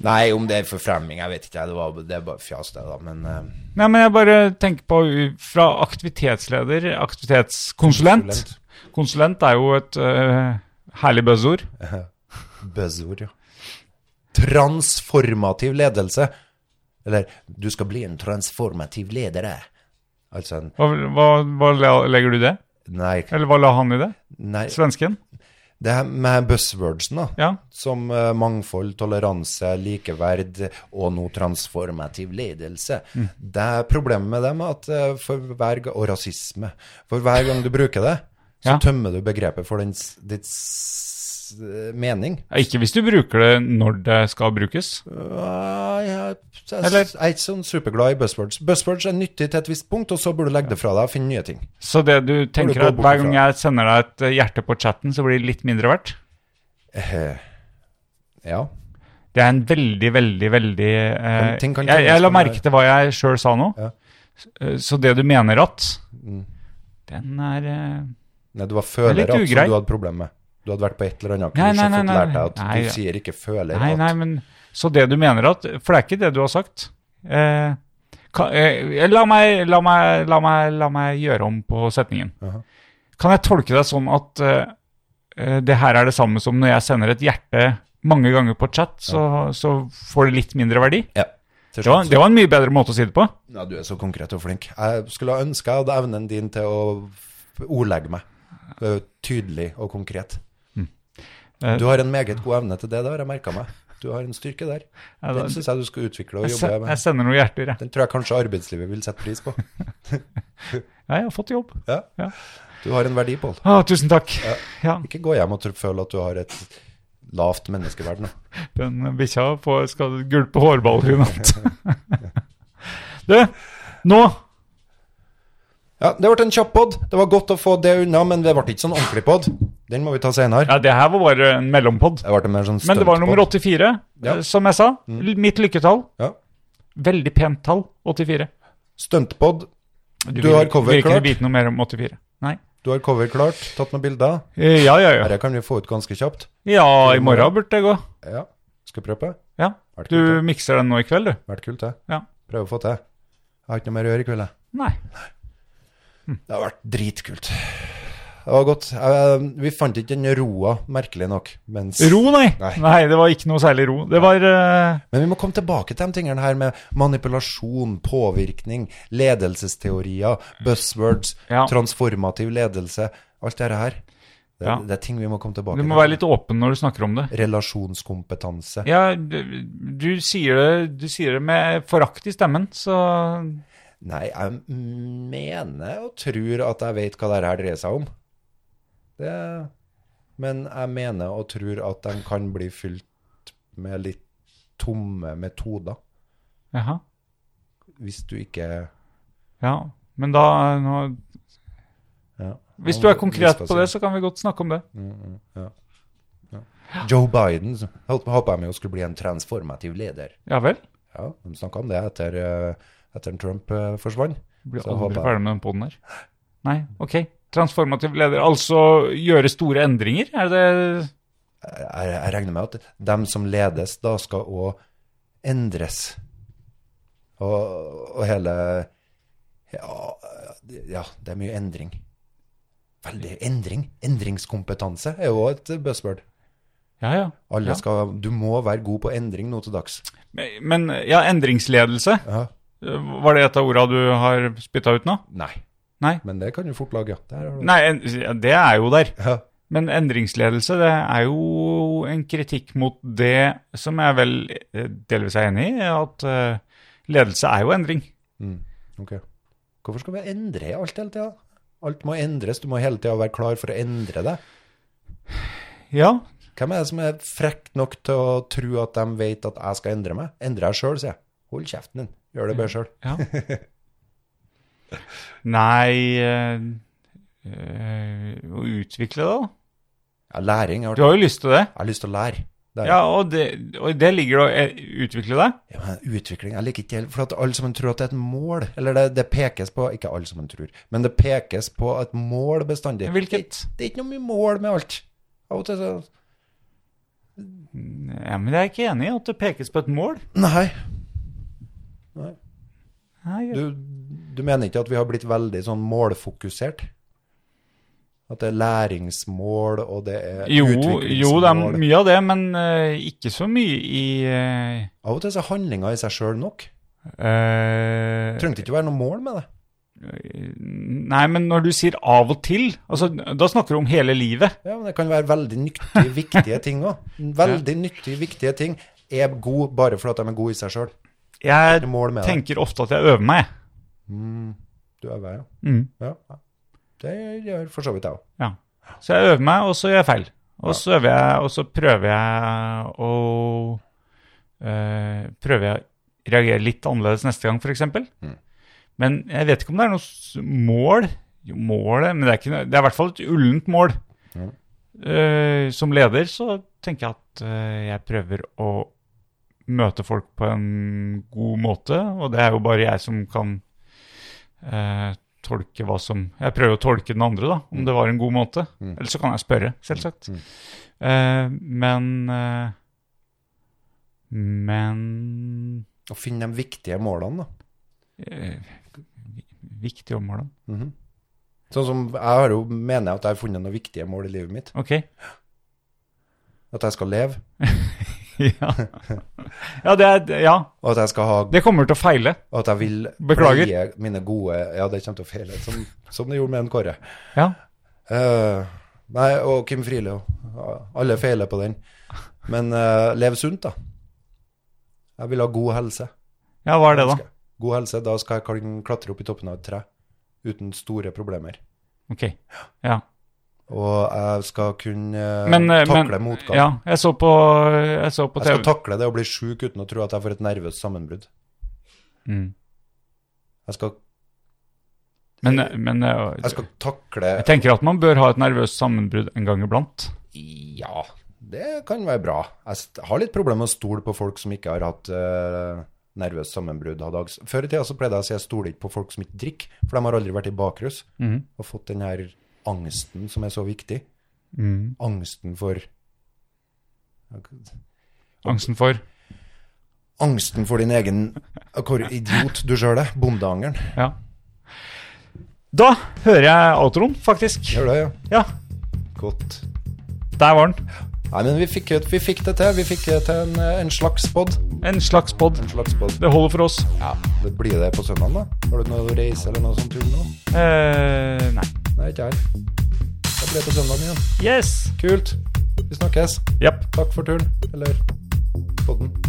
Speaker 2: nei, om det er forfremming, jeg vet ikke. Det, var, det er bare fjas, det, da. Men eh,
Speaker 4: Nei, men jeg bare tenker på u- fra aktivitetsleder, aktivitetskonsulent.
Speaker 2: Konsulent.
Speaker 4: Konsulent er jo et eh, herlig buzzord.
Speaker 2: buzzord, ja. Transformativ ledelse. Eller du skal bli en transformativ leder. jeg. Altså en
Speaker 4: Hva, hva, hva la- legger du i det?
Speaker 2: Nei.
Speaker 4: Eller hva la han i det?
Speaker 2: nei
Speaker 4: Svensken?
Speaker 2: det her med buzzwordsen, da.
Speaker 4: Ja.
Speaker 2: som eh, mangfold, toleranse, likeverd og nå transformativ ledelse.
Speaker 4: Mm.
Speaker 2: Det er problemet med dem at eh, for hver, ga- og rasisme. For hver gang du bruker det, så
Speaker 4: Ja.
Speaker 2: tømmer du begrepet for din, s- ditt s- eh, mening.
Speaker 4: Ja, Ikke hvis du bruker det når det skal brukes.
Speaker 2: Ja, Jeg jeg-
Speaker 4: Eller-
Speaker 2: jeg er ikke sånn superglad i buzzwords. Buzzwords er nyttig til et visst punkt, og så burde du legge det fra deg og finne nye ting.
Speaker 4: Så det du tenker
Speaker 2: går
Speaker 4: at hver gang
Speaker 2: bortifra.
Speaker 4: jeg sender deg et eh, hjerte på chatten, så blir det litt mindre verdt?
Speaker 2: Eh, Ja.
Speaker 4: Det er en veldig, veldig, veldig eh,
Speaker 2: Kan- ting kan
Speaker 4: jeg, jeg
Speaker 2: telles
Speaker 4: la
Speaker 2: med-
Speaker 4: merke til hva jeg sjøl sa nå.
Speaker 2: Ja.
Speaker 4: S- eh, Så det du mener at
Speaker 2: Mm.
Speaker 4: Den er eh,
Speaker 2: Nei, det var
Speaker 4: Det er
Speaker 2: føler at
Speaker 4: litt
Speaker 2: som
Speaker 4: ugrei.
Speaker 2: du hadde problemer med. Du hadde vært på et eller annet
Speaker 4: Nei,
Speaker 2: kurs
Speaker 4: nei,
Speaker 2: og
Speaker 4: nei,
Speaker 2: fått
Speaker 4: nei,
Speaker 2: lært deg at
Speaker 4: nei,
Speaker 2: du
Speaker 4: ja.
Speaker 2: sier ikke 'føler
Speaker 4: Nei,
Speaker 2: at'.
Speaker 4: nei, men Så det du mener at For det er ikke det du har sagt. Eh, kan, eh, la, meg, la, meg, la, meg, la meg gjøre om på setningen.
Speaker 2: Jaha.
Speaker 4: Kan jeg tolke deg sånn at eh, eh, det her er det samme som når jeg sender et hjerte mange ganger på chat, så, så får det litt mindre verdi?
Speaker 2: Ja. Til
Speaker 4: Det var,
Speaker 2: slutt.
Speaker 4: det var en mye bedre måte å si det på.
Speaker 2: Ja, du er så konkret og flink. Jeg skulle ha ønska jeg hadde evnen din til å f- ordlegge meg. Det er jo Tydelig og konkret.
Speaker 4: Eh,
Speaker 2: Du har en meget god evne til det, det har jeg merka meg. Du har en styrke der.
Speaker 4: Ja, da-
Speaker 2: Den syns jeg du skal utvikle og
Speaker 4: Jeg, se-
Speaker 2: jobbe
Speaker 4: jeg
Speaker 2: med.
Speaker 4: sender noen hjerter, jeg.
Speaker 2: Den tror jeg kanskje arbeidslivet vil sette pris på.
Speaker 4: Ja, jeg har fått jobb.
Speaker 2: Ja.
Speaker 4: Ja.
Speaker 2: Du har en verdi, Pål.
Speaker 4: Ah, tusen takk. Ja,
Speaker 2: Ikke gå hjem og tro- føle at du har et lavt menneskeverd nå.
Speaker 4: den bikkja får- skal gulpe hårballer i natt. du, nå
Speaker 2: Ja, det ble en kjapp pod. Det var godt å få det unna, men det ble ikke sånn ordentlig pod. Den må vi ta senere.
Speaker 4: Ja, det her var bare en mellompod.
Speaker 2: Det ble en mer sånn
Speaker 4: Men det var
Speaker 2: stuntpod.
Speaker 4: nummer 84,
Speaker 2: Ja. Mm.
Speaker 4: eh, som jeg sa. L- Mitt lykketall.
Speaker 2: Ja.
Speaker 4: Veldig pent tall. 84.
Speaker 2: Stuntpod.
Speaker 4: Du,
Speaker 2: har cover
Speaker 4: vil ikke
Speaker 2: klart.
Speaker 4: vite noe mer om 84. Nei.
Speaker 2: Du har cover klart, tatt noen bilder.
Speaker 4: Eh, Ja, ja, ja.
Speaker 2: Dette kan vi få ut ganske kjapt.
Speaker 4: Ja, i morgen burde det gå.
Speaker 2: Ja, skal jeg prøve på?
Speaker 4: Ja.
Speaker 2: Vært
Speaker 4: Du
Speaker 2: kult, det.
Speaker 4: mikser den nå i kveld, du?
Speaker 2: Vært kult, det.
Speaker 4: Ja.
Speaker 2: Prøve å få til. Jeg har ikke noe mer å gjøre i kveld, jeg.
Speaker 4: Nei.
Speaker 2: Det har vært dritkult. Det var godt. Eh, vi fant ikke den roa, merkelig nok. Mens...
Speaker 4: Ro, nei.
Speaker 2: Nei.
Speaker 4: Nei, det var ikke noe særlig ro. Det var eh,
Speaker 2: Men vi må komme tilbake til de tingene her med manipulasjon, påvirkning, ledelsesteorier, buzzwords,
Speaker 4: Ja.
Speaker 2: transformativ ledelse, alt dette her. Det,
Speaker 4: Ja.
Speaker 2: det er ting vi må komme tilbake
Speaker 4: Du må være litt åpen når du snakker om det.
Speaker 2: Relasjonskompetanse.
Speaker 4: Ja, du, du, sier, det, du sier det med forakt i stemmen, så
Speaker 2: Nei, jeg mener og tror at jeg vet hva dette her dreier seg om. Det, men jeg mener og tror at de kan bli fylt med litt tomme metoder,
Speaker 4: Jaha.
Speaker 2: hvis du ikke
Speaker 4: Ja. Men da nå,
Speaker 2: ja.
Speaker 4: Hvis du er konkret på det, så kan vi godt snakke om det.
Speaker 2: Joe Biden så holdt- håpet jeg med å skulle bli en transformativ leder.
Speaker 4: Ja vel?
Speaker 2: Ja, de snakka om det etter, eh, etter Trump eh, forsvant.
Speaker 4: Blir
Speaker 2: Så
Speaker 4: aldri
Speaker 2: håper jeg-
Speaker 4: ferdig med den poden her. Nei, OK. Transformativ leder. Altså gjøre store endringer? Er det
Speaker 2: Jeg, jeg regner med at dem som ledes, da skal òg endres. Og, og hele ja, ja, det er mye endring. Veldig endring. Endringskompetanse er jo et buzzword.
Speaker 4: Ja, ja.
Speaker 2: Alle
Speaker 4: Ja.
Speaker 2: skal, du må være god på endring nå til dags.
Speaker 4: Men- Men ja, endringsledelse.
Speaker 2: Ja.
Speaker 4: Var det et av orda du har spytta ut nå?
Speaker 2: Nei.
Speaker 4: Nei.
Speaker 2: Men det kan du fort lage. ja. Der har du-
Speaker 4: Nei, en, ja, det er jo der.
Speaker 2: Ja.
Speaker 4: Men endringsledelse, det er jo en kritikk mot det som jeg vel eh, delvis er enig i, at eh, ledelse er jo endring.
Speaker 2: Ok. Hvorfor skal vi endre alt hele tida? Alt må endres, du må hele tida være klar for å endre det.
Speaker 4: Ja,
Speaker 2: Hvem er det som er frekk nok til å tro at de vet at jeg skal endre meg? Endre deg sjøl, sier jeg. Hold kjeften din. Gjør det bare sjøl.
Speaker 4: Ja. Nei eh, eh, Å utvikle det, da.
Speaker 2: Ja, læring. Jeg
Speaker 4: Du
Speaker 2: har,
Speaker 4: har jo lyst til det.
Speaker 2: jeg har lyst til å lære. Det er-
Speaker 4: Ja, og, det, og i det ligger det å eh, utvikle deg.
Speaker 2: Ja, men utvikling Jeg liker ikke helt For at alle sammen tror at det er et mål. Eller det, det pekes på Ikke alle sammen tror, men det pekes på et mål bestandig.
Speaker 4: Hvilket?
Speaker 2: Det, det er ikke noe mye mål med alt. Av og til så
Speaker 4: Ja, men jeg er ikke enig i at det pekes på et mål.
Speaker 2: Nei.
Speaker 4: Nei,
Speaker 2: Du, du mener ikke at vi har blitt veldig sånn målfokusert? At det er læringsmål, og det er
Speaker 4: jo, jo, det er
Speaker 2: utviklingsmål?
Speaker 4: mye av det, men eh, ikke så mye i eh,
Speaker 2: Av og til så er handlinga i seg sjøl nok.
Speaker 4: eh,
Speaker 2: Trengte ikke å være noe mål med det.
Speaker 4: Nei, men når du sier av og til, altså, da snakker du om hele livet.
Speaker 2: Ja, men Det kan være veldig nyttige, viktige ting òg. Veldig nyttige, viktige ting er gode bare fordi de er gode i seg sjøl.
Speaker 4: Jeg
Speaker 2: Det er mål med det.
Speaker 4: tenker ofte at jeg øver meg.
Speaker 2: Mm, Du er vei, ja.
Speaker 4: Mm.
Speaker 2: ja. Det gjør for så vidt jeg òg.
Speaker 4: Ja. Så jeg øver meg, og så gjør jeg feil. Og så øver jeg, og så prøver jeg å eh, Prøver jeg å reagere litt annerledes neste gang, f.eks. Men jeg vet ikke om det er noe s- mål. Jo, målet Men det er, ikke, noe- det er i hvert fall et ullent mål. eh, som leder så tenker jeg at eh, jeg prøver å møte folk på en god måte, og det er jo bare jeg som kan eh, tolke hva som Jeg prøver å tolke den andre, da, om det var en god måte.
Speaker 2: Mm.
Speaker 4: Eller så kan jeg spørre, selvsagt.
Speaker 2: Mm.
Speaker 4: Eh, men eh, Men
Speaker 2: Og finne de viktige målene, da.
Speaker 4: eh, Viktig ommål, da.
Speaker 2: Mhm. Sånn som jeg har jo, mener jeg at jeg har funnet noen viktige mål i livet mitt.
Speaker 4: Ok.
Speaker 2: At jeg skal leve,
Speaker 4: ja. Ja, det er, ja,
Speaker 2: og at jeg skal ha
Speaker 4: det kommer til å feile.
Speaker 2: og At jeg vil
Speaker 4: Beklager.
Speaker 2: pleie mine gode Ja, det kommer til å feile, som, som det gjorde med en Kåre.
Speaker 4: Ja.
Speaker 2: Eh, nei, og Kim Friele og Alle feiler på den. Men eh, lev sunt, da. Jeg vil ha god helse.
Speaker 4: Ja, hva er det, da?
Speaker 2: God helse, da skal jeg kan klatre opp i toppen av et tre uten store problemer.
Speaker 4: Ok. Ja.
Speaker 2: Og jeg skal kunne eh,
Speaker 4: Men, eh,
Speaker 2: takle
Speaker 4: men
Speaker 2: motgang.
Speaker 4: ja, jeg så på, jeg så på
Speaker 2: jeg skal
Speaker 4: TV.
Speaker 2: takle det å bli sjuk uten å tro at jeg får et nervøst sammenbrudd.
Speaker 4: Mm.
Speaker 2: Jeg skal,
Speaker 4: Men, men eh,
Speaker 2: jeg skal takle
Speaker 4: jeg tenker at man bør ha et nervøst sammenbrudd en gang iblant.
Speaker 2: Ja, det kan være bra. Jeg st- har litt problemer med å stole på folk som ikke har hatt eh, nervøst sammenbrudd av dags. Før i tida så pleide jeg å si jeg stoler ikke på folk som ikke drikker, for de har aldri vært i bakrus
Speaker 4: Mhm.
Speaker 2: og fått den her angsten som er så viktig.
Speaker 4: Mm.
Speaker 2: Angsten for
Speaker 4: Angsten for
Speaker 2: Angsten for din egen Hvor idiot du sjøl er. Bondeangeren.
Speaker 4: Ja. Da hører jeg outroen, faktisk.
Speaker 2: Gjør det, ja.
Speaker 4: Ja,
Speaker 2: Godt.
Speaker 4: der var den.
Speaker 2: Nei, men vi fikk, vi fikk det til. Vi fikk det til en, eh, en slags pod.
Speaker 4: En slags pod.
Speaker 2: En slags pod.
Speaker 4: Det holder for oss.
Speaker 2: Ja, det blir det på søndag, da? Har du noe reise eller noe sånt tull nå?
Speaker 4: Eh, nei.
Speaker 2: Nei, ikke her. Da blir det på søndag igjen.
Speaker 4: Yes!
Speaker 2: Kult. Vi snakkes.
Speaker 4: Jepp.
Speaker 2: Takk for tull. Eller podden.